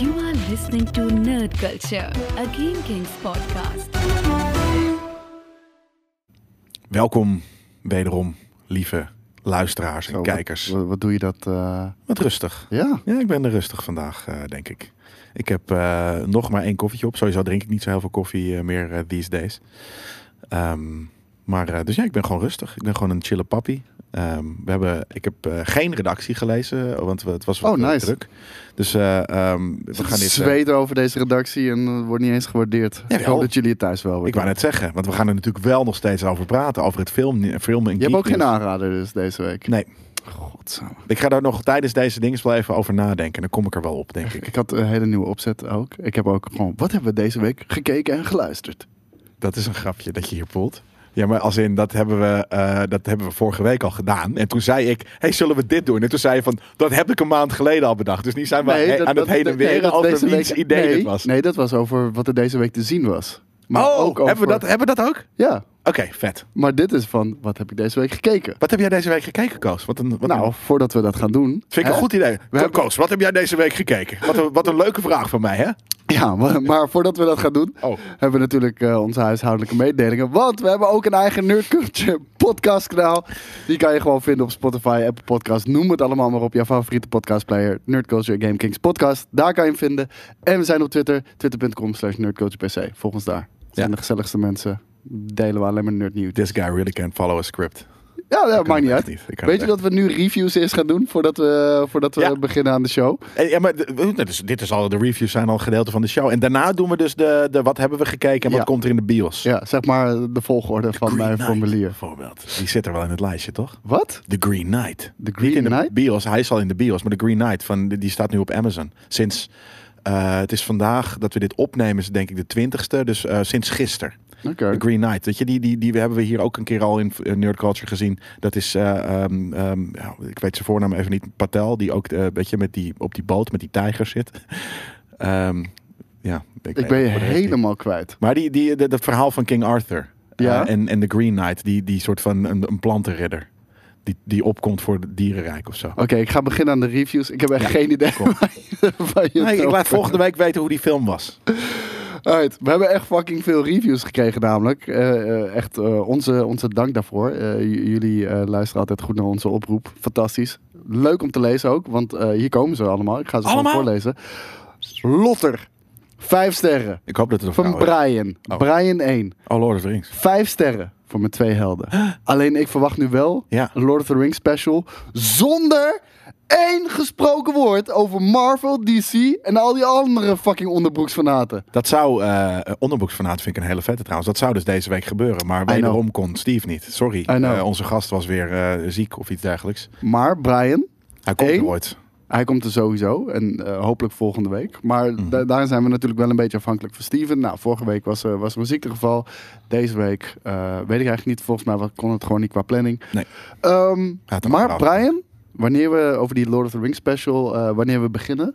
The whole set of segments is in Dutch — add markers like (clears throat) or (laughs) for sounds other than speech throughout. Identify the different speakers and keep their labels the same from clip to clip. Speaker 1: You are listening to Nerd Culture, a Game Kings podcast.
Speaker 2: Welkom wederom, lieve luisteraars en
Speaker 3: Zo, wat-
Speaker 2: kijkers. Wat,
Speaker 3: Wat, wat doe je dat? eh,
Speaker 2: rustig.
Speaker 3: ja,
Speaker 2: Ja, ik ben er rustig vandaag, eh, denk ik. Ik heb eh, nog maar één koffietje op. Sowieso drink ik niet zo heel veel koffie eh, meer eh, these days. Ehm, maar eh, dus ja, ik ben gewoon rustig. Ik ben gewoon een chille pappie. Ehm, we hebben, ik heb eh, geen redactie gelezen, want we- het was wat
Speaker 3: Oh,
Speaker 2: eh,
Speaker 3: nice.
Speaker 2: druk. Dus eh, ehm, we gaan dit... eh,
Speaker 3: zweet over deze redactie en eh, wordt niet eens gewaardeerd.
Speaker 2: Jawel.
Speaker 3: ik hoop dat jullie het thuis wel
Speaker 2: ik
Speaker 3: worden.
Speaker 2: wou net zeggen, want we gaan er natuurlijk wel nog steeds over praten. Over het film, filmen en
Speaker 3: Je hebt ook geen
Speaker 2: geeknieuws.
Speaker 3: aanrader dus deze week.
Speaker 2: Nee,
Speaker 3: Godsamme.
Speaker 2: Ik ga daar nog tijdens deze dingen wel even over nadenken. Dan kom ik er wel op,
Speaker 3: (laughs)
Speaker 2: denk ik.
Speaker 3: Ik had een hele nieuwe opzet ook. Ik heb ook gewoon, wat hebben we deze week gekeken en geluisterd?
Speaker 2: Dat is een grapje dat je hier poelt. Ja, maar als in, dat hebben we, eh, dat hebben we vorige week al gedaan. En toen zei ik, hey, zullen we dit doen? En toen zei je van, dat heb ik een maand geleden al bedacht. Dus nu zijn we he-
Speaker 3: dat-
Speaker 2: aan
Speaker 3: dat-
Speaker 2: het heen en
Speaker 3: nee,
Speaker 2: weer
Speaker 3: dat
Speaker 2: over
Speaker 3: deze
Speaker 2: wiens
Speaker 3: week-
Speaker 2: idee
Speaker 3: nee,
Speaker 2: dit was.
Speaker 3: Nee, dat was over wat er deze week te zien was. Maar
Speaker 2: oh,
Speaker 3: ook over,
Speaker 2: hebben, we dat, hebben we dat ook? Oké,
Speaker 3: Ja,
Speaker 2: vet.
Speaker 3: maar dit is van, wat heb ik deze week gekeken?
Speaker 2: Wat heb jij deze week gekeken, Koos? Wat een, wat
Speaker 3: Nou,
Speaker 2: een-
Speaker 3: voordat we dat gaan doen.
Speaker 2: vind ik een
Speaker 3: hè?
Speaker 2: goed idee. Ko-
Speaker 3: hebben-
Speaker 2: Koos, wat heb jij deze week gekeken? Wat een, wat een leuke vraag van mij, hè?
Speaker 3: Ja, maar, maar voordat we dat gaan doen,
Speaker 2: Oh.
Speaker 3: hebben we natuurlijk eh, onze huishoudelijke mededelingen. Want we hebben ook een eigen Nerd Culture podcast kanaal. Die kan je gewoon vinden op Spotify, Apple Podcast. Noem het allemaal maar op jouw favoriete podcastplayer. Nerd Culture Game Kings podcast. Daar kan je hem vinden. En we zijn op Twitter. Twitter.com slash nerdculturepc. Volg ons daar. Dat zijn
Speaker 2: Ja.
Speaker 3: de gezelligste mensen. Delen we alleen maar nerdnieuws.
Speaker 2: This guy really can follow a script.
Speaker 3: Ja, dat
Speaker 2: het
Speaker 3: maakt niet
Speaker 2: echt
Speaker 3: uit.
Speaker 2: niet. Ik kan
Speaker 3: Weet je
Speaker 2: het
Speaker 3: dat we nu reviews eerst gaan doen voordat we, voordat we
Speaker 2: Ja.
Speaker 3: beginnen aan de show?
Speaker 2: Eh, Ja, maar d- w- dit is- dit is al, de reviews zijn al een gedeelte van de show. En daarna doen we dus de, de wat hebben we gekeken en wat
Speaker 3: Ja.
Speaker 2: komt er in de bios.
Speaker 3: Ja, zeg maar de volgorde van
Speaker 2: Green
Speaker 3: mijn
Speaker 2: Knight
Speaker 3: formulier.
Speaker 2: Bijvoorbeeld. Die zit er wel in het lijstje, toch?
Speaker 3: Wat?
Speaker 2: The Green Knight.
Speaker 3: De
Speaker 2: Niet
Speaker 3: Green
Speaker 2: in
Speaker 3: Knight?
Speaker 2: de bios, hij is al in de bios. Maar The Green Knight, van, die die staat nu op Amazon. Sinds, eh, het is vandaag dat we dit opnemen, is het denk ik de twintigste. Dus eh, sinds gisteren.
Speaker 3: Oké.
Speaker 2: The Green Knight. Weet je, die, die, die hebben we hier ook een keer al in eh, Nerd Culture gezien. Dat is, eh, ehm, ehm, ja, ik weet zijn voornaam even niet, Patel, die ook, eh, weet je, met die, op die boot met die tijger zit. (laughs) Ehm, ja, weet
Speaker 3: Ik ben je
Speaker 2: voor de rest niet.
Speaker 3: helemaal kwijt.
Speaker 2: Maar die, die, de- dat verhaal van King Arthur eh,
Speaker 3: Ja.
Speaker 2: en, en The Green Knight, die, die soort van een, een plantenridder. Die, die opkomt voor het dierenrijk of zo.
Speaker 3: Oké, ik ga beginnen aan de reviews. Ik heb echt geen idee
Speaker 2: kom.
Speaker 3: waar je, (laughs) waar je het
Speaker 2: Nee, ik
Speaker 3: over-
Speaker 2: laat volgende week weten hoe die film was.
Speaker 3: Alright, we hebben echt fucking veel reviews gekregen namelijk. Eh, eh, echt eh, onze, onze dank daarvoor. Eh, j- jullie eh, luisteren altijd goed naar onze oproep. Fantastisch. Leuk om te lezen ook, want eh, hier komen ze allemaal. Ik ga ze gewoon
Speaker 2: Allemaal?
Speaker 3: voorlezen. Lotter. Vijf sterren.
Speaker 2: Ik hoop dat het een
Speaker 3: Van
Speaker 2: vrouw is.
Speaker 3: Brian.
Speaker 2: Oh.
Speaker 3: Brian 1.
Speaker 2: Oh, Lord of the Rings.
Speaker 3: Vijf sterren voor mijn twee helden. Alleen ik verwacht nu wel
Speaker 2: Ja.
Speaker 3: een Lord of the Rings special zonder één gesproken woord over Marvel, DC en al die andere fucking onderbroeksfanaten.
Speaker 2: Dat zou, eh onderboeksfanaat vind ik een hele vette trouwens. Dat zou dus deze week gebeuren. Maar
Speaker 3: know.
Speaker 2: wederom kon Steve niet. Sorry.
Speaker 3: know.
Speaker 2: Eh, onze gast was weer eh, ziek of iets dergelijks.
Speaker 3: Maar Brian,
Speaker 2: Hij komt
Speaker 3: Eén?
Speaker 2: er ooit.
Speaker 3: hij komt er sowieso en eh, hopelijk volgende week. Maar
Speaker 2: Mhm.
Speaker 3: da- daar zijn we natuurlijk wel een beetje afhankelijk van Steven. Nou, vorige week was, eh, was er een ziektegeval. Deze week eh, weet ik eigenlijk niet. Volgens mij wa- kon het gewoon niet qua planning.
Speaker 2: Nee.
Speaker 3: Ehm,
Speaker 2: had een
Speaker 3: maar
Speaker 2: andere
Speaker 3: Brian, wanneer we over die Lord of the Rings special, eh, wanneer we beginnen,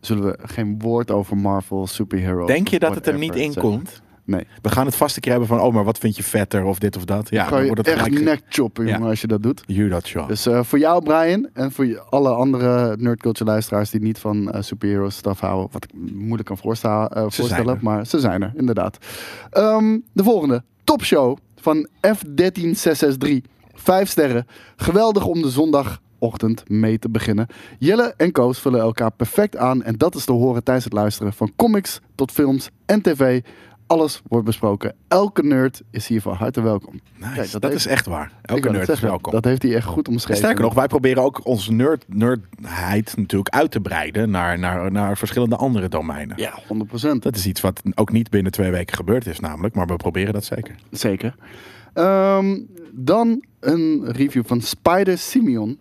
Speaker 3: zullen we geen woord over Marvel, superhero.
Speaker 2: Denk je dat het er niet in komt?
Speaker 3: Nee.
Speaker 2: We gaan het vast een keer hebben van, oh, maar wat vind je vetter of dit of dat? Ja,
Speaker 3: Ga
Speaker 2: dan
Speaker 3: je
Speaker 2: wordt het
Speaker 3: echt
Speaker 2: gelijk...
Speaker 3: nek choppen,
Speaker 2: Ja.
Speaker 3: jongen, als je dat doet.
Speaker 2: You that shot.
Speaker 3: Dus eh, voor jou, Brian, en voor je- alle andere nerdculture luisteraars die niet van eh superhero stuff houden, wat ik moeilijk kan voorsta- eh,
Speaker 2: zijn
Speaker 3: voorstellen,
Speaker 2: er.
Speaker 3: maar ze zijn er, inderdaad. Ehm, de volgende, topshow van F13663. Vijf sterren, geweldig om de zondagochtend mee te beginnen. Jelle en Koos vullen elkaar perfect aan en dat is te horen tijdens het luisteren van comics tot films en tv. Alles wordt besproken. Elke nerd is hier van harte welkom.
Speaker 2: Nice.
Speaker 3: Kijk,
Speaker 2: dat
Speaker 3: heeft-
Speaker 2: is echt waar.
Speaker 3: ik
Speaker 2: Elke
Speaker 3: wou net
Speaker 2: nerd is
Speaker 3: zeggen,
Speaker 2: welkom.
Speaker 3: Dat heeft hij echt goed omschreven.
Speaker 2: En Sterker nog, wij proberen ook onze nerd, nerdheid natuurlijk uit te breiden naar, naar, naar verschillende andere domeinen.
Speaker 3: Ja, 100%.
Speaker 2: Dat is iets wat ook niet binnen twee weken gebeurd is namelijk, maar we proberen dat zeker.
Speaker 3: Zeker. Ehm, dan een review van Spider Simeon.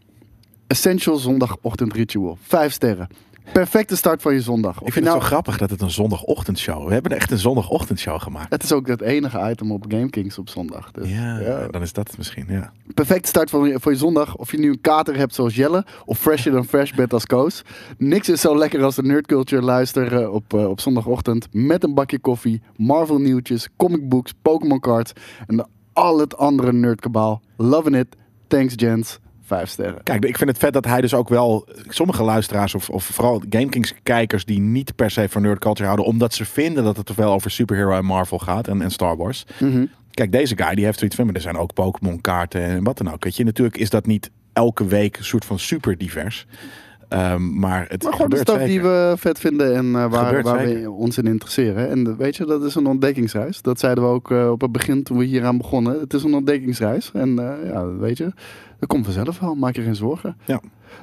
Speaker 3: Essential zondagochtend ritual. Vijf sterren. Perfecte start van je zondag. Of
Speaker 2: Ik
Speaker 3: je
Speaker 2: vind
Speaker 3: nou,
Speaker 2: het zo grappig dat het een zondagochtendshow. We hebben echt een zondagochtendshow gemaakt.
Speaker 3: het is ook het enige item op GameKings op zondag. Dus,
Speaker 2: Ja,
Speaker 3: ja.
Speaker 2: dan is dat het misschien. Ja.
Speaker 3: Perfecte start van je, voor je zondag. Of je nu een kater hebt zoals Jelle. Of fresher dan fresh bent als Koos. Niks is zo lekker als de nerdculture luisteren op, eh, op zondagochtend. Met een bakje koffie. Marvel nieuwtjes. Comic books. Pokémon cards. En de- al het andere nerdkabaal. Loving it. Thanks Jens. Vijf sterren.
Speaker 2: Kijk, ik vind het vet dat hij dus ook wel sommige luisteraars of, of vooral GameKings kijkers die niet per se van nerd culture houden, omdat ze vinden dat het te veel over superhero en Marvel gaat en, en Star Wars.
Speaker 3: Mhm.
Speaker 2: Kijk, deze guy die heeft zoiets van, maar er zijn ook Pokémon kaarten en wat dan ook. Weet je, natuurlijk is dat niet elke week een soort van super divers. Ehm, maar het
Speaker 3: Maar gewoon de
Speaker 2: gebeurt
Speaker 3: stuff die
Speaker 2: zeker.
Speaker 3: we vet vinden en eh, waar,
Speaker 2: Gebeurt
Speaker 3: waar we
Speaker 2: zeker.
Speaker 3: ons in interesseren. En de- weet je, dat is een ontdekkingsreis. Dat zeiden we ook eh, op het begin toen we hier aan begonnen. Het is een ontdekkingsreis. En eh, ja, weet je, dat komt vanzelf wel. Maak je geen zorgen.
Speaker 2: Ja.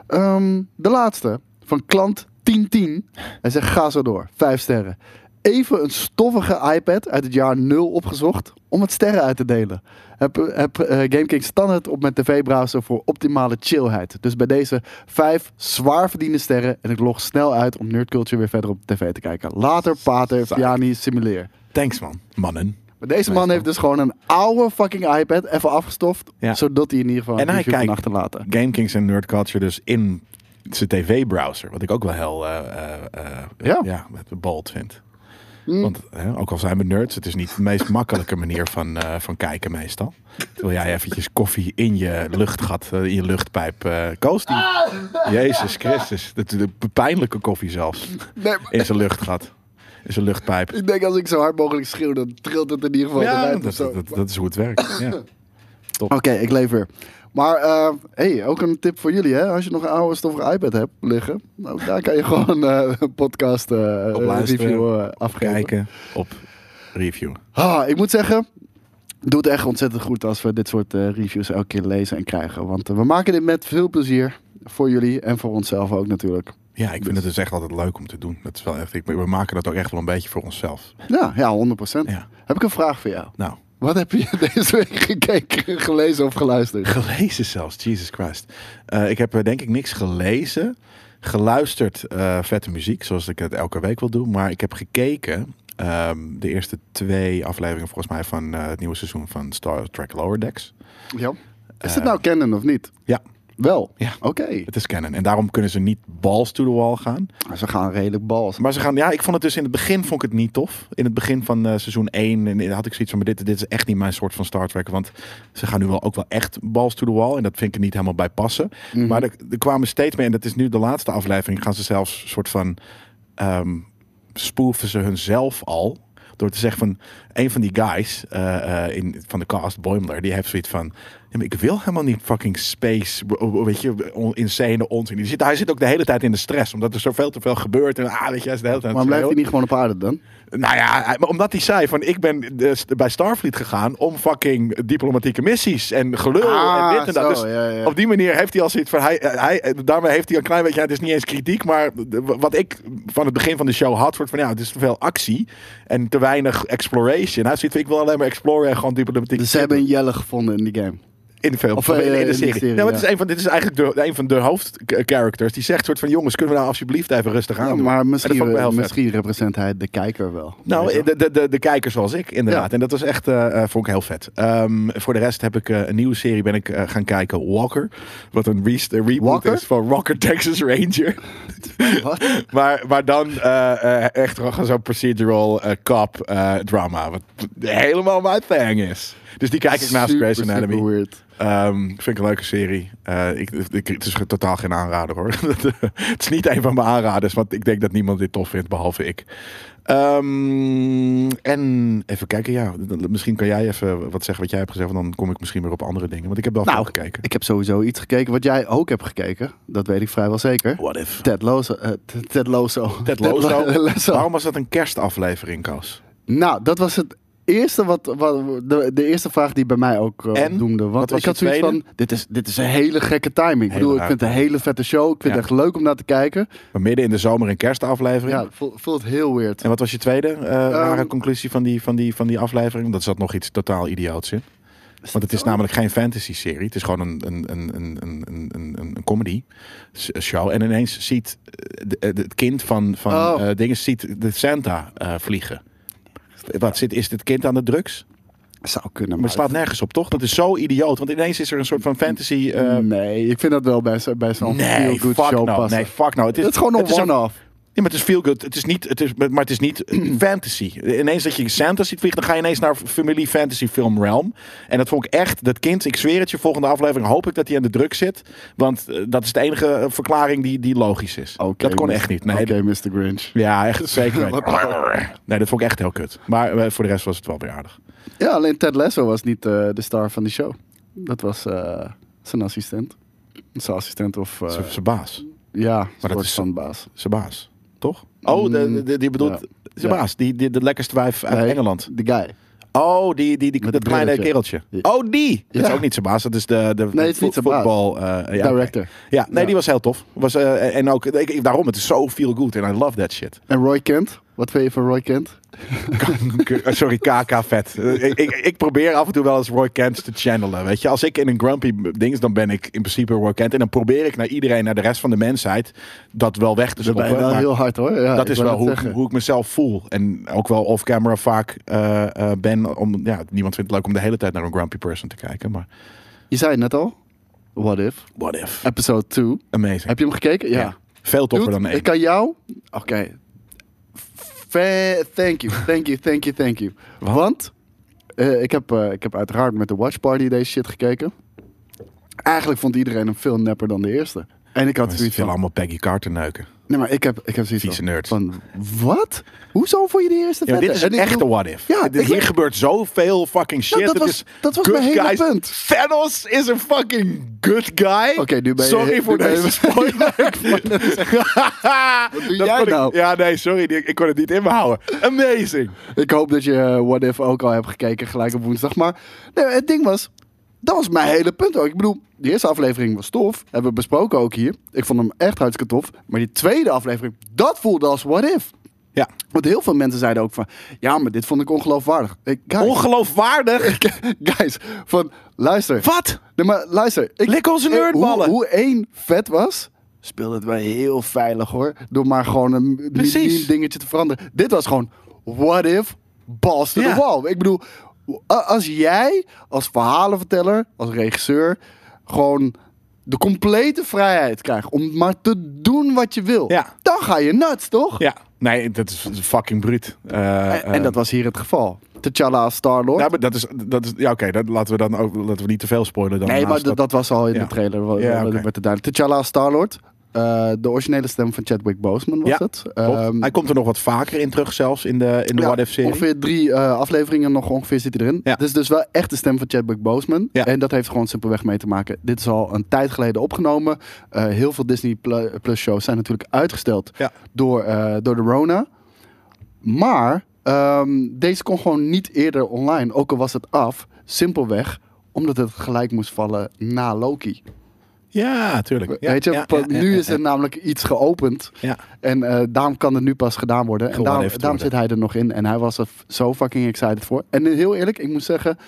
Speaker 3: Ehm, de laatste, van klant 1010. Hij zegt, ga zo door. Vijf sterren. Even een stoffige iPad uit het jaar 0 opgezocht om het sterren uit te delen. Heb, heb eh, GameKing standaard op mijn tv-browser voor optimale chillheid. Dus bij deze vijf zwaar verdiende sterren en ik log snel uit om nerdculture weer verder op de tv te kijken. Later, pater,
Speaker 2: Zaak.
Speaker 3: Viani, simuleer.
Speaker 2: Thanks man, mannen.
Speaker 3: Maar deze man heeft dus gewoon een oude fucking iPad even afgestoft,
Speaker 2: Ja.
Speaker 3: zodat hij in ieder geval
Speaker 2: En
Speaker 3: een
Speaker 2: hij
Speaker 3: review kan
Speaker 2: kijkt.
Speaker 3: achterlaten.
Speaker 2: GameKings en nerd culture dus in zijn tv-browser, wat ik ook wel heel eh eh, eh,
Speaker 3: Ja.
Speaker 2: ja. Mm. bold vind. Want hè, ook al zijn we nerds, het is niet de meest makkelijke manier van, eh, van kijken meestal. Terwijl jij eventjes koffie in je luchtgat, eh, in je luchtpijp eh koost. die- Ah! Jezus Christus, de, de pijnlijke koffie zelfs.
Speaker 3: Nee, maar
Speaker 2: In zijn luchtgat, in zijn luchtpijp.
Speaker 3: ik denk als ik zo hard mogelijk schreeuw, dan trilt het in ieder geval. de
Speaker 2: Ja,
Speaker 3: lijn
Speaker 2: dat,
Speaker 3: of zo.
Speaker 2: dat, dat is hoe het werkt. (laughs) Ja.
Speaker 3: Oké, ik lever. Maar eh, hey, ook een tip voor jullie. Hè? Als je nog een oude stoffige iPad hebt liggen, nou, daar kan je (laughs) gewoon eh, een podcast eh,
Speaker 2: Op luisteren,
Speaker 3: review eh, afgeven.
Speaker 2: Kijken op review.
Speaker 3: Ah, ik moet zeggen, het doet echt ontzettend goed als we dit soort eh, reviews elke keer lezen en krijgen. Want eh, we maken dit met veel plezier voor jullie en voor onszelf ook natuurlijk.
Speaker 2: Ja, ik vind het dus echt altijd leuk om te doen. Dat is wel echt, ik- we maken dat ook echt wel een beetje voor onszelf.
Speaker 3: Ja, ja 100%.
Speaker 2: Ja.
Speaker 3: Heb ik een vraag voor jou.
Speaker 2: Nou, (laughs)
Speaker 3: Wat heb je (laughs) deze week gekeken, gelezen of geluisterd?
Speaker 2: gelezen zelfs, Jesus Christ. Eh, ik heb eh, denk ik niks gelezen, geluisterd eh, vette muziek, zoals ik het elke week wil doen. Maar ik heb gekeken ehm, de eerste twee afleveringen volgens mij van eh, het nieuwe seizoen van Star Trek Lower Decks.
Speaker 3: Ja. Is dit nou canon of niet?
Speaker 2: Ja,
Speaker 3: Wel?
Speaker 2: Ja.
Speaker 3: Oké.
Speaker 2: het is canon. En daarom kunnen ze niet balls to the wall gaan.
Speaker 3: Ze gaan redelijk bals.
Speaker 2: Maar ze gaan, ja, ik vond het dus in het begin vond ik het niet tof. In het begin van eh, seizoen 1 en had ik zoiets van, maar dit, dit is echt niet mijn soort van Star Trek. Want ze gaan nu wel ook wel echt balls to the wall. En dat vind ik er niet helemaal bij passen.
Speaker 3: Mhm.
Speaker 2: Maar er, er kwamen steeds meer, en dat is nu de laatste aflevering, gaan ze zelfs soort van ehm spoeven ze hunzelf al. Door te zeggen van, een van die guys eh, eh, in, van de cast, Boimler, die heeft zoiets van... "Ja, maar ik wil helemaal niet fucking space, w- w- weet je, on- insane onzin. Die zit, hij zit ook de hele tijd in de stress, omdat er zoveel te veel gebeurt. En ah, weet je, hij is de hele tijd... aan het
Speaker 3: Maar blijft hij
Speaker 2: schreeuwen.
Speaker 3: niet gewoon op aarde dan?
Speaker 2: Nou ja, hij- maar omdat hij zei van, ik ben dus bij Starfleet gegaan om fucking diplomatieke missies en gelul
Speaker 3: Ah,
Speaker 2: en dit en dat.
Speaker 3: zo,
Speaker 2: dus
Speaker 3: ja, ja.
Speaker 2: op die manier heeft hij al zoiets van, hij, hij, daarmee heeft hij een klein beetje, ja, het is niet eens kritiek, maar de- wat ik van het begin van de show had, wordt van, ja, het is te veel actie en te weinig exploration. Hij zit, ik wil alleen maar exploren en gewoon diplomatieke
Speaker 3: Dus ze hebben een Jelle gevonden in die game.
Speaker 2: in de film.
Speaker 3: Of,
Speaker 2: Of,
Speaker 3: eh,
Speaker 2: in, de- in
Speaker 3: in de
Speaker 2: de serie.
Speaker 3: serie,
Speaker 2: Ja, maar het
Speaker 3: ja.
Speaker 2: is een van, dit is eigenlijk de, een van de hoofdcharacters. Die zegt soort van, jongens, kunnen we nou alsjeblieft even rustig aan
Speaker 3: Ja,
Speaker 2: doen?
Speaker 3: maar
Speaker 2: En dat vond ik wel heel
Speaker 3: misschien,
Speaker 2: vet.
Speaker 3: misschien represent hij de kijker wel. Weet je
Speaker 2: Nou,
Speaker 3: wel?
Speaker 2: de, de, de, de kijkers zoals ik, inderdaad.
Speaker 3: Ja.
Speaker 2: En dat was echt, eh, eh, vond ik heel vet. Ehm, voor de rest heb ik eh, een nieuwe serie ben ik, eh, gaan kijken, Walker. Wat een re- de reboot
Speaker 3: Walker?
Speaker 2: is van Rocker (laughs) Texas Ranger.
Speaker 3: (laughs) Wat?
Speaker 2: maar, maar dan eh, eh, echt gewoon zo'n procedural eh, cop eh, drama. Wat helemaal mijn thing is. Dus die kijk ik naast
Speaker 3: Super,
Speaker 2: Grey's
Speaker 3: super
Speaker 2: Anatomy.
Speaker 3: weird.
Speaker 2: Ehm, vind ik een leuke serie. Eh, ik, ik- het is totaal geen aanrader hoor. (laughs) eh, het is niet een van mijn aanraders, want ik denk dat niemand dit tof vindt, behalve ik. Ehm, en even kijken, ja. Misschien kan jij even wat zeggen wat jij hebt gezegd, want dan kom ik misschien weer op andere dingen. Want ik heb wel veel
Speaker 3: Nou,
Speaker 2: gekeken.
Speaker 3: ik heb sowieso iets gekeken wat jij ook hebt gekeken. Dat weet ik vrijwel zeker.
Speaker 2: What if?
Speaker 3: Ted Lozo. eh, Ted- Ted Lozo.
Speaker 2: Ted
Speaker 3: (laughs) Ted Lo-
Speaker 2: Lasso.
Speaker 3: Lasso.
Speaker 2: Waarom was dat een kerstaflevering, Koos?
Speaker 3: Nou, dat was het eerste wat, wat de, de eerste vraag die bij mij ook eh,
Speaker 2: En?
Speaker 3: doemde.
Speaker 2: Wat
Speaker 3: Want
Speaker 2: was
Speaker 3: ik had
Speaker 2: je
Speaker 3: zoiets
Speaker 2: tweede?
Speaker 3: van, dit is, dit is een hele gekke timing. ik
Speaker 2: Hele
Speaker 3: bedoel, ik
Speaker 2: raar.
Speaker 3: vind het een hele vette show. Ik vind
Speaker 2: Ja.
Speaker 3: het echt leuk om naar te kijken.
Speaker 2: Maar midden in de zomer een kerstaflevering?
Speaker 3: Ja, voelt, voelt heel weird.
Speaker 2: En wat was je tweede eh, rare
Speaker 3: Ehm,
Speaker 2: conclusie van die, van, die, van die aflevering? Dat zat nog iets totaal idioots in. Want het is nou- namelijk geen fantasy-serie. Het is gewoon een, een, een, een, een, een, een, een comedy-show. En ineens ziet eh, de- eh, het kind van, van
Speaker 3: Oh.
Speaker 2: eh, dingen ziet de Santa eh, vliegen. Wat zit, is dit kind aan de drugs?
Speaker 3: Zou kunnen,
Speaker 2: Maar het slaat nergens op, toch? Dat is zo idioot. Want ineens is er een soort van fantasy... eh,
Speaker 3: nee, ik vind dat wel bij, zo- bij zo'n
Speaker 2: nee,
Speaker 3: feel-good
Speaker 2: fuck
Speaker 3: Mm. show
Speaker 2: no.
Speaker 3: passen.
Speaker 2: Nee, fuck no. Het is,
Speaker 3: het is gewoon
Speaker 2: het
Speaker 3: een
Speaker 2: is
Speaker 3: one-off.
Speaker 2: Nee, maar het is feel good. Het is niet, het is, maar het is niet (clears throat) fantasy. Ineens dat je Santa ziet vliegen, dan ga je ineens naar familie fantasy film realm. En dat vond ik echt, dat kind, ik zweer het je, volgende aflevering hoop ik dat hij aan de druk zit. Want eh, dat is de enige eh, verklaring die, die logisch is.
Speaker 3: Oké,
Speaker 2: dat kon
Speaker 3: Mr.
Speaker 2: echt niet. Nee,
Speaker 3: Oké, Mr. Grinch.
Speaker 2: Ja, echt zeker.
Speaker 3: (laughs)
Speaker 2: weten. nee, dat vond ik echt heel kut. Maar eh, voor de rest was het wel weer aardig.
Speaker 3: Ja, alleen Ted Lasso was niet eh, de star van die show. Dat was eh, zijn assistent. Zijn assistent of... eh,
Speaker 2: Zijn baas.
Speaker 3: ja, maar
Speaker 2: dat
Speaker 3: dat
Speaker 2: is-
Speaker 3: is van baas.
Speaker 2: Zijn baas. Toch? Oh, de, de- de- die bedoelt.
Speaker 3: Mm, Ja.
Speaker 2: Zijn
Speaker 3: Ja.
Speaker 2: baas. Die, die, de lekkerste wijf uit
Speaker 3: Nee,
Speaker 2: Engeland.
Speaker 3: De guy.
Speaker 2: Oh, die, die, die,
Speaker 3: Met
Speaker 2: dat
Speaker 3: een
Speaker 2: kleine
Speaker 3: brilletje.
Speaker 2: kereltje. Oh, die! Dat is
Speaker 3: Ja.
Speaker 2: ook niet zijn baas. Dat is de, de
Speaker 3: Nee, het is niet zijn baas.
Speaker 2: voetbal, eh, ja, oké.
Speaker 3: Director.
Speaker 2: Ja, nee,
Speaker 3: Ja.
Speaker 2: die was heel tof. Was, eh, en ook, ik, ik- daarom, het is zo feel good. En I love that
Speaker 3: (laughs)
Speaker 2: shit.
Speaker 3: En Roy Kent. Wat vind je van Roy Kent?
Speaker 2: eh, Sorry, KK vet. Eh, ik, ik, ik probeer af en toe wel eens Roy Kent te channelen. Weet je, als ik in een grumpy ding is, dan ben ik in principe Roy Kent. En dan probeer ik naar iedereen, naar de rest van de mensheid, dat wel weg te
Speaker 3: Dat ben je
Speaker 2: stoppen.
Speaker 3: wel
Speaker 2: Maar
Speaker 3: heel hard hoor. Ja,
Speaker 2: dat
Speaker 3: Ah, ik
Speaker 2: is
Speaker 3: wou
Speaker 2: wel
Speaker 3: net
Speaker 2: hoe,
Speaker 3: zeggen.
Speaker 2: hoe ik mezelf voel. En ook wel off-camera vaak eh, eh, ben. Om, ja, niemand vindt het leuk om de hele tijd naar een grumpy person te kijken. Maar
Speaker 3: Je zei het net al. What If.
Speaker 2: what if?
Speaker 3: Episode 2.
Speaker 2: Amazing.
Speaker 3: Heb je hem gekeken? Ja.
Speaker 2: Veel toffer
Speaker 3: Dude,
Speaker 2: dan één.
Speaker 3: ik kan jou... Oké. Fa- Thank you, thank you, thank you, thank you. Want eh, ik, heb, eh, ik heb uiteraard met de Watch Party deze shit gekeken. Eigenlijk vond iedereen hem veel nepper dan de eerste. En ik had
Speaker 2: Ze
Speaker 3: zoiets
Speaker 2: willen
Speaker 3: van...
Speaker 2: allemaal Peggy Carter neuken.
Speaker 3: Nee, maar ik heb, ik heb zoiets
Speaker 2: Vieze
Speaker 3: van...
Speaker 2: nerds.
Speaker 3: van, Wat? Hoezo vond je de eerste
Speaker 2: Ja, maar dit
Speaker 3: vetter?
Speaker 2: is een
Speaker 3: En ik
Speaker 2: echte
Speaker 3: bedoel-
Speaker 2: what if.
Speaker 3: Ja,
Speaker 2: Dit-
Speaker 3: ik-
Speaker 2: hier gebeurt zoveel fucking shit.
Speaker 3: dat
Speaker 2: Het
Speaker 3: was-
Speaker 2: is
Speaker 3: dat was
Speaker 2: good
Speaker 3: mijn hele
Speaker 2: guys.
Speaker 3: punt.
Speaker 2: Thanos is een fucking good guy.
Speaker 3: Oké, nu ben je-
Speaker 2: Sorry
Speaker 3: nu
Speaker 2: voor
Speaker 3: ben je-
Speaker 2: deze spoiler.
Speaker 3: (laughs)
Speaker 2: (laughs) Wat
Speaker 3: doe jij nou?
Speaker 2: Ja, nee, sorry. die- Ik kon het niet in me houden. Amazing.
Speaker 3: Ik hoop dat je eh, What If ook al hebt gekeken gelijk op woensdag. Maar nee, het ding was, dat was mijn hele punt ook. Ik bedoel, de eerste aflevering was tof. Hebben we besproken ook hier. Ik vond hem echt hartstikke tof. Maar die tweede aflevering, dat voelde als What If.
Speaker 2: Ja.
Speaker 3: Want heel veel mensen zeiden ook van... Ja, maar dit vond ik ongeloofwaardig. Ik, guys,
Speaker 2: Ongeloofwaardig.
Speaker 3: (laughs) guys, van luister.
Speaker 2: Wat?
Speaker 3: Nee, maar luister. Ik,
Speaker 2: Lik onze
Speaker 3: eh,
Speaker 2: nerdballen.
Speaker 3: Hoe, hoe één vet was, speelde het wel heel veilig hoor. Door maar gewoon een m-
Speaker 2: Precies.
Speaker 3: mini dingetje te veranderen. Dit was gewoon, what if, balls to
Speaker 2: Ja.
Speaker 3: the wall. Ik bedoel, a- als jij als verhalenverteller, als regisseur, gewoon de complete vrijheid krijgt om maar te doen wat je wil.
Speaker 2: Ja.
Speaker 3: Dan ga je nuts, toch?
Speaker 2: Ja. Nee, dat is fucking bruut. Eh,
Speaker 3: En, en dat was hier het geval. T'Challa als Star-Lord.
Speaker 2: Nou, maar dat is, dat is ja, oké. dat laten we dan ook, laten we niet te veel spoilen dan.
Speaker 3: Nee, maar
Speaker 2: naast
Speaker 3: dat, dat was al in
Speaker 2: Ja.
Speaker 3: de trailer. wa-
Speaker 2: Ja,
Speaker 3: wa-
Speaker 2: oké.
Speaker 3: werd het duidelijk. T'Challa als Star-Lord. Eh, de originele stem van Chadwick Boseman was
Speaker 2: Ja,
Speaker 3: het.
Speaker 2: Klopt.
Speaker 3: Ehm,
Speaker 2: Hij komt er nog wat vaker in terug zelfs in de, in de
Speaker 3: ja,
Speaker 2: What If serie.
Speaker 3: Ongeveer drie eh, afleveringen nog ongeveer zit hij erin.
Speaker 2: Ja.
Speaker 3: Het is dus wel echt de stem van Chadwick Boseman.
Speaker 2: Ja.
Speaker 3: En dat heeft gewoon simpelweg mee te maken. Dit is al een tijd geleden opgenomen. Eh, heel veel Disney Plu- Plus shows zijn natuurlijk uitgesteld
Speaker 2: Ja.
Speaker 3: door, eh, door de Rona. Maar ehm, deze kon gewoon niet eerder online. Ook al was het af. Simpelweg omdat het gelijk moest vallen na Loki.
Speaker 2: Ja, tuurlijk. Ja,
Speaker 3: Weet je,
Speaker 2: ja,
Speaker 3: pa-
Speaker 2: ja, ja,
Speaker 3: nu
Speaker 2: ja,
Speaker 3: is
Speaker 2: ja.
Speaker 3: er namelijk iets geopend.
Speaker 2: Ja.
Speaker 3: En eh, daarom kan het nu pas gedaan worden. En
Speaker 2: Gewoon
Speaker 3: daarom,
Speaker 2: even
Speaker 3: daarom zit
Speaker 2: worden.
Speaker 3: hij er nog in. En hij was er f- zo fucking excited voor. En heel eerlijk, ik moet zeggen.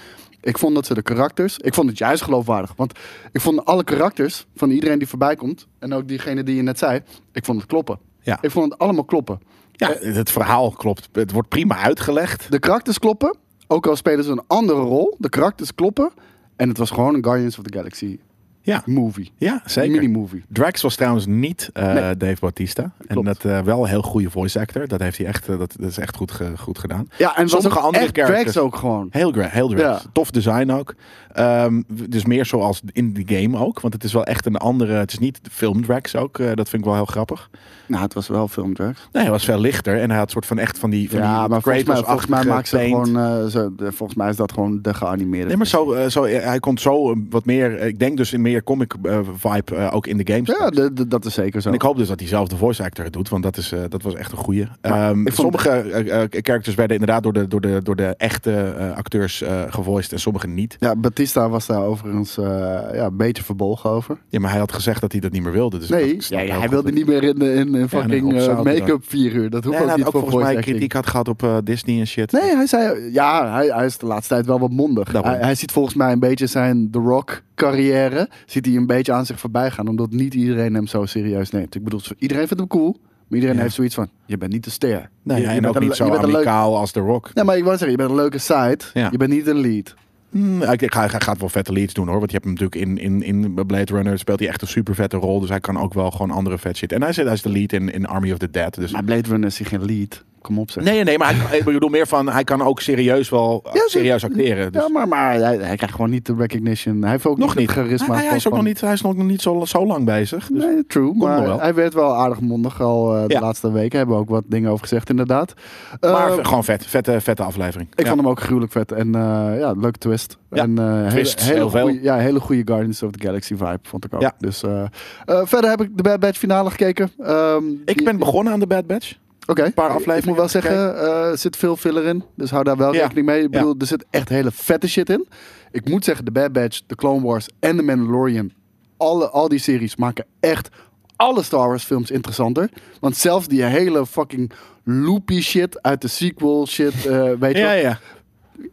Speaker 3: Ik vond dat ze de karakters. Ik vond het juist geloofwaardig. Want ik vond alle karakters van iedereen die voorbij komt. En ook diegene die je net zei. Ik vond het kloppen.
Speaker 2: Ja.
Speaker 3: Ik vond het allemaal kloppen. Eh,
Speaker 2: Ja, het verhaal klopt. Het wordt prima uitgelegd.
Speaker 3: De karakters kloppen. Ook al spelen ze een andere rol. De karakters kloppen. En het was gewoon een Guardians of the Galaxy
Speaker 2: Ja,
Speaker 3: movie.
Speaker 2: ja zeker.
Speaker 3: Mini-movie.
Speaker 2: Drax was trouwens niet eh,
Speaker 3: Nee.
Speaker 2: Dave Bautista. En
Speaker 3: Klopt.
Speaker 2: dat eh, wel een heel goede voice actor. Dat heeft hij echt, eh, dat, dat is echt goed, ge- goed gedaan.
Speaker 3: Ja, en
Speaker 2: Sommige
Speaker 3: sommige
Speaker 2: andere
Speaker 3: andere echt
Speaker 2: characters.
Speaker 3: Drax ook gewoon.
Speaker 2: Heel Drax, heel Drax.
Speaker 3: Ja.
Speaker 2: Tof design ook. Ehm, dus meer zoals in de game ook. Want het is wel echt een andere... Het is niet film Drax ook. eh, dat vind ik wel heel grappig.
Speaker 3: Nou, het was wel filmdrag.
Speaker 2: Nee, hij was veel lichter. En hij had soort van echt van die... Van
Speaker 3: Ja,
Speaker 2: die
Speaker 3: maar volgens mij, volgens mij
Speaker 2: Kratos-achtige
Speaker 3: maakt ze
Speaker 2: paint.
Speaker 3: gewoon. eh, zo, de- volgens mij is dat gewoon de geanimeerde.
Speaker 2: Nee, maar zo, eh, zo, eh, hij komt zo eh, wat meer, eh, ik denk dus in meer comic eh, vibe eh, ook in de games.
Speaker 3: ja, de- de- dat is zeker zo.
Speaker 2: En ik hoop dus dat hij zelf de voice actor het doet, want dat, is, eh, dat was echt een goeie. Ehm,
Speaker 3: ik vond-
Speaker 2: sommige eh, eh, characters werden inderdaad door de, door de, door de echte eh, acteurs eh gevoiced en sommige niet.
Speaker 3: Ja, Batista was daar overigens eh, ja, een beetje verbolgen over.
Speaker 2: Ja, maar hij had gezegd dat hij dat niet meer wilde. Dus
Speaker 3: Nee,
Speaker 2: ik snap heel
Speaker 3: hij
Speaker 2: goed
Speaker 3: wilde
Speaker 2: dat-
Speaker 3: niet meer in, in, in
Speaker 2: op
Speaker 3: fucking eh,
Speaker 2: zaterdag.
Speaker 3: make-up vier uur. Dat hoeft
Speaker 2: Nee, hij
Speaker 3: ook
Speaker 2: had
Speaker 3: niet
Speaker 2: ook
Speaker 3: voor
Speaker 2: volgens
Speaker 3: voice
Speaker 2: mij
Speaker 3: acting.
Speaker 2: kritiek had gehad op eh, Disney en shit.
Speaker 3: Nee, hij zei, ja, hij, hij is de laatste tijd wel wat mondig.
Speaker 2: Daarom.
Speaker 3: Hij, hij ziet volgens mij een beetje zijn The Rock carrière, ziet hij een beetje aan zich voorbij gaan, omdat niet iedereen hem zo serieus neemt. Ik bedoel, iedereen vindt hem cool, maar iedereen
Speaker 2: Ja.
Speaker 3: heeft zoiets van, je bent niet de ster.
Speaker 2: Nee,
Speaker 3: Je- je
Speaker 2: en
Speaker 3: bent
Speaker 2: ook
Speaker 3: een
Speaker 2: niet
Speaker 3: le-
Speaker 2: zo
Speaker 3: je bent een leuk-
Speaker 2: amicaal als The Rock.
Speaker 3: Nee, maar ik wou zeggen, je bent een leuke site.
Speaker 2: Ja.
Speaker 3: Je bent niet een lead.
Speaker 2: Mm, ik denk, hij, hij gaat wel vette leads doen hoor. Want je hebt hem natuurlijk in, in, in Blade Runner speelt hij echt een super vette rol. Dus hij kan ook wel gewoon andere vet shit. En hij, zit, hij is de lead in, in Army of the Dead. Dus
Speaker 3: Maar Blade Runner is hier geen lead. Kom op zeg.
Speaker 2: Nee, nee, maar hij, ik bedoel meer van, hij kan ook serieus wel
Speaker 3: ze-
Speaker 2: serieus acteren. Dus.
Speaker 3: Ja, maar, maar hij, hij krijgt gewoon niet de recognition. Hij heeft ook
Speaker 2: nog niet.
Speaker 3: het charisma.
Speaker 2: Hij, hij is ook nog niet, hij is nog niet zo, zo lang bezig. Dus.
Speaker 3: nee, true. maar
Speaker 2: nog wel.
Speaker 3: hij werd wel aardig mondig al eh, de
Speaker 2: Ja.
Speaker 3: laatste weken. Hebben we ook wat dingen over gezegd, inderdaad.
Speaker 2: maar
Speaker 3: Eh,
Speaker 2: gewoon vet, vette, vette aflevering.
Speaker 3: ik
Speaker 2: Ja.
Speaker 3: vond hem ook gruwelijk vet. En eh, ja, leuke twist.
Speaker 2: Ja,
Speaker 3: En eh,
Speaker 2: twists,
Speaker 3: hele, hele
Speaker 2: heel veel.
Speaker 3: goeie- ja, hele goede Guardians of the Galaxy vibe, vond ik ook.
Speaker 2: Ja.
Speaker 3: Dus, eh, eh, verder heb ik de Bad Batch finale gekeken. Ehm,
Speaker 2: ik
Speaker 3: die-
Speaker 2: ben begonnen aan de Bad Batch.
Speaker 3: Oké, een
Speaker 2: paar afleveringen
Speaker 3: Ik moet wel
Speaker 2: heb ik
Speaker 3: zeggen, eh, er zit veel filler in. Dus hou daar wel
Speaker 2: Ja.
Speaker 3: rekening mee. Ik bedoel, er zit echt hele vette shit in. Ik moet zeggen, The Bad Batch, The Clone Wars en The Mandalorian. Alle, al die series maken echt alle Star Wars films interessanter. Want zelfs die hele fucking loopy shit uit de sequel shit, eh, weet je
Speaker 2: Ja,
Speaker 3: wel.
Speaker 2: ja.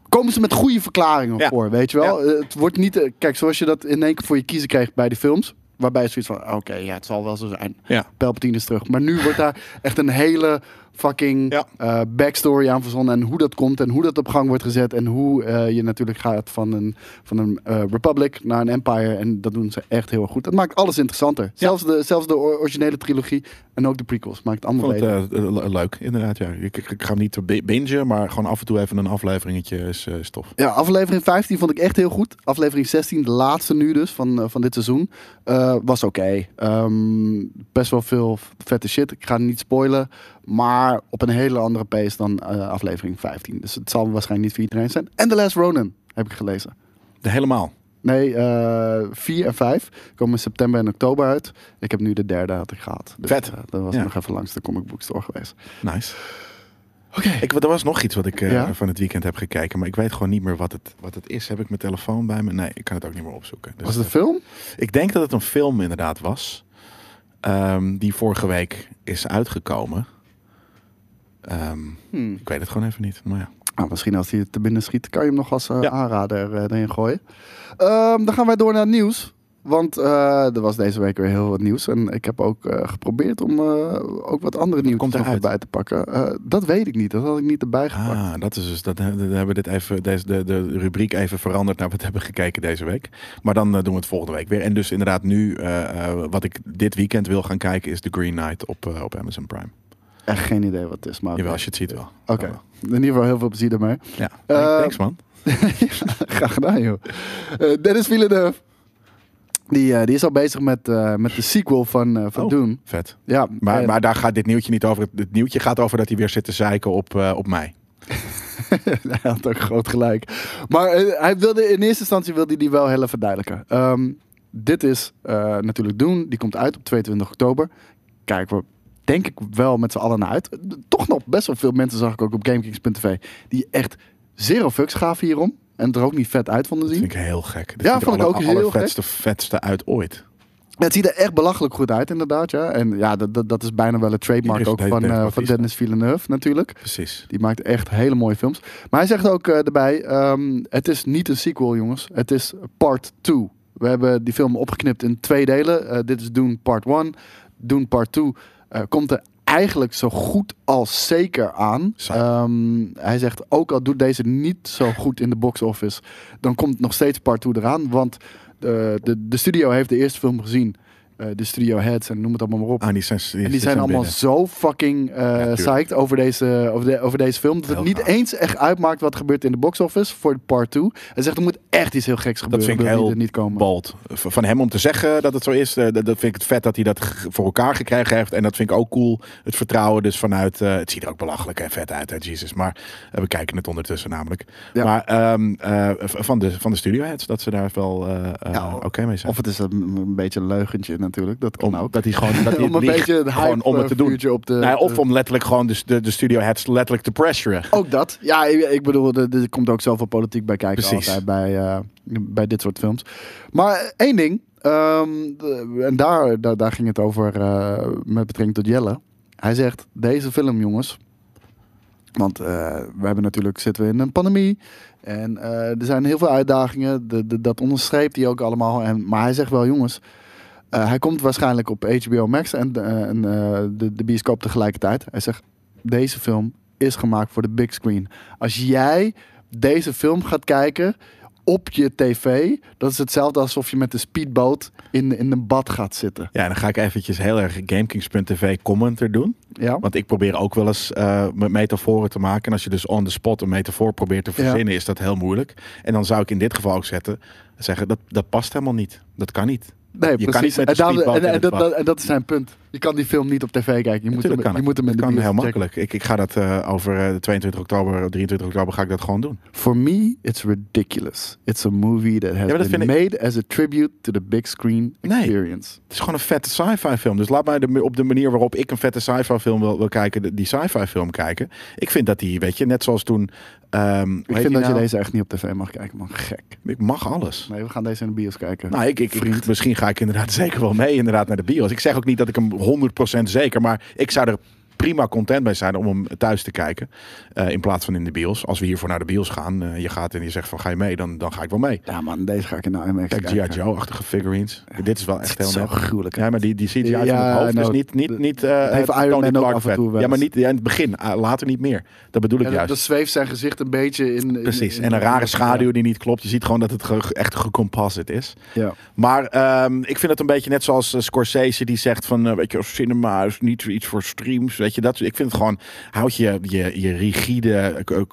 Speaker 3: Komen ze met goede verklaringen
Speaker 2: Ja.
Speaker 3: voor, weet je wel. Eh, het wordt niet, eh, kijk, zoals je dat in één keer voor je kiezen krijgt bij de films. Waarbij zoiets van, oké, ja, het zal wel zo zijn.
Speaker 2: ja.
Speaker 3: Palpatine is terug. Maar nu wordt daar echt een hele fucking
Speaker 2: Ja.
Speaker 3: eh, backstory aan verzonnen. En hoe dat komt en hoe dat op gang wordt gezet. En hoe eh, je natuurlijk gaat van een, van een eh, republic naar een empire. En dat doen ze echt heel erg goed. Dat maakt alles interessanter. Zelfs, de, zelfs de or- originele trilogie en ook de prequels. Maakt het allemaal
Speaker 2: Vond het
Speaker 3: beter.
Speaker 2: eh, le- leuk, inderdaad. Ja. Ik, ik, ik ga hem niet te bi- bingen, maar gewoon af en toe even een afleveringetje is, eh, is tof.
Speaker 3: Ja, aflevering 15 vond ik echt heel goed. Aflevering 16, de laatste nu dus van, eh, van dit seizoen, eh, was oké. Ehm, best wel veel vette shit. Ik ga het niet spoilen, maar op een hele andere pace dan eh, aflevering 15. Dus het zal waarschijnlijk niet voor iedereen zijn. En The Last Ronin heb ik gelezen.
Speaker 2: De, helemaal.
Speaker 3: Nee, eh 4 en 5 komen in september en oktober uit. Ik heb nu de derde had ik gehad. Dus,
Speaker 2: Vet.
Speaker 3: eh, dat was
Speaker 2: Ja.
Speaker 3: nog even langs de comic book store geweest.
Speaker 2: Nice.
Speaker 3: Oké.
Speaker 2: Ik, er was nog iets wat ik eh,
Speaker 3: Ja?
Speaker 2: van het weekend heb gekeken, maar ik weet gewoon niet meer wat het, wat het is. Heb ik mijn telefoon bij me? Nee, ik kan het ook niet meer opzoeken. Dus,
Speaker 3: Was het een film?
Speaker 2: eh, ik denk dat het een film inderdaad was, ehm, die vorige week is uitgekomen. Ehm,
Speaker 3: Hmm.
Speaker 2: ik weet het gewoon even niet, maar ja.
Speaker 3: Nou, misschien als hij het te binnen schiet, kan je hem nog als eh,
Speaker 2: Ja.
Speaker 3: aanrader eh, erin gooien. Ehm, dan gaan wij door naar het nieuws. Want eh, er was deze week weer heel wat nieuws. En ik heb ook eh, geprobeerd om eh, ook wat andere nieuws
Speaker 2: komt
Speaker 3: nog
Speaker 2: eruit?
Speaker 3: erbij te pakken. Eh, dat weet ik niet. Dat had ik niet erbij gepakt.
Speaker 2: Ah, dat is dus. Dat, dan hebben we dit even, deze, de, de rubriek even veranderd naar wat we hebben gekeken deze week. Maar dan eh, doen we het volgende week weer. En dus inderdaad, nu eh, eh, wat ik dit weekend wil gaan kijken is The Green Knight op, eh, op Amazon Prime.
Speaker 3: Echt geen idee wat het is. Maar
Speaker 2: Jawel, als je Oh. het ziet wel.
Speaker 3: Oké. In ieder geval heel veel plezier ermee. (laughs)
Speaker 2: Ja.
Speaker 3: Eh,
Speaker 2: Thanks man.
Speaker 3: Graag gedaan, joh. Eh, Dennis Villeneuve. Die, eh, die is al bezig met, eh, met de sequel van, eh, van
Speaker 2: Oh.
Speaker 3: Dune.
Speaker 2: Vet.
Speaker 3: Ja,
Speaker 2: Maar,
Speaker 3: eh,
Speaker 2: maar daar gaat dit nieuwtje niet over. Het- Het nieuwtje gaat over dat hij weer zit te zeiken op, eh, op mij.
Speaker 3: (laughs) hij had ook groot gelijk. Maar eh, hij wilde, in eerste instantie wilde hij die wel heel even duidelijken. Ehm, dit is eh, natuurlijk Doen. Die komt uit op 22 oktober. Kijken we denk ik wel met z'n allen naar uit. Toch nog best wel veel mensen zag ik ook op GameKings.tv... die echt zero fucks gaven hierom. En het er ook niet vet uit vonden
Speaker 2: Dat
Speaker 3: zien.
Speaker 2: vind ik heel gek.
Speaker 3: Ja, vond ik ook heel
Speaker 2: Het vetste, vetste uit ooit.
Speaker 3: Het ziet er echt belachelijk goed uit inderdaad. Ja. En ja, dat, dat, dat is bijna wel een trademark
Speaker 2: Iedereen
Speaker 3: ook
Speaker 2: heeft
Speaker 3: van,
Speaker 2: tegen
Speaker 3: eh, van
Speaker 2: Bautista.
Speaker 3: Dennis Villeneuve natuurlijk.
Speaker 2: Precies.
Speaker 3: Die maakt echt hele mooie films. Maar hij zegt ook eh, erbij: ehm, het is niet een sequel, jongens. Het is part 2. We hebben die film opgeknipt in twee delen. Eh, dit is Doen Part 1. Doen Part 2 eh, komt er eigenlijk zo goed als zeker aan.
Speaker 2: Zo.
Speaker 3: Ehm, hij zegt ook al doet deze niet zo goed in de box office, dan komt nog steeds Part 2 eraan. Want eh, de, de studio heeft de eerste film gezien. Eh, de studio heads en noem het allemaal maar op.
Speaker 2: Ah, die zijn, die,
Speaker 3: En die zijn allemaal
Speaker 2: binnen.
Speaker 3: zo fucking eh
Speaker 2: tuurlijk.
Speaker 3: psyched over deze, over, de, over deze film. Dat het
Speaker 2: Heel
Speaker 3: niet
Speaker 2: gaaf.
Speaker 3: eens echt uitmaakt wat er gebeurt in de box office voor part 2. Hij zegt er moet echt iets heel geks
Speaker 2: Dat
Speaker 3: gebeuren.
Speaker 2: vind ik
Speaker 3: wil die
Speaker 2: heel
Speaker 3: er niet komen.
Speaker 2: bold. V- Van hem om te zeggen dat het zo is, eh, dat dat vind ik het vet dat hij dat g- voor elkaar gekregen heeft. En dat vind ik ook cool. Het vertrouwen dus vanuit, eh, het ziet er ook belachelijk en vet uit, hè, Jesus. Maar eh, we kijken het ondertussen namelijk.
Speaker 3: Ja.
Speaker 2: Maar ehm, eh, v- van, de, van de studioheads, dat ze daar wel eh, eh,
Speaker 3: Ja,
Speaker 2: oké mee zijn.
Speaker 3: Of het is een, een beetje een leugentje natuurlijk. Dat kan
Speaker 2: om,
Speaker 3: ook.
Speaker 2: dat hij gewoon
Speaker 3: (laughs)
Speaker 2: dat hij
Speaker 3: om een
Speaker 2: liegt,
Speaker 3: beetje een
Speaker 2: gewoon
Speaker 3: hype eh,
Speaker 2: om het te doen.
Speaker 3: vuurtje op de...
Speaker 2: Nou ja, of
Speaker 3: de-
Speaker 2: om letterlijk gewoon de, de, de studioheads letterlijk te pressuren.
Speaker 3: Ook dat. Ja, ik, ik bedoel, er, er komt ook zoveel politiek bij kijken
Speaker 2: Precies.
Speaker 3: altijd bij, eh, bij dit soort films. Maar eh, één ding, ehm, de- en daar, daar, daar ging het over eh, met betrekking tot Jelle. Hij zegt, deze film jongens, want eh, we hebben natuurlijk, zitten we in een pandemie en eh, er zijn heel veel uitdagingen, de, de- dat onderstreept hij ook allemaal. En, maar hij zegt wel jongens, eh, hij komt waarschijnlijk op HBO Max en, eh, en eh, de, de bioscoop tegelijkertijd. Hij zegt, deze film is gemaakt voor de big screen. Als jij deze film gaat kijken op je tv. Dat is hetzelfde alsof je met een speedboot in, in een bad gaat zitten.
Speaker 2: Ja, en dan ga ik eventjes heel erg GameKings.tv commenter doen.
Speaker 3: Ja?
Speaker 2: Want ik probeer ook wel eens eh, met metaforen te maken. En als je dus on the spot een metafoor probeert te verzinnen, is dat heel moeilijk. En dan zou ik in dit geval ook zetten, zeggen, dat, dat past helemaal niet. Dat kan niet.
Speaker 3: Nee,
Speaker 2: kan niet met
Speaker 3: en,
Speaker 2: een
Speaker 3: daarom-
Speaker 2: speedboot
Speaker 3: en,
Speaker 2: in
Speaker 3: en
Speaker 2: het
Speaker 3: dat,
Speaker 2: bad.
Speaker 3: dat- en dat is zijn punt. Je kan die film niet op tv kijken. Je moet hem,
Speaker 2: Natuurlijk kan
Speaker 3: je
Speaker 2: het.
Speaker 3: moet hem in
Speaker 2: Het
Speaker 3: de
Speaker 2: kan
Speaker 3: bios
Speaker 2: heel
Speaker 3: checken.
Speaker 2: makkelijk. Ik, ik ga dat eh, over eh, 22 oktober, 23 oktober ga ik dat gewoon doen.
Speaker 3: For me, it's ridiculous. It's a movie that has
Speaker 2: maar dat
Speaker 3: been
Speaker 2: vind
Speaker 3: made as a tribute to the big screen
Speaker 2: Nee.
Speaker 3: experience.
Speaker 2: Het is gewoon een vette sci-fi film. Dus laat mij de, op de manier waarop ik een vette sci-fi film wil, wil kijken, de- die sci-fi film kijken. Ik vind dat die, weet je, net zoals toen... ehm,
Speaker 3: Ik
Speaker 2: weet
Speaker 3: vind dat
Speaker 2: nou,
Speaker 3: je deze echt niet op tv mag kijken, man. Gek.
Speaker 2: Ik mag alles.
Speaker 3: Nee, we gaan deze in de bios kijken.
Speaker 2: Nou, ik, ik, ik-
Speaker 3: Vriend.
Speaker 2: misschien ga ik inderdaad (laughs) zeker wel mee inderdaad, naar de bios. Ik zeg ook niet dat ik hem 100% zeker, maar ik zou er prima content bij zijn om hem thuis te kijken. eh, in plaats van in de bios. Als we hiervoor naar de bios gaan, eh, je gaat en je zegt van ga je mee, dan, dan ga ik wel mee.
Speaker 3: Ja man, deze ga ik in de IMAX
Speaker 2: Kijk,
Speaker 3: kijken.
Speaker 2: G.I. Joe-achtige figurines. Dit is wel echt
Speaker 3: Het
Speaker 2: heel
Speaker 3: is zo
Speaker 2: net.
Speaker 3: gruwelijk.
Speaker 2: Ja, maar die, die CGI van
Speaker 3: Ja,
Speaker 2: het hoofd
Speaker 3: nou,
Speaker 2: is niet, niet, niet eh,
Speaker 3: heeft
Speaker 2: Tony
Speaker 3: Iron Man ook
Speaker 2: Clark
Speaker 3: af en toe
Speaker 2: vet.
Speaker 3: wel
Speaker 2: Ja, maar
Speaker 3: eens.
Speaker 2: niet ja, in het begin. Ah, later niet meer. Dat bedoel ik
Speaker 3: Ja, dat,
Speaker 2: juist.
Speaker 3: dat zweeft zijn gezicht een beetje in... in-
Speaker 2: Precies.
Speaker 3: in-
Speaker 2: En een rare schaduw
Speaker 3: Ja.
Speaker 2: die niet klopt. Je ziet gewoon dat het ge- echt gecomposite is.
Speaker 3: Ja.
Speaker 2: Maar ehm, ik vind het een beetje net zoals eh, Scorsese die zegt van, eh, weet je, cinema is niet iets voor streams, weet je dat. Ik vind het gewoon, houd je je, je rigide eh, co-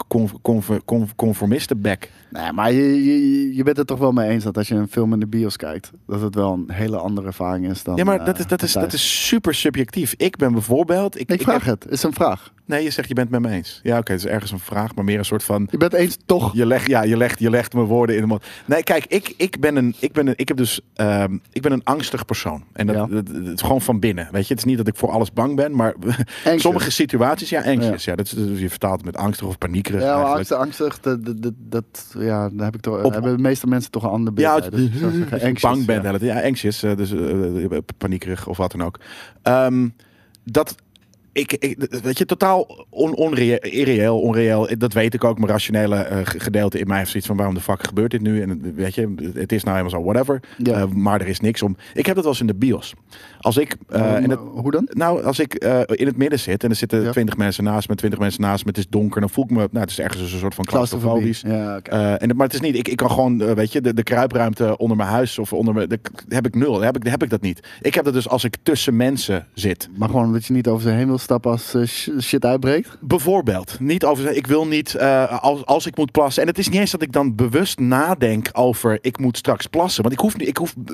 Speaker 2: conf- conf- conf- conformistenbek.
Speaker 3: Nee, maar je, je, je bent het toch wel mee eens dat als je een film in de bios kijkt, dat het wel een hele andere ervaring is dan.
Speaker 2: Ja, maar
Speaker 3: eh,
Speaker 2: dat is, dat, is,
Speaker 3: thuis.
Speaker 2: dat is super subjectief. Ik ben bijvoorbeeld... Ik,
Speaker 3: Ik
Speaker 2: ik
Speaker 3: vraag
Speaker 2: heb-
Speaker 3: het. Is een vraag.
Speaker 2: nee, je zegt je bent het met me eens. Ja, oké, het is ergens een vraag, maar meer een soort van...
Speaker 3: Je bent eens toch.
Speaker 2: Je legt, ja, je legt, je legt mijn woorden in de mond. Nee, kijk, ik, ik ben een, ik ben een, ik heb dus, ehm, ik ben een angstig persoon. En dat,
Speaker 3: Ja.
Speaker 2: dat, dat- dat is gewoon van binnen. Weet je, het is niet dat ik voor alles bang ben, maar (laughs)
Speaker 3: Anxious.
Speaker 2: sommige situaties, ja, anxious. Ja, dat is, dus je vertaalt het met angstig of paniekerig
Speaker 3: Ja, maar
Speaker 2: eigenlijk.
Speaker 3: angst, angstig, dat, dat, dat- dat, ja, daar heb ik toch,
Speaker 2: Op-
Speaker 3: hebben de meeste mensen toch een ander beeld
Speaker 2: Ja,
Speaker 3: bij. Dus ik
Speaker 2: (laughs)
Speaker 3: zou zeggen,
Speaker 2: dat je
Speaker 3: anxious,
Speaker 2: bang bent.
Speaker 3: ja.
Speaker 2: Ja. ja, anxious, eh, dus eh, paniekerig of wat dan ook. Ehm, dat, ik, ik, weet je, totaal on, onreëel, irreëel, onreëel. eh, Dat weet ik ook. Mijn rationele eh, ge- gedeelte in mij heeft zoiets van... waarom de fuck gebeurt dit nu? En eh, weet je, het is nou helemaal zo, whatever.
Speaker 3: Ja.
Speaker 2: Eh, maar er is niks om... Ik heb dat wel eens in de bios. Als ik... eh,
Speaker 3: Maar
Speaker 2: en dat-
Speaker 3: Hoe dan?
Speaker 2: nou, als ik eh, in het midden zit en er zitten
Speaker 3: Ja.
Speaker 2: twintig mensen naast me, twintig mensen naast me, het is donker, dan voel ik me, nou, het is ergens een soort van
Speaker 3: Claustrofobie.
Speaker 2: claustrofobisch.
Speaker 3: Ja, oké.
Speaker 2: Eh, en, het- maar het is niet, ik, ik kan gewoon, eh, weet je, de, de kruipruimte onder mijn huis of onder mijn, de- heb ik nul, heb ik, heb ik dat niet. Ik heb dat dus als ik tussen mensen zit.
Speaker 3: Maar gewoon omdat je niet over ze heen wil stappen als eh, sh- shit uitbreekt.
Speaker 2: Bijvoorbeeld, niet over, ik wil niet, eh, als, als ik moet plassen. En het is niet eens dat ik dan bewust nadenk over, ik moet straks plassen. Want ik hoef, niet- ik hoef
Speaker 3: Maar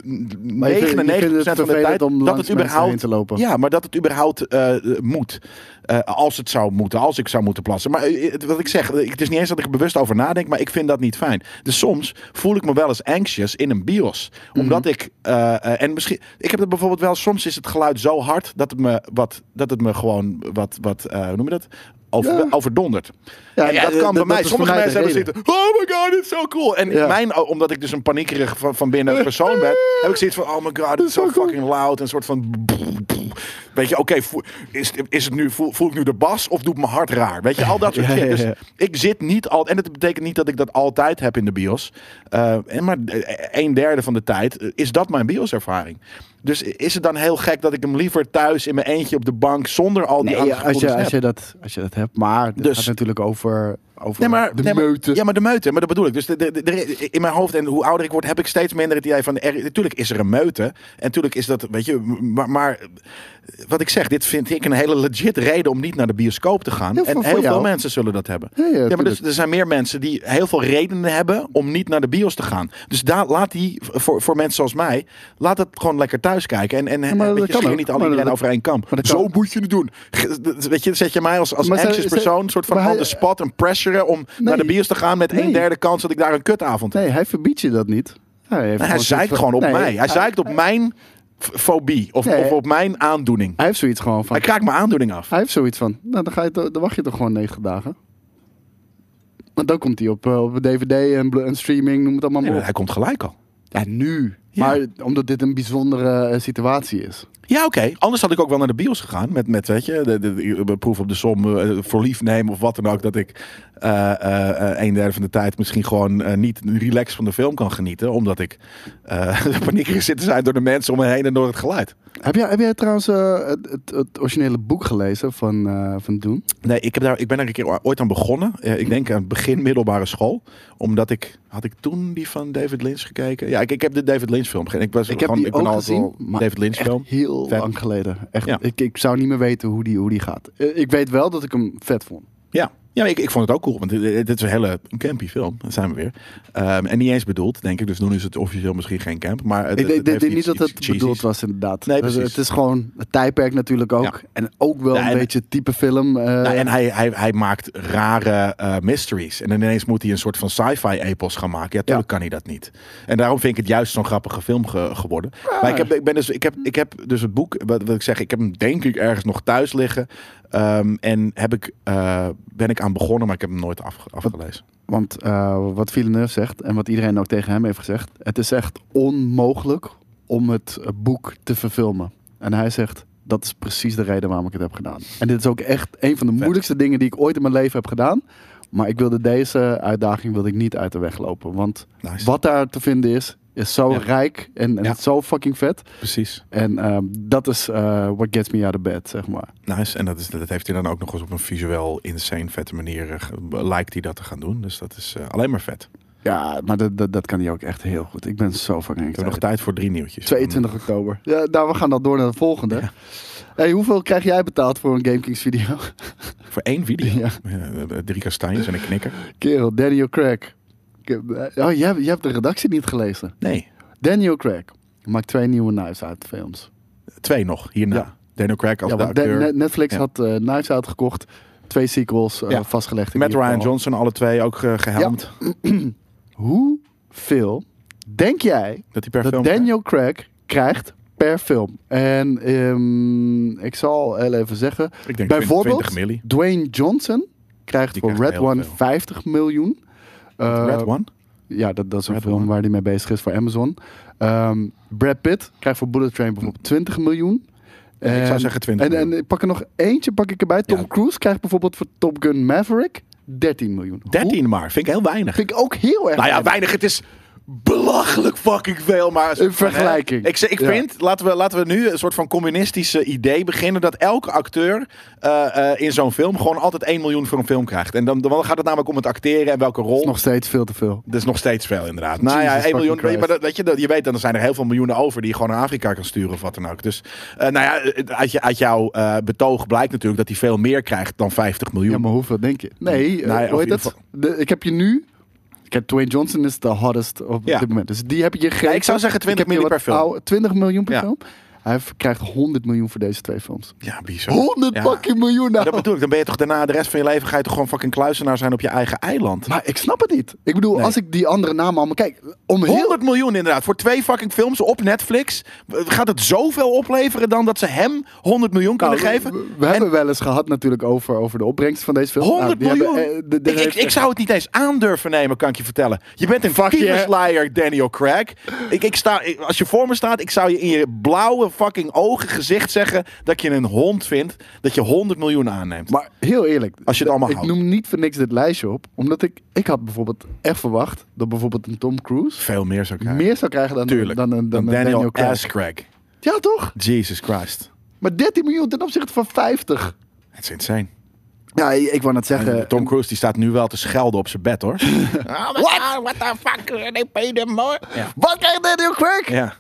Speaker 2: 99%
Speaker 3: je vindt- je vindt het
Speaker 2: van de
Speaker 3: vervelend
Speaker 2: tijd
Speaker 3: om
Speaker 2: dat
Speaker 3: langs
Speaker 2: het
Speaker 3: mensen heen
Speaker 2: überhaupt
Speaker 3: te lopen.
Speaker 2: Ja, maar dat het überhaupt eh, moet. Eh, als het zou moeten, als ik zou moeten plassen. Maar eh, het- wat ik zeg, ik- het is niet eens dat ik er bewust over nadenk, maar ik vind dat niet fijn. Dus soms voel ik me wel eens anxious in een bios.
Speaker 3: Mhm.
Speaker 2: Omdat ik, eh, eh, en misschien, ik heb het bijvoorbeeld wel, soms is het geluid zo hard dat het me, wat, dat het me gewoon wat, wat eh, hoe noem je dat? Over,
Speaker 3: Ja.
Speaker 2: Overdonderd.
Speaker 3: Ja,
Speaker 2: En
Speaker 3: dat-
Speaker 2: dat kan
Speaker 3: dat-
Speaker 2: bij
Speaker 3: dat
Speaker 2: mij.
Speaker 3: is
Speaker 2: Sommige
Speaker 3: voor mij de
Speaker 2: mensen hebben
Speaker 3: reden.
Speaker 2: zitten. Oh my god, dit is zo cool. En
Speaker 3: Ja.
Speaker 2: mijn, omdat ik dus een paniekerig van, van
Speaker 3: (laughs)
Speaker 2: binnen persoon ben, heb ik zoiets van: oh my god, dit is zo
Speaker 3: zo cool.
Speaker 2: fucking loud. En een soort van. Weet je, oké, voel- is, is het nu, voel, voel ik nu de bas of doet mijn hart raar? Weet je, al dat soort
Speaker 3: Ja,
Speaker 2: shit.
Speaker 3: ja,
Speaker 2: Dus
Speaker 3: ja.
Speaker 2: ik zit niet al. En dat betekent niet dat ik dat altijd heb in de bios. Eh, en maar een derde van de tijd eh, is dat mijn bioservaring. Dus is het dan heel gek dat ik hem liever thuis in mijn eentje op de bank zonder al die
Speaker 3: Nee, als
Speaker 2: aangekoelde
Speaker 3: je, als,
Speaker 2: snap?
Speaker 3: je dat, als je dat hebt. Maar het
Speaker 2: Dus-
Speaker 3: gaat natuurlijk over, over
Speaker 2: Nee, maar,
Speaker 3: de
Speaker 2: nee, maar-
Speaker 3: meute.
Speaker 2: ja, maar de meute. Maar dat bedoel ik. Dus de, de, de- de- in mijn hoofd en hoe ouder ik word, heb ik steeds minder het idee van... Er, natuurlijk is er een meute. En natuurlijk is dat, weet je... m- Maar, maar eh, wat ik zeg, dit vind ik een hele legit reden om niet naar de bioscoop te gaan.
Speaker 3: Ja, voor-
Speaker 2: en
Speaker 3: voor
Speaker 2: heel veel
Speaker 3: jou.
Speaker 2: mensen zullen dat hebben.
Speaker 3: Ja, ja,
Speaker 2: maar
Speaker 3: tuurlijk.
Speaker 2: dus, er zijn meer mensen die heel veel redenen hebben om niet naar de bios te gaan. Dus daar, laat die, voor, voor mensen zoals mij, laat het gewoon lekker thuis kijken. En, en, en
Speaker 3: maar
Speaker 2: weet
Speaker 3: dat
Speaker 2: je,
Speaker 3: kan
Speaker 2: schier
Speaker 3: ook.
Speaker 2: niet
Speaker 3: Maar
Speaker 2: alleen
Speaker 3: dat-
Speaker 2: over één kam.
Speaker 3: maar dat kan-
Speaker 2: Zo moet je het doen. Ge- d- Weet je, zet je mij als, als
Speaker 3: Maar zij-
Speaker 2: anxious
Speaker 3: zij-
Speaker 2: persoon, een soort van
Speaker 3: maar hij-
Speaker 2: on the spot en presseren om naar de bios te gaan met
Speaker 3: Nee.
Speaker 2: een derde kans dat ik daar een kutavond heb.
Speaker 3: Nee, hij verbiedt je dat niet. Hij, heeft
Speaker 2: hij
Speaker 3: zoiets
Speaker 2: zeikt
Speaker 3: van-
Speaker 2: gewoon op
Speaker 3: Nee,
Speaker 2: mij. Hij zeikt op mijn f- fobie of,
Speaker 3: Nee.
Speaker 2: of op mijn aandoening.
Speaker 3: Hij heeft zoiets gewoon van.
Speaker 2: Hij kraakt mijn aandoening af.
Speaker 3: Hij heeft zoiets van. Nou, dan, ga je, to- dan wacht je toch gewoon negen dagen. Want dan komt hij op, eh, op een DVD en, bl- en streaming, noem het allemaal maar
Speaker 2: Nee,
Speaker 3: op.
Speaker 2: hij komt gelijk al.
Speaker 3: Ja, nu.
Speaker 2: Ja.
Speaker 3: Maar omdat dit een bijzondere eh, situatie is.
Speaker 2: Ja, oké. Anders had ik ook wel naar de bios gegaan. Met, met weet je, de, de, de proef op de som eh, voor lief nemen of wat dan ook. Dat ik eh, eh, eh, een derde van de tijd misschien gewoon eh, niet (laughs) relaxed van de film kan genieten. Omdat ik eh paniekerig zit te zijn door de mensen om me heen en door het geluid.
Speaker 3: Heb jij, heb jij trouwens eh, het, het, het originele boek gelezen van, eh, van Doen?
Speaker 2: Nee, ik, heb daar, ik ben daar een keer ooit aan begonnen. Eh, ik denk aan het begin middelbare school. Omdat ik... Had ik toen die van David Lynch gekeken? Ja, ik, ik heb de David Lynch film gekeken. Ik, was
Speaker 3: Ik heb
Speaker 2: gewoon,
Speaker 3: die
Speaker 2: ik ben
Speaker 3: ook
Speaker 2: altijd
Speaker 3: gezien,
Speaker 2: wel
Speaker 3: maar
Speaker 2: David Lynch
Speaker 3: Echt
Speaker 2: film.
Speaker 3: heel
Speaker 2: Vet.
Speaker 3: lang geleden. Echt,
Speaker 2: Ja.
Speaker 3: ik, ik zou niet meer weten hoe die, hoe die gaat. Eh, Ik weet wel dat ik hem vet vond.
Speaker 2: Ja, ja maar ik, ik vond het ook cool. Want dit- dit dit is een hele campy film. Daar zijn we weer. Ehm, en niet eens bedoeld, denk ik. Dus toen is het officieel misschien geen camp. Maar het,
Speaker 3: Ik
Speaker 2: het
Speaker 3: denk- denk
Speaker 2: heeft
Speaker 3: denk niet
Speaker 2: iets-
Speaker 3: dat het
Speaker 2: iets cheesies.
Speaker 3: bedoeld was, inderdaad.
Speaker 2: Nee,
Speaker 3: Dus
Speaker 2: precies.
Speaker 3: Het is gewoon het tijdperk natuurlijk ook.
Speaker 2: Ja.
Speaker 3: En ook wel
Speaker 2: Ja,
Speaker 3: een
Speaker 2: en-
Speaker 3: beetje het type film. eh,
Speaker 2: Nou, en hij, hij, hij maakt rare eh, mysteries. En dan ineens moet hij een soort van sci-fi epos gaan maken. Ja, natuurlijk kan hij dat niet. En daarom vind ik het juist zo'n grappige film ge- geworden. Maar ik heb, ik, ben dus, ik, heb, ik heb dus het boek, wat, wat ik zeg, ik heb hem denk ik ergens nog thuis liggen. Ehm, en heb ik, eh, ben ik aan begonnen, maar ik heb hem nooit afge- afgelezen.
Speaker 3: Want eh, wat Villeneuve zegt en wat iedereen ook tegen hem heeft gezegd, het is echt onmogelijk om het eh, boek te verfilmen. En hij zegt, dat is precies de reden waarom ik het heb gedaan. En dit is ook echt een van de moeilijkste dingen die ik ooit in mijn leven heb gedaan. Maar ik wilde deze uitdaging wilde ik niet uit de weg lopen. Want
Speaker 2: Nice.
Speaker 3: wat daar te vinden is, is zo
Speaker 2: Ja.
Speaker 3: rijk en, en
Speaker 2: Ja.
Speaker 3: zo fucking vet.
Speaker 2: Precies.
Speaker 3: En ehm, dat is eh what gets me out of bed, zeg maar.
Speaker 2: Nice. En dat, is, dat heeft hij dan ook nog eens op een visueel insane vette manier. eh, ge- lijkt hij dat te gaan doen. Dus dat is eh, alleen maar vet. We
Speaker 3: Ja, maar dat, dat, dat kan hij ook echt heel goed. Ik ben zo fucking
Speaker 2: hebben nog
Speaker 3: excited.
Speaker 2: tijd voor drie nieuwtjes. eh,
Speaker 3: 22 oktober. Ja, nou, we gaan dan door naar de volgende. Hey, hoeveel krijg jij betaald voor een GameKings video? (laughs)
Speaker 2: Voor één video.
Speaker 3: Ja.
Speaker 2: Ja. drie kastanjes en een knikker.
Speaker 3: Kerel, Daniel Craig. Ik heb- Oh, je hebt, je hebt de redactie niet gelezen.
Speaker 2: Nee,
Speaker 3: Daniel Craig maakt twee nieuwe Knives Out films.
Speaker 2: twee nog hierna.
Speaker 3: Ja.
Speaker 2: Daniel Craig als
Speaker 3: Ja,
Speaker 2: de
Speaker 3: want de-
Speaker 2: acteur.
Speaker 3: Net- Netflix
Speaker 2: Ja.
Speaker 3: had eh, Knives Out gekocht. Twee sequels eh,
Speaker 2: Ja.
Speaker 3: vastgelegd. in
Speaker 2: Met
Speaker 3: ieder
Speaker 2: Ryan
Speaker 3: geval.
Speaker 2: Johnson, alle twee ook ge- gehelmd.
Speaker 3: (clears throat) Hoeveel denk jij
Speaker 2: Dat hij per
Speaker 3: dat
Speaker 2: film...
Speaker 3: Daniel Craig krijgt per film? En ehm, ik zal heel even zeggen...
Speaker 2: Ik denk
Speaker 3: Bijvoorbeeld
Speaker 2: 20 milli.
Speaker 3: Dwayne Johnson krijgt
Speaker 2: Die
Speaker 3: voor
Speaker 2: krijgt
Speaker 3: Red
Speaker 2: heel
Speaker 3: One
Speaker 2: veel.
Speaker 3: 50 miljoen. Eh,
Speaker 2: Red One?
Speaker 3: Ja, dat, dat is een
Speaker 2: Red
Speaker 3: film
Speaker 2: One.
Speaker 3: waar hij mee bezig is voor Amazon. Ehm, Brad Pitt krijgt voor Bullet Train bijvoorbeeld 20 miljoen.
Speaker 2: ik
Speaker 3: En-
Speaker 2: zou zeggen 20
Speaker 3: En, en
Speaker 2: miljoen.
Speaker 3: ik pak er nog eentje pak ik erbij. Tom
Speaker 2: Ja.
Speaker 3: Cruise krijgt bijvoorbeeld voor Top Gun Maverick 13 miljoen. Hoe-
Speaker 2: 13 maar. Vind ik heel weinig.
Speaker 3: Vind ik ook heel erg.
Speaker 2: Nou ja,
Speaker 3: weinig.
Speaker 2: weinig. Het is belachelijk fucking veel. Maar
Speaker 3: In vergelijking.
Speaker 2: Ik, ik
Speaker 3: Ja.
Speaker 2: vind, laten, we, laten we nu een soort van communistische idee beginnen. Dat elke acteur eh, eh, in zo'n film gewoon altijd 1 miljoen voor een film krijgt. En dan, dan gaat het namelijk om het acteren en welke rol.
Speaker 3: Nog steeds veel te veel.
Speaker 2: Dat is nog steeds veel, inderdaad. Nou ja,
Speaker 3: Jesus
Speaker 2: 1 miljoen.
Speaker 3: fucking
Speaker 2: Maar dat, weet je, dat, je weet dan, er zijn er heel veel miljoenen over die je gewoon naar Afrika kan sturen of wat dan ook. Dus eh, nou ja, eh, uit, je, uit jouw eh, betoog blijkt natuurlijk dat hij veel meer krijgt dan 50 miljoen.
Speaker 3: Ja, maar hoeveel denk je? Nee, eh,
Speaker 2: Nou ja,
Speaker 3: hoe
Speaker 2: of
Speaker 3: heet
Speaker 2: in
Speaker 3: dat? De- ik heb je nu... Ik heb Dwayne Johnson is de hottest op
Speaker 2: Ja.
Speaker 3: dit moment. Dus die heb je gegeven.
Speaker 2: Ja, ik zou zeggen 20
Speaker 3: Ik heb je
Speaker 2: miljoen
Speaker 3: wat
Speaker 2: per film.
Speaker 3: oude- 20 miljoen per
Speaker 2: Ja.
Speaker 3: film? Hij v- krijgt 100 miljoen voor deze twee films.
Speaker 2: ja bizar.
Speaker 3: 100
Speaker 2: Ja.
Speaker 3: fucking miljoen
Speaker 2: Maar
Speaker 3: nou.
Speaker 2: dat bedoel ik, dan ben je toch daarna de rest van je leven ga je toch gewoon fucking kluizenaar zijn op je eigen eiland.
Speaker 3: Maar ik snap het niet. Ik bedoel,
Speaker 2: Nee.
Speaker 3: als ik die andere namen allemaal kijk... Om heel...
Speaker 2: 100 miljoen inderdaad, voor twee fucking films op Netflix. eh, Gaat het zoveel opleveren dan dat ze hem 100 miljoen kunnen
Speaker 3: Nou,
Speaker 2: geven?
Speaker 3: We, we hebben wel eens gehad natuurlijk over, over de opbrengst van deze film.
Speaker 2: 100
Speaker 3: Nou, die
Speaker 2: miljoen.
Speaker 3: hebben, eh, de- de-
Speaker 2: ik, ik, ik zou het niet eens aandurven nemen, kan ik je vertellen. Je bent een tyfuslier, Daniel Craig. Ik, ik sta, ik- als je voor me staat, ik zou je in je blauwe fucking ogen gezicht zeggen dat je een hond vindt dat je 100 miljoen aanneemt.
Speaker 3: Maar heel eerlijk,
Speaker 2: Als je het allemaal
Speaker 3: ik
Speaker 2: houdt.
Speaker 3: noem niet voor niks dit lijstje op. Omdat ik, ik had bijvoorbeeld echt verwacht dat bijvoorbeeld een Tom Cruise
Speaker 2: Veel meer zou ik krijgen.
Speaker 3: meer zou krijgen dan, dan,
Speaker 2: Tuurlijk.
Speaker 3: dan, dan, een
Speaker 2: Daniel,
Speaker 3: Daniel Craig.
Speaker 2: S. Craig.
Speaker 3: Ja, toch?
Speaker 2: Jesus Christ.
Speaker 3: Maar 13 miljoen ten opzichte van 50.
Speaker 2: Het is insane.
Speaker 3: Ja, ik, ik wou net zeggen...
Speaker 2: Tom Cruise die staat nu wel te schelden op zijn bed
Speaker 3: (laughs)
Speaker 2: hoor.
Speaker 4: What? What the fuck? They paid them more.
Speaker 3: Wat krijgt Daniel Craig?
Speaker 2: ja,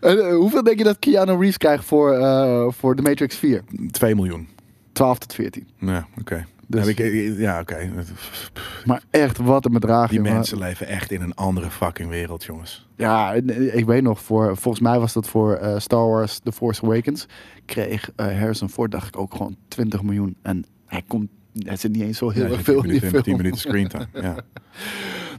Speaker 3: En, eh, hoeveel denk je dat Keanu Reeves krijgt voor, eh, voor The Matrix 4?
Speaker 2: 2 miljoen.
Speaker 3: 12 tot 14.
Speaker 2: Ja, oké.
Speaker 3: Dus-
Speaker 2: Heb ik- Ja, oké.
Speaker 3: Maar echt, wat een bedrag.
Speaker 2: Die
Speaker 3: jongen.
Speaker 2: mensen leven echt in een andere fucking wereld, jongens.
Speaker 3: Ja, en, eh, ik weet nog, voor, volgens mij was dat voor eh, Star Wars The Force Awakens. Kreeg eh, Harrison Ford, dacht ik, ook gewoon 20 miljoen. En hij, komt, hij zit niet eens zo heel
Speaker 2: Ja,
Speaker 3: erg
Speaker 2: 10
Speaker 3: veel in die
Speaker 2: minuten,
Speaker 3: film.
Speaker 2: 10 minuten
Speaker 3: (laughs)
Speaker 2: screentime. Ja.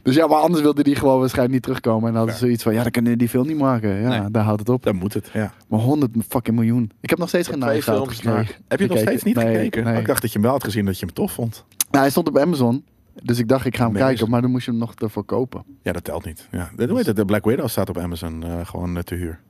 Speaker 3: Dus ja, maar anders wilde die gewoon waarschijnlijk niet terugkomen. En hadden ze zoiets van, ja, dan kunnen we die film niet maken. Ja,
Speaker 2: Nee.
Speaker 3: daar houdt het op.
Speaker 2: Dan moet het, ja.
Speaker 3: Maar 100 fucking miljoen. Ik heb nog steeds geen
Speaker 2: Twee
Speaker 3: Knives Out
Speaker 2: films naar.
Speaker 3: gekregen.
Speaker 2: Heb je nog
Speaker 3: Gekeken.
Speaker 2: steeds niet
Speaker 3: Nee,
Speaker 2: gekeken?
Speaker 3: nee.
Speaker 2: Ik dacht dat je hem wel had gezien dat je hem tof vond.
Speaker 3: Nou, hij stond op Amazon. Dus ik dacht, ik ga hem
Speaker 2: Amazing.
Speaker 3: kijken. Maar dan moest je hem nog ervoor kopen.
Speaker 2: Ja, dat telt niet. Ja. Dat, hoe heet het? De Black Widow staat op Amazon eh, gewoon eh, te huur.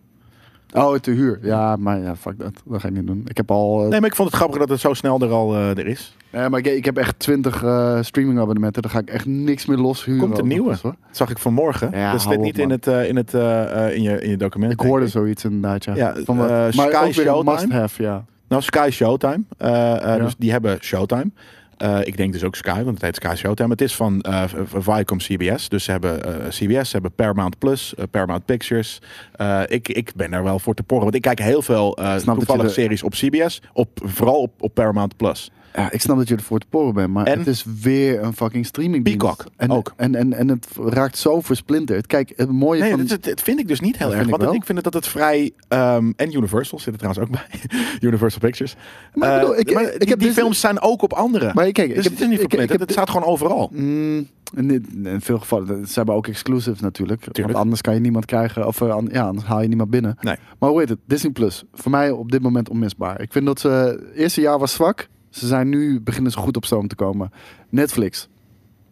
Speaker 3: Oh, te huur. Ja, maar ja, fuck dat. Dat ga ik niet doen. Ik heb al... eh,
Speaker 2: Nee, maar ik vond het grappig dat het zo snel er al eh, er is.
Speaker 3: nee, maar ik, ik heb echt twintig streaming abonnementen. Daar ga ik echt niks meer los huren.
Speaker 2: Komt een
Speaker 3: ook nog
Speaker 2: nieuwe.
Speaker 3: eens, hoor.
Speaker 2: Dat zag ik vanmorgen.
Speaker 3: Ja,
Speaker 2: dat
Speaker 3: hou
Speaker 2: staat
Speaker 3: op,
Speaker 2: niet in,
Speaker 3: man.
Speaker 2: het, eh, in, het, eh, eh, in, je, in je document.
Speaker 3: Ik
Speaker 2: denk
Speaker 3: hoorde zoiets inderdaad, ja.
Speaker 2: Ja,
Speaker 3: wat-
Speaker 2: eh,
Speaker 3: maar
Speaker 2: Sky
Speaker 3: ook weer een
Speaker 2: Showtime.
Speaker 3: must-have, ja.
Speaker 2: Nou, Sky Showtime. Eh, eh,
Speaker 3: Ja.
Speaker 2: Dus die hebben Showtime. Eh, ik denk dus ook Sky, want het heet Sky Showtime. Het is van eh, v- v- Viacom CBS. Dus ze hebben eh, CBS, ze hebben Paramount Plus, eh, Paramount Pictures. Eh, ik, ik ben er wel voor te porren. Want ik kijk heel veel eh
Speaker 3: snap dat
Speaker 2: toevallige
Speaker 3: je de-
Speaker 2: series op CBS. Op, vooral op, op Paramount Plus.
Speaker 3: Ja, ik snap dat je ervoor te poren bent, maar
Speaker 2: En?
Speaker 3: het is weer een fucking streaming.
Speaker 2: Peacock,
Speaker 3: en,
Speaker 2: ook.
Speaker 3: En, en, en het raakt zo versplinterd. Kijk, het mooie
Speaker 2: Nee,
Speaker 3: van...
Speaker 2: dat, dat- dat vind ik dus niet heel
Speaker 3: Dat
Speaker 2: erg.
Speaker 3: vind ik
Speaker 2: Want ik,
Speaker 3: wel.
Speaker 2: vind het dat het vrij... ehm, en Universal zit er trouwens ook bij. (laughs) Universal Pictures.
Speaker 3: Maar ik
Speaker 2: Eh,
Speaker 3: bedoel, ik-
Speaker 2: maar
Speaker 3: ik
Speaker 2: die,
Speaker 3: heb
Speaker 2: die
Speaker 3: Disney-
Speaker 2: films zijn ook op andere.
Speaker 3: Maar kijk, ik
Speaker 2: dus
Speaker 3: heb-
Speaker 2: het is niet
Speaker 3: ik- ik
Speaker 2: verplicht.
Speaker 3: heb
Speaker 2: Het
Speaker 3: Di-
Speaker 2: staat gewoon overal.
Speaker 3: Mm, in, in veel gevallen. dat- Ze hebben ook exclusives natuurlijk.
Speaker 2: Tuurlijk.
Speaker 3: Want anders kan je niemand krijgen. Of eh, an- ja, anders haal je niemand binnen.
Speaker 2: Nee.
Speaker 3: Maar hoe heet het? Disney Plus. Voor mij op dit moment onmisbaar. Ik vind dat ze... Eerste jaar was zwak. Ze zijn nu... Beginnen ze goed op stoom te komen. Netflix.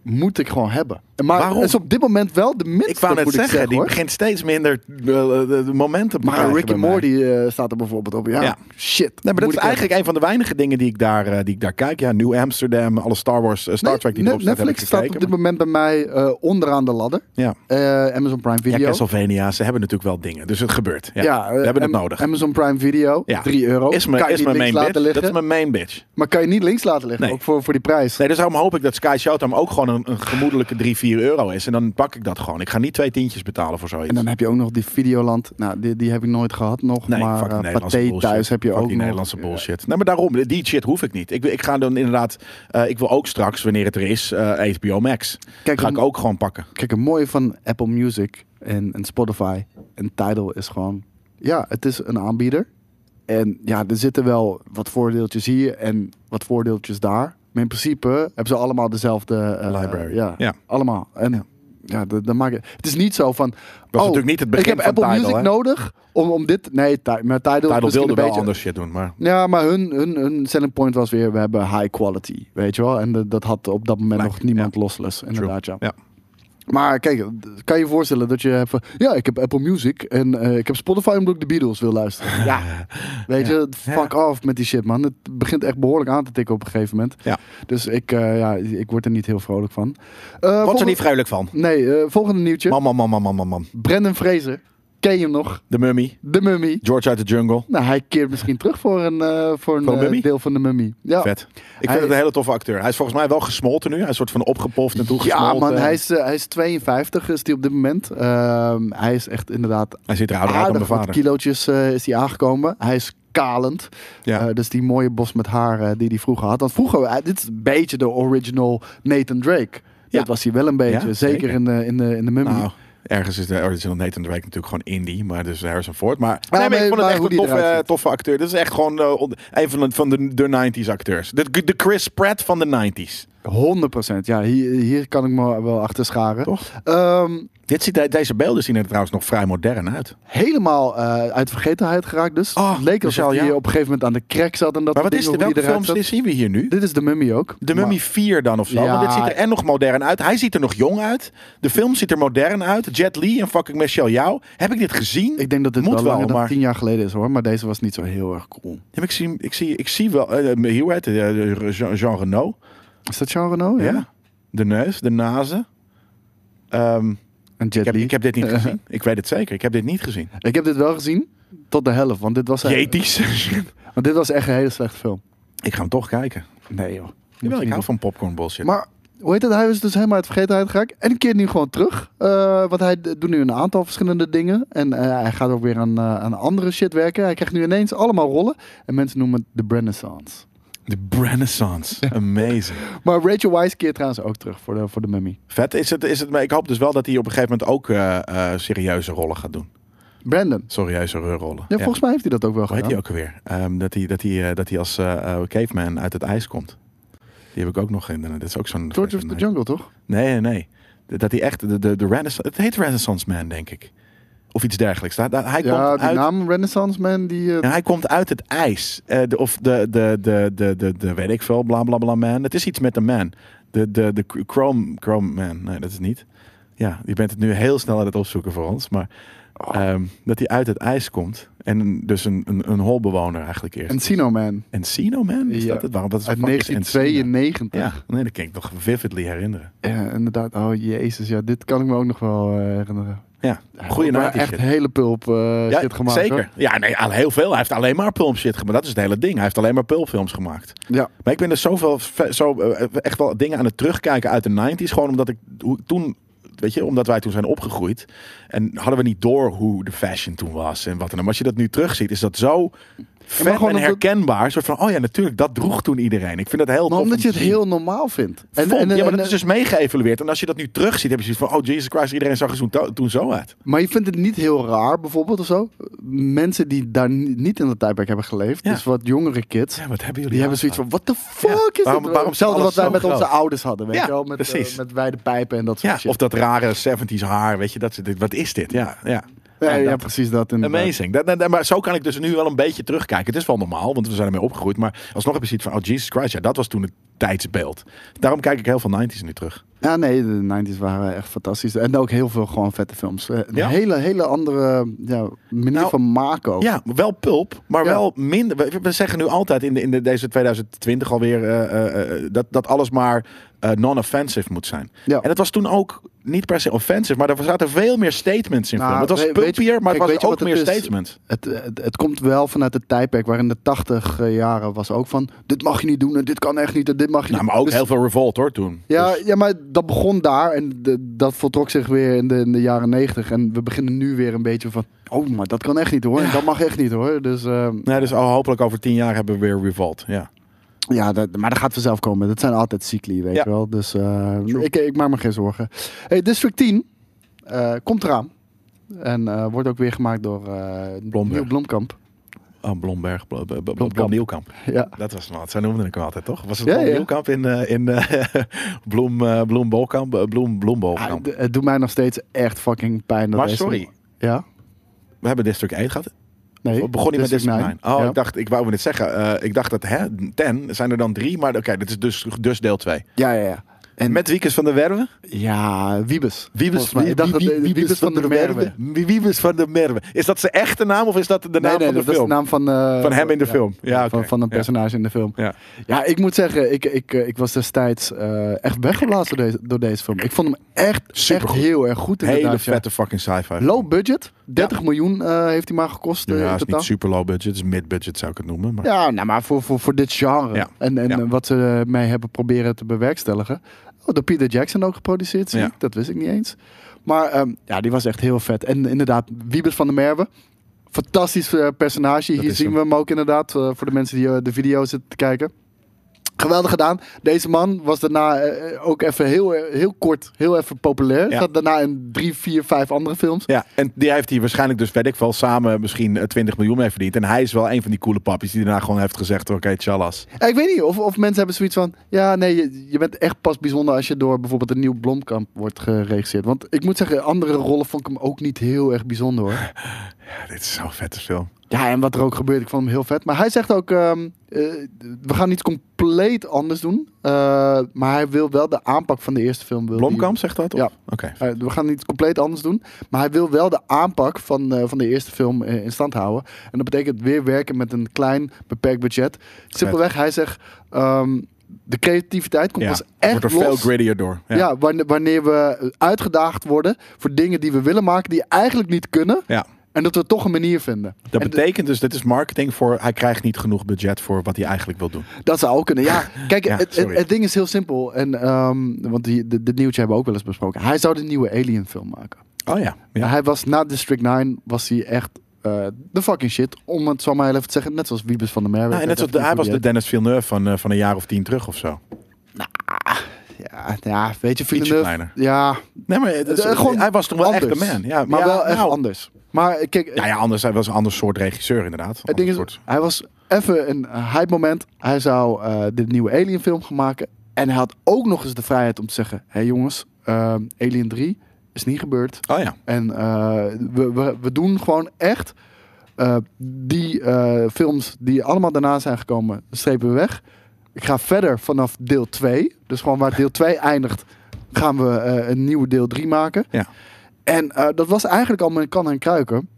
Speaker 3: Moet ik gewoon hebben. Maar
Speaker 2: Waarom?
Speaker 3: het is op dit moment wel de minste,
Speaker 2: Ik wou net
Speaker 3: moet
Speaker 2: zeggen,
Speaker 3: ik zeggen
Speaker 2: die
Speaker 3: hoor.
Speaker 2: begint steeds minder eh, eh, eh, momentum te
Speaker 3: Maar
Speaker 2: krijgen
Speaker 3: Rick
Speaker 2: bij
Speaker 3: and
Speaker 2: mij.
Speaker 3: Morty eh, staat er bijvoorbeeld op. Ja,
Speaker 2: Ja.
Speaker 3: shit.
Speaker 2: Nee, maar dat
Speaker 3: Moet
Speaker 2: is
Speaker 3: ik
Speaker 2: eigenlijk een van de weinige dingen die ik daar, eh, die ik daar kijk. Ja, New Amsterdam, alle Star Wars, eh, Star
Speaker 3: Nee,
Speaker 2: Trek die
Speaker 3: Net-
Speaker 2: erop staat, heb ik
Speaker 3: Netflix staat op
Speaker 2: gekeken.
Speaker 3: dit moment bij mij eh, onderaan de ladder.
Speaker 2: Ja.
Speaker 3: Eh, Amazon Prime
Speaker 2: Ja,
Speaker 3: Video.
Speaker 2: Castlevania, ze hebben natuurlijk wel dingen. Dus het gebeurt. Ja,
Speaker 3: Ja, eh,
Speaker 2: we hebben het
Speaker 3: Am-
Speaker 2: nodig.
Speaker 3: Amazon Prime Video,
Speaker 2: Ja.
Speaker 3: 3 euro.
Speaker 2: Is mijn,
Speaker 3: kan je
Speaker 2: is
Speaker 3: niet
Speaker 2: mijn
Speaker 3: links
Speaker 2: main
Speaker 3: laten
Speaker 2: bitch. Dat
Speaker 3: liggen.
Speaker 2: is mijn main bitch.
Speaker 3: Maar kan je niet links laten liggen,
Speaker 2: Nee.
Speaker 3: ook voor, voor die prijs.
Speaker 2: Nee, dus daarom hoop ik dat Sky Showtime ook gewoon een, een gemoedelijke 3, 4 euro is. En dan pak ik dat gewoon. Ik ga niet twee tientjes betalen voor zoiets.
Speaker 3: En dan heb je ook nog die Videoland. Nou, die, die heb ik nooit gehad nog.
Speaker 2: Nee,
Speaker 3: maar
Speaker 2: fuck die
Speaker 3: eh,
Speaker 2: Nederlandse
Speaker 3: Pathé
Speaker 2: bullshit.
Speaker 3: thuis heb je
Speaker 2: Fuck
Speaker 3: ook
Speaker 2: die
Speaker 3: nog.
Speaker 2: Nederlandse bullshit. Nee, maar daarom, die shit hoef ik niet. Ik, ik ga dan inderdaad, eh, ik wil ook straks, wanneer het er is, eh, HBO Max.
Speaker 3: Kijk,
Speaker 2: ga
Speaker 3: een-
Speaker 2: ik ook gewoon pakken.
Speaker 3: Kijk, het mooie van Apple Music en, en Spotify en Tidal is gewoon... Ja, het is een aanbieder. En ja, er zitten wel wat voordeeltjes hier en wat voordeeltjes daar. Maar in principe hebben ze allemaal dezelfde... eh,
Speaker 2: Library.
Speaker 3: Ja,
Speaker 2: Ja.
Speaker 3: allemaal. En ja, dat, dat maakt het... Het is niet zo van... oh,
Speaker 2: natuurlijk niet het begin
Speaker 3: ik heb
Speaker 2: van
Speaker 3: Apple
Speaker 2: Tidal,
Speaker 3: Music
Speaker 2: hè?
Speaker 3: nodig om, om dit... Nee, Ti- maar Tidal, is
Speaker 2: Tidal
Speaker 3: misschien
Speaker 2: wilde
Speaker 3: een
Speaker 2: wel
Speaker 3: beetje...
Speaker 2: anders shit doen, maar...
Speaker 3: Ja, maar hun, hun, hun selling point was weer, we hebben high quality, weet je wel. En de- dat had op dat moment
Speaker 2: Lijkt,
Speaker 3: nog niemand
Speaker 2: ja.
Speaker 3: losless, inderdaad, ja.
Speaker 2: Ja.
Speaker 3: Maar kijk, kan je je voorstellen dat je hebt van, ja, ik heb Apple Music en eh, ik heb Spotify omdat ik de Beatles wil luisteren.
Speaker 2: Eh,
Speaker 3: Ja, Nou, weet je, fuck off met die shit, man. Het begint echt behoorlijk aan te tikken op een gegeven moment.
Speaker 2: Ja.
Speaker 3: Dus ik, eh, ja, ik word er niet heel vrolijk van. Eh,
Speaker 2: Wat er
Speaker 3: volgende-
Speaker 2: niet vrolijk van.
Speaker 3: Nee, eh, volgende nieuwtje.
Speaker 2: Man, man, man, man, man, man, man.
Speaker 3: Brendan Fraser, ken je hem nog?
Speaker 2: De Mummy.
Speaker 3: De Mummy.
Speaker 2: George uit de Jungle.
Speaker 3: Nou, hij keert misschien terug voor een, eh, voor een
Speaker 2: Van de
Speaker 3: eh,
Speaker 2: Mummy?
Speaker 3: deel van de Mummy. Ja.
Speaker 2: Vet. Ik vind
Speaker 3: Hij-
Speaker 2: het een hele toffe acteur. Hij is volgens mij wel gesmolten nu. Hij is een soort van opgepoft en
Speaker 3: Ja,
Speaker 2: toegesmolten.
Speaker 3: man, hij is, eh, hij is 52, is hij op dit moment. Ehm, hij is echt inderdaad
Speaker 2: Hij ziet er ouder uit dan
Speaker 3: aardig
Speaker 2: mijn
Speaker 3: wat
Speaker 2: vader.
Speaker 3: kilootjes eh, is hij aangekomen. Hij is kalend.
Speaker 2: Ja.
Speaker 3: Eh, dus die mooie bos met haar eh, die hij vroeger had. Want vroeger, eh, dit is een beetje de original Nathan Drake.
Speaker 2: Ja.
Speaker 3: Dat was hij wel een beetje.
Speaker 2: Ja,
Speaker 3: zeker
Speaker 2: zeker.
Speaker 3: in de, in de, in de mummy.
Speaker 2: Nou, ergens is de original Nathan Drake natuurlijk gewoon indie, maar dus Harrison Ford. Maar, nee, maar
Speaker 3: nee,
Speaker 2: ik vond het
Speaker 3: maar
Speaker 2: echt
Speaker 3: hoe
Speaker 2: een
Speaker 3: die
Speaker 2: toffe,
Speaker 3: eruit
Speaker 2: eh,
Speaker 3: ziet.
Speaker 2: toffe acteur. Dit is echt gewoon eh, on- een van de, van de, de 90s acteurs. De, de Chris Pratt van de 90s.
Speaker 3: 100%. Ja, hier, hier kan ik me wel achter scharen.
Speaker 2: Toch?
Speaker 3: Ehm,
Speaker 2: Eh, Dit ziet, deze beelden zien er trouwens nog vrij modern uit.
Speaker 3: helemaal eh, uit vergetenheid geraakt dus.
Speaker 2: Oh,
Speaker 3: Het leek alsof
Speaker 2: Michel,
Speaker 3: hij
Speaker 2: ja.
Speaker 3: op een gegeven moment aan de crack zat. En dat
Speaker 2: Maar wat
Speaker 3: soort
Speaker 2: is dit? Welke
Speaker 3: dingen, hoe die eruit
Speaker 2: films dit
Speaker 3: zat.
Speaker 2: zien we hier nu?
Speaker 3: Dit is de mummy ook.
Speaker 2: De Mummy
Speaker 3: Maar-
Speaker 2: 4 dan of zo.
Speaker 3: Ja.
Speaker 2: Want dit ziet er en nog modern uit. Hij ziet er nog jong uit. De film ziet er modern uit. Jet Li en fucking Michelle Yao. Heb ik dit gezien?
Speaker 3: Ik denk dat dit
Speaker 2: Moet
Speaker 3: wel
Speaker 2: wel,
Speaker 3: langer dan
Speaker 2: maar-
Speaker 3: tien jaar geleden is hoor. Maar deze was niet zo heel erg cool.
Speaker 2: Ja, maar ik, zie, ik, zie, ik zie wel... eh, eh, Hoe heet het? Eh, Jean, Jean Reno.
Speaker 3: Is dat Jean Reno?
Speaker 2: Ja. De neus, de nazen. Ehm,
Speaker 3: En
Speaker 2: ik,
Speaker 3: Jet
Speaker 2: heb,
Speaker 3: Li.
Speaker 2: ik heb dit niet gezien. Ik weet het zeker. Ik heb dit niet gezien.
Speaker 3: Ik heb dit wel gezien. Tot de helft. Want dit was, echt, (laughs)
Speaker 2: Jeties.
Speaker 3: want dit was echt een hele slechte film.
Speaker 2: ik ga hem toch kijken.
Speaker 3: Nee joh.
Speaker 2: Jawel, ik hou van popcorn bullshit.
Speaker 3: Maar hoe heet het? Hij is dus helemaal uit vergetenheid geraakt. En keert nu gewoon terug. Eh, want hij d- doet nu een aantal verschillende dingen. En eh, hij gaat ook weer aan, eh, aan andere shit werken. Hij krijgt nu ineens allemaal rollen. En mensen noemen het de Renaissance.
Speaker 2: de Renaissance. Amazing.
Speaker 3: Maar Rachel Weisz keert trouwens ook terug voor de, voor de mummy.
Speaker 2: Vet is het, is het. Maar ik hoop dus wel dat hij op een gegeven moment ook eh, eh, serieuze rollen gaat doen.
Speaker 3: Brandon.
Speaker 2: Serieuze rollen.
Speaker 3: Ja, volgens mij heeft hij dat ook wel
Speaker 2: Hoe heet
Speaker 3: gedaan.
Speaker 2: die ook alweer? Ehm, dat hij dat hij, eh, dat hij als eh, eh, caveman uit het ijs komt. Die heb ik ook nog in. eh, Dit is ook zo'n.
Speaker 3: George of the Jungle, toch?
Speaker 2: Nee, nee, nee. Dat hij echt. De, de, de Renaissance. Het heet Renaissance Man, denk ik. Of iets dergelijks. Daar- daar- Hij,
Speaker 3: ja,
Speaker 2: komt
Speaker 3: die
Speaker 2: uit,
Speaker 3: naam Renaissance Man, die... eh,
Speaker 2: ja, hij komt uit het ijs. Eh, de, of de, de, de, de, de, de. Weet ik veel. Bla bla bla man. Het is iets met de man. De, de, de Chrome, Chrome Man. Nee, dat is niet. Ja, je bent het nu heel snel aan het opzoeken voor ons. Maar.
Speaker 3: Oh.
Speaker 2: Ehm, dat hij uit het ijs komt. En dus een, een, een holbewoner eigenlijk eerst.
Speaker 3: Encino Man.
Speaker 2: Encino Man? Is
Speaker 3: Ja.
Speaker 2: dat het? Waarom? Wat is de
Speaker 3: Uit
Speaker 2: fuck is Encino?
Speaker 3: 1992.
Speaker 2: Ja, nee, dat kan ik nog vividly herinneren.
Speaker 3: Ja, inderdaad. Oh, jezus. Ja, dit kan ik me ook nog wel eh, herinneren.
Speaker 2: Ja, goede
Speaker 3: Maar
Speaker 2: naam. die
Speaker 3: Echt
Speaker 2: shit.
Speaker 3: hele pulp eh,
Speaker 2: Ja,
Speaker 3: shit gemaakt.
Speaker 2: Zeker.
Speaker 3: hoor.
Speaker 2: Ja, nee, al heel veel. Hij heeft alleen maar pulp shit gemaakt. Dat is het hele ding. Hij heeft alleen maar pulpfilms gemaakt.
Speaker 3: Ja.
Speaker 2: Maar ik ben er zoveel, ve- zo, eh, echt wel dingen aan het terugkijken uit de 90s. Gewoon omdat ik hoe- toen, weet je, omdat wij toen zijn opgegroeid. En hadden we niet door hoe de fashion toen was en wat dan ook. Als je dat nu terugziet, is dat zo vet
Speaker 3: gewoon
Speaker 2: en
Speaker 3: omdat-
Speaker 2: herkenbaar. Een soort van, oh ja, natuurlijk, dat droeg toen iedereen. Ik vind dat heel
Speaker 3: Maar
Speaker 2: tof om
Speaker 3: omdat je
Speaker 2: te
Speaker 3: het
Speaker 2: zien.
Speaker 3: heel normaal vindt.
Speaker 2: Vond. ja, maar dat
Speaker 3: en-
Speaker 2: is dus meegeëvalueerd. En als je dat nu terugziet, heb je zoiets van... Oh, Jesus Christ, iedereen zag er toen, to- toen zo uit.
Speaker 3: Maar je vindt het niet heel raar, bijvoorbeeld, of zo? Mensen die daar ni- niet in dat tijdperk hebben geleefd,
Speaker 2: Ja.
Speaker 3: dus wat jongere kids,
Speaker 2: Ja, wat hebben jullie
Speaker 3: die hebben zoiets van, what the fuck is dit?
Speaker 2: waarom- waarom is
Speaker 3: Hetzelfde
Speaker 2: alles
Speaker 3: wat wij
Speaker 2: zo
Speaker 3: met
Speaker 2: groot?
Speaker 3: onze ouders hadden, weet
Speaker 2: Ja,
Speaker 3: je wel? Met, eh,
Speaker 2: precies.
Speaker 3: met wijde pijpen en dat soort
Speaker 2: Ja,
Speaker 3: shit.
Speaker 2: of dat rare 70s haar, weet je. Dat, is- dit- wat is dit? Ja, ja.
Speaker 3: ja,
Speaker 2: Ja,
Speaker 3: ja,
Speaker 2: dat-
Speaker 3: precies dat. inderdaad.
Speaker 2: Amazing. Dat, dat- dat- maar zo kan ik dus nu wel een beetje terugkijken. Het is wel normaal, want we zijn ermee opgegroeid. Maar alsnog heb je zoiets van, oh Jesus Christ, ja, dat was toen het tijdsbeeld. Daarom kijk ik heel veel 90s nu terug.
Speaker 3: Ja, nee, de 90s waren echt fantastisch. En ook heel veel gewoon vette films. Eh, Een
Speaker 2: Ja.
Speaker 3: hele, hele andere ja, manier
Speaker 2: Nou,
Speaker 3: van maken ook.
Speaker 2: Ja, wel pulp, maar
Speaker 3: Ja.
Speaker 2: wel minder. We, we zeggen nu altijd in, de, in de, deze 2020 alweer eh, eh, eh, dat, dat alles maar eh, non-offensive moet zijn.
Speaker 3: Ja.
Speaker 2: En dat was toen ook niet per se offensive, maar er zaten veel meer statements in.
Speaker 3: Nou,
Speaker 2: film. het was
Speaker 3: weet- weet je-
Speaker 2: pulpier, maar
Speaker 3: kijk,
Speaker 2: het
Speaker 3: weet je
Speaker 2: was ook
Speaker 3: wat
Speaker 2: meer
Speaker 3: het is?
Speaker 2: statements.
Speaker 3: Het, het, het komt wel vanuit het tijdperk waarin de 80 jaren was ook van... dit mag je niet doen en dit kan echt niet en dit mag je
Speaker 2: Nou,
Speaker 3: niet.
Speaker 2: maar ook
Speaker 3: Dus-
Speaker 2: heel veel revolt hoor toen.
Speaker 3: Ja,
Speaker 2: Dus-
Speaker 3: ja, maar dat begon daar en de- dat voltrok zich weer in de, in de jaren 90 En we beginnen nu weer een beetje van... oh, maar dat kan echt niet hoor, en dat mag echt niet hoor. Dus eh,
Speaker 2: nee, dus al hopelijk over tien jaar hebben we weer revolt. Ja.
Speaker 3: ja, dat, maar dat gaat vanzelf komen. Dat zijn altijd cycli, weet
Speaker 2: Ja.
Speaker 3: je wel. Dus eh, ik, ik maak me geen zorgen. Hey, District 10 eh, komt eraan. En eh, wordt ook weer gemaakt door eh
Speaker 2: Blomberg.
Speaker 3: Neil Blomkamp.
Speaker 2: Oh, Blomberg, Bl- Bl- Bl- Bl-
Speaker 3: Blomkamp.
Speaker 2: Blom Nieuwkamp.
Speaker 3: Ja.
Speaker 2: Dat was wat. Zij noemden ik hem altijd, toch? Was het
Speaker 3: Ja,
Speaker 2: Blom
Speaker 3: ja.
Speaker 2: Nieuwkamp in, eh, in eh, (laughs) Bloem, eh, Bloem Bolkamp? eh, Bloem, Bloem
Speaker 3: Ah,
Speaker 2: Bolkamp.
Speaker 3: d- het doet mij nog steeds echt fucking pijn. Dat
Speaker 2: Maar
Speaker 3: deze-
Speaker 2: sorry,
Speaker 3: Ja?
Speaker 2: we hebben District 8 gehad.
Speaker 3: Nee.
Speaker 2: We begonnen met District 9. Oh,
Speaker 3: ja.
Speaker 2: ik dacht, ik wou me dit zeggen. Eh, ik dacht dat, hè, 10 zijn er dan drie, maar oké, dit is dus, dus deel 2.
Speaker 3: ja, ja, ja. En
Speaker 2: Met Wiekes van der Werven.
Speaker 3: Ja, Wiebes.
Speaker 2: Wiebes,
Speaker 3: Volgens mij. Ik dacht dat,
Speaker 2: Wie-
Speaker 3: eh,
Speaker 2: Wie- Wiebes van der Werven. Wie- Wiebes van der Werven. Is dat zijn echte naam of is dat de naam
Speaker 3: nee, nee,
Speaker 2: van de
Speaker 3: dat is de
Speaker 2: film?
Speaker 3: naam van... eh,
Speaker 2: Van hem in de film. Ja,
Speaker 3: van,
Speaker 2: oké.
Speaker 3: van een
Speaker 2: Ja.
Speaker 3: personage in de film.
Speaker 2: Ja.
Speaker 3: Ja, ik moet zeggen, ik, ik, eh, ik was destijds eh, echt weggeblazen door deze, door deze film. Ik vond hem echt, echt
Speaker 2: Supergoed.
Speaker 3: heel erg goed
Speaker 2: Hele
Speaker 3: inderdaad. ja.
Speaker 2: vette fucking sci-fi.
Speaker 3: Low budget, 30 miljoen eh, heeft hij maar gekost eh,
Speaker 2: Ja,
Speaker 3: in
Speaker 2: is
Speaker 3: totaal.
Speaker 2: niet super low budget. Het is mid budget zou ik het noemen. Maar...
Speaker 3: Ja, nou maar voor, voor, voor dit genre.
Speaker 2: Ja.
Speaker 3: En, en
Speaker 2: Ja.
Speaker 3: eh, wat ze mee hebben proberen te bewerkstelligen. Oh, door Peter Jackson ook geproduceerd, zie
Speaker 2: Ja.
Speaker 3: ik. Dat wist ik niet eens. Maar ehm, ja, die was echt heel vet. En inderdaad, Wiebes van der Merwe. Fantastisch eh, personage. Hier
Speaker 2: is
Speaker 3: zien
Speaker 2: hem.
Speaker 3: we hem ook inderdaad. eh, voor de mensen die eh, de video zitten te kijken. Geweldig gedaan. Deze man was daarna eh, eh, ook even heel, eh, heel kort, heel even populair.
Speaker 2: Ja.
Speaker 3: Zat daarna in drie, vier, vijf andere films.
Speaker 2: Ja, en die heeft hij waarschijnlijk dus, weet ik wel, samen misschien eh, 20 miljoen mee verdiend. En hij is wel een van die coole pappies die daarna gewoon heeft gezegd, oké, tjallas.
Speaker 3: Ja, ik weet niet of, of mensen hebben zoiets van... Ja, nee, je, je bent echt pas bijzonder als je door bijvoorbeeld een nieuw Blomkamp wordt geregisseerd. Want ik moet zeggen, andere rollen vond ik hem ook niet heel erg bijzonder hoor.
Speaker 2: Ja, dit is zo'n vette film.
Speaker 3: Ja, en wat er ook gebeurt, ik vond hem heel vet. Maar hij zegt ook, ehm, eh, we gaan iets compleet anders doen. Eh, maar hij wil wel de aanpak van de eerste film... Wil die-
Speaker 2: Blomkamp zegt dat? of-
Speaker 3: Ja.
Speaker 2: Oké.
Speaker 3: Eh, we gaan iets compleet anders doen. Maar hij wil wel de aanpak van, eh, van de eerste film eh, in stand houden. En dat betekent weer werken met een klein, beperkt budget. Simpelweg, hij zegt... ehm, de creativiteit komt
Speaker 2: Ja,
Speaker 3: pas
Speaker 2: het
Speaker 3: echt
Speaker 2: wordt er
Speaker 3: los.
Speaker 2: veel grittier door.
Speaker 3: Ja, wanne- wanneer we uitgedaagd worden voor dingen die we willen maken... die eigenlijk niet kunnen.
Speaker 2: Ja.
Speaker 3: En dat we toch een manier vinden.
Speaker 2: Dat
Speaker 3: En d-
Speaker 2: betekent dus, dit is marketing voor, hij krijgt niet genoeg budget voor wat hij eigenlijk wil doen.
Speaker 3: Dat zou ook
Speaker 2: (laughs)
Speaker 3: kunnen. Ja, kijk,
Speaker 2: Ja,
Speaker 3: het, het,
Speaker 2: sorry.
Speaker 3: het ding is heel simpel. En, ehm, want die, dit, dit nieuwtje hebben we ook wel eens besproken. Hij zou de nieuwe Alien film maken.
Speaker 2: Oh ja. ja.
Speaker 3: Hij was na District 9 was hij echt eh, de fucking shit. Om het zo maar heel even te zeggen. Net zoals Wiebes van der Merwe.
Speaker 2: Nou, en net zoals, hij was de Dennis Villeneuve van, eh, van een jaar of tien terug of zo.
Speaker 3: Ja, nou ja, weet
Speaker 2: Ietsje
Speaker 3: je, Villeneuve.
Speaker 2: kleiner.
Speaker 3: Ja,
Speaker 2: Nee, maar het is-
Speaker 3: eh, gewoon
Speaker 2: hij was toch wel echt
Speaker 3: anders.
Speaker 2: de man. Ja,
Speaker 3: maar
Speaker 2: ja,
Speaker 3: wel echt
Speaker 2: nou,
Speaker 3: anders. Maar eh, kijk,
Speaker 2: Ja, ja, anders, hij was een ander soort regisseur inderdaad.
Speaker 3: het ding
Speaker 2: Ander
Speaker 3: is,
Speaker 2: soort-
Speaker 3: hij was even een hype moment. Hij zou eh, de nieuwe Alien film gaan maken. En hij had ook nog eens de vrijheid om te zeggen... Hé hey jongens, ehm, Alien 3 is niet gebeurd.
Speaker 2: Oh ja.
Speaker 3: En eh, we, we, we doen gewoon echt eh, die eh, films die allemaal daarna zijn gekomen, strepen we weg. Ik ga verder vanaf deel 2. Dus gewoon waar deel 2 eindigt, gaan we eh, een nieuwe deel 3 maken.
Speaker 2: Ja.
Speaker 3: En eh, dat was eigenlijk al mijn kan en kruiken.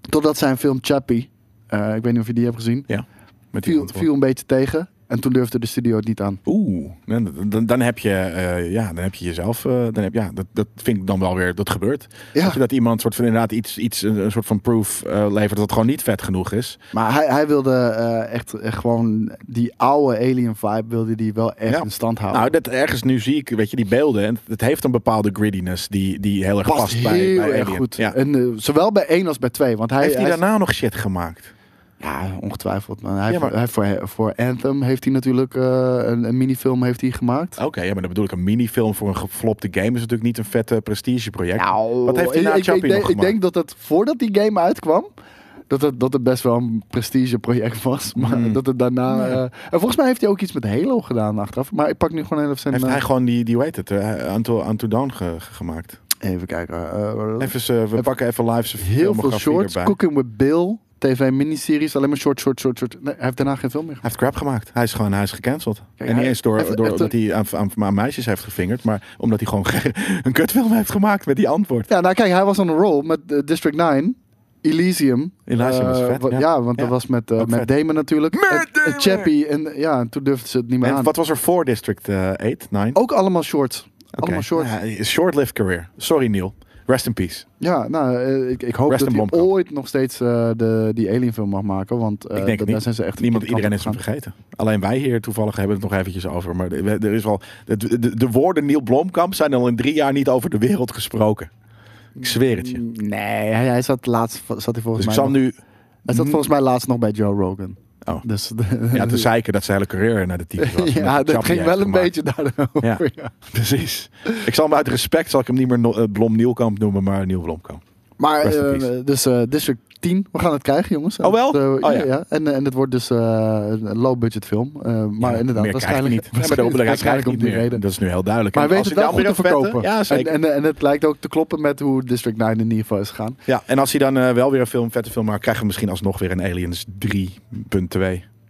Speaker 3: Totdat zijn film Chappie, eh, ik weet niet of je die hebt gezien,
Speaker 2: Ja, met die
Speaker 3: viel,
Speaker 2: antwoord.
Speaker 3: viel een beetje tegen. En toen durfde de studio het niet aan.
Speaker 2: Oeh, dan, dan, dan heb je, eh, ja, dan heb je jezelf, eh, dan heb, ja, dat, dat vind ik dan wel weer, dat gebeurt.
Speaker 3: Ja.
Speaker 2: Dat, je, dat iemand soort van inderdaad iets, iets een, een soort van proof eh, levert dat het gewoon niet vet genoeg is.
Speaker 3: Maar hij, hij wilde eh, echt, echt gewoon die oude alien vibe wilde die wel echt
Speaker 2: Ja.
Speaker 3: in stand houden.
Speaker 2: Nou, dat ergens nu zie ik, weet je, die beelden. En het heeft een bepaalde greediness die, die heel erg past,
Speaker 3: past
Speaker 2: bij,
Speaker 3: heel
Speaker 2: bij
Speaker 3: erg
Speaker 2: Alien.
Speaker 3: goed.
Speaker 2: Ja.
Speaker 3: En, eh, zowel bij één als bij twee. Want hij,
Speaker 2: Heeft hij
Speaker 3: hij is-
Speaker 2: daarna nog shit gemaakt?
Speaker 3: Ja, ongetwijfeld. Maar hij,
Speaker 2: Ja, maar-
Speaker 3: hij voor, voor Anthem heeft hij natuurlijk eh, een, een minifilm heeft hij gemaakt.
Speaker 2: Oké, ja, maar dan bedoel ik een minifilm voor een geflopte game is natuurlijk niet een vette prestigeproject.
Speaker 3: Nou,
Speaker 2: Wat heeft hij
Speaker 3: ik-
Speaker 2: na
Speaker 3: ik,
Speaker 2: Chappie
Speaker 3: ik, denk-
Speaker 2: nog
Speaker 3: ik
Speaker 2: gemaakt?
Speaker 3: denk dat het voordat die game uitkwam, dat het, dat het best wel een prestigeproject was. (laughs) Maar
Speaker 2: Hmm.
Speaker 3: dat het daarna. eh, en volgens mij heeft hij ook iets met Halo gedaan achteraf. Maar ik pak nu gewoon even zijn.
Speaker 2: heeft
Speaker 3: eh,
Speaker 2: hij gewoon die, die hoe heet het, uh, Until, Until Dawn ge- ge- gemaakt?
Speaker 3: Even kijken. eh, eh,
Speaker 2: Even, ze- we pakken even live zijn
Speaker 3: heel veel
Speaker 2: filmografie
Speaker 3: shorts.
Speaker 2: erbij.
Speaker 3: Cooking with Bill. TV-miniseries. Alleen maar short, short, short, short. Nee, hij heeft daarna geen film meer
Speaker 2: Hij heeft crap gemaakt. Hij is gewoon hij is gecanceld. en niet
Speaker 3: hij-
Speaker 2: eens door,
Speaker 3: even-
Speaker 2: door
Speaker 3: even-
Speaker 2: dat hij aan, aan, aan meisjes heeft gevingerd, maar omdat hij gewoon (laughs) een kutfilm heeft gemaakt met die antwoord.
Speaker 3: Ja, nou kijk, hij was on een roll met eh, District 9. Elysium.
Speaker 2: Elysium was
Speaker 3: Eh,
Speaker 2: vet,
Speaker 3: wa-
Speaker 2: ja.
Speaker 3: ja. want
Speaker 2: Ja,
Speaker 3: dat was met, eh,
Speaker 2: ook
Speaker 3: met
Speaker 2: vet.
Speaker 3: Damon natuurlijk.
Speaker 2: Met
Speaker 3: En- en
Speaker 2: Damon!
Speaker 3: Chappie. En ja, en toen durfden ze het niet meer
Speaker 2: En
Speaker 3: aan.
Speaker 2: wat was er voor District eh, 8, 9?
Speaker 3: Ook allemaal shorts.
Speaker 2: Oké.
Speaker 3: Oh,
Speaker 2: nou
Speaker 3: Allemaal shorts.
Speaker 2: Ja, short-lived career. Sorry Neil. Rest in peace.
Speaker 3: Ja, nou, eh, ik, ik hoop
Speaker 2: Rest
Speaker 3: dat
Speaker 2: in
Speaker 3: hij
Speaker 2: Blomkamp.
Speaker 3: ooit nog steeds eh, de, die Alien film mag maken. Want eh,
Speaker 2: Ik denk
Speaker 3: da-
Speaker 2: het
Speaker 3: daar
Speaker 2: niet.
Speaker 3: zijn ze echt...
Speaker 2: Niemand,
Speaker 3: de kant
Speaker 2: iedereen is
Speaker 3: op
Speaker 2: hem
Speaker 3: gegaan.
Speaker 2: vergeten. Alleen wij hier toevallig hebben het nog eventjes over. Maar we- er is al, de, de, de woorden Neil Blomkamp zijn al in drie jaar niet over de wereld gesproken. Ik zweer het je.
Speaker 3: Nee, hij, hij zat laatst... Zat hij,
Speaker 2: Dus
Speaker 3: Mm, volgens
Speaker 2: ik
Speaker 3: mij
Speaker 2: zal
Speaker 3: nog-
Speaker 2: nu...
Speaker 3: hij zat volgens mij laatst nog bij Joe Rogan.
Speaker 2: Oh.
Speaker 3: Dus,
Speaker 2: Ja,
Speaker 3: (laughs)
Speaker 2: te zeiken dat zijn hele carrière naar de type was. Omdat
Speaker 3: ja,
Speaker 2: hij
Speaker 3: dat
Speaker 2: Chappie
Speaker 3: ging
Speaker 2: heeft
Speaker 3: wel een
Speaker 2: gemaakt.
Speaker 3: beetje daarover.
Speaker 2: Ja.
Speaker 3: ja.
Speaker 2: Precies. Ik zal hem uit respect, zal ik hem niet meer no- eh, Blom Nieuwkamp noemen, maar Nieuw Blomkamp.
Speaker 3: Maar
Speaker 2: Rest in
Speaker 3: eh,
Speaker 2: peace.
Speaker 3: dus eh, District 10, we gaan het krijgen, jongens.
Speaker 2: Oh, wel?
Speaker 3: Eh,
Speaker 2: Oh,
Speaker 3: ja,
Speaker 2: ja.
Speaker 3: ja. En, eh, en het wordt dus eh, een low-budget film. Eh, maar
Speaker 2: Ja,
Speaker 3: inderdaad,
Speaker 2: meer
Speaker 3: waarschijnlijk (laughs)
Speaker 2: krijg je (laughs) niet. Ja, maar daarom hij krijgt
Speaker 3: waarschijnlijk
Speaker 2: niet
Speaker 3: om die
Speaker 2: meer.
Speaker 3: reden.
Speaker 2: Dat is nu heel duidelijk.
Speaker 3: Maar
Speaker 2: En
Speaker 3: hij weet
Speaker 2: als
Speaker 3: het
Speaker 2: dan
Speaker 3: wel goed te
Speaker 2: weer een vette-
Speaker 3: verkopen.
Speaker 2: Ja,
Speaker 3: en,
Speaker 2: zeker.
Speaker 3: en, en het lijkt ook te kloppen met hoe District 9 in ieder geval is gegaan.
Speaker 2: ja, en als hij dan eh, wel weer een film, vette film maakt, krijgen we misschien alsnog weer een Aliens 3.2.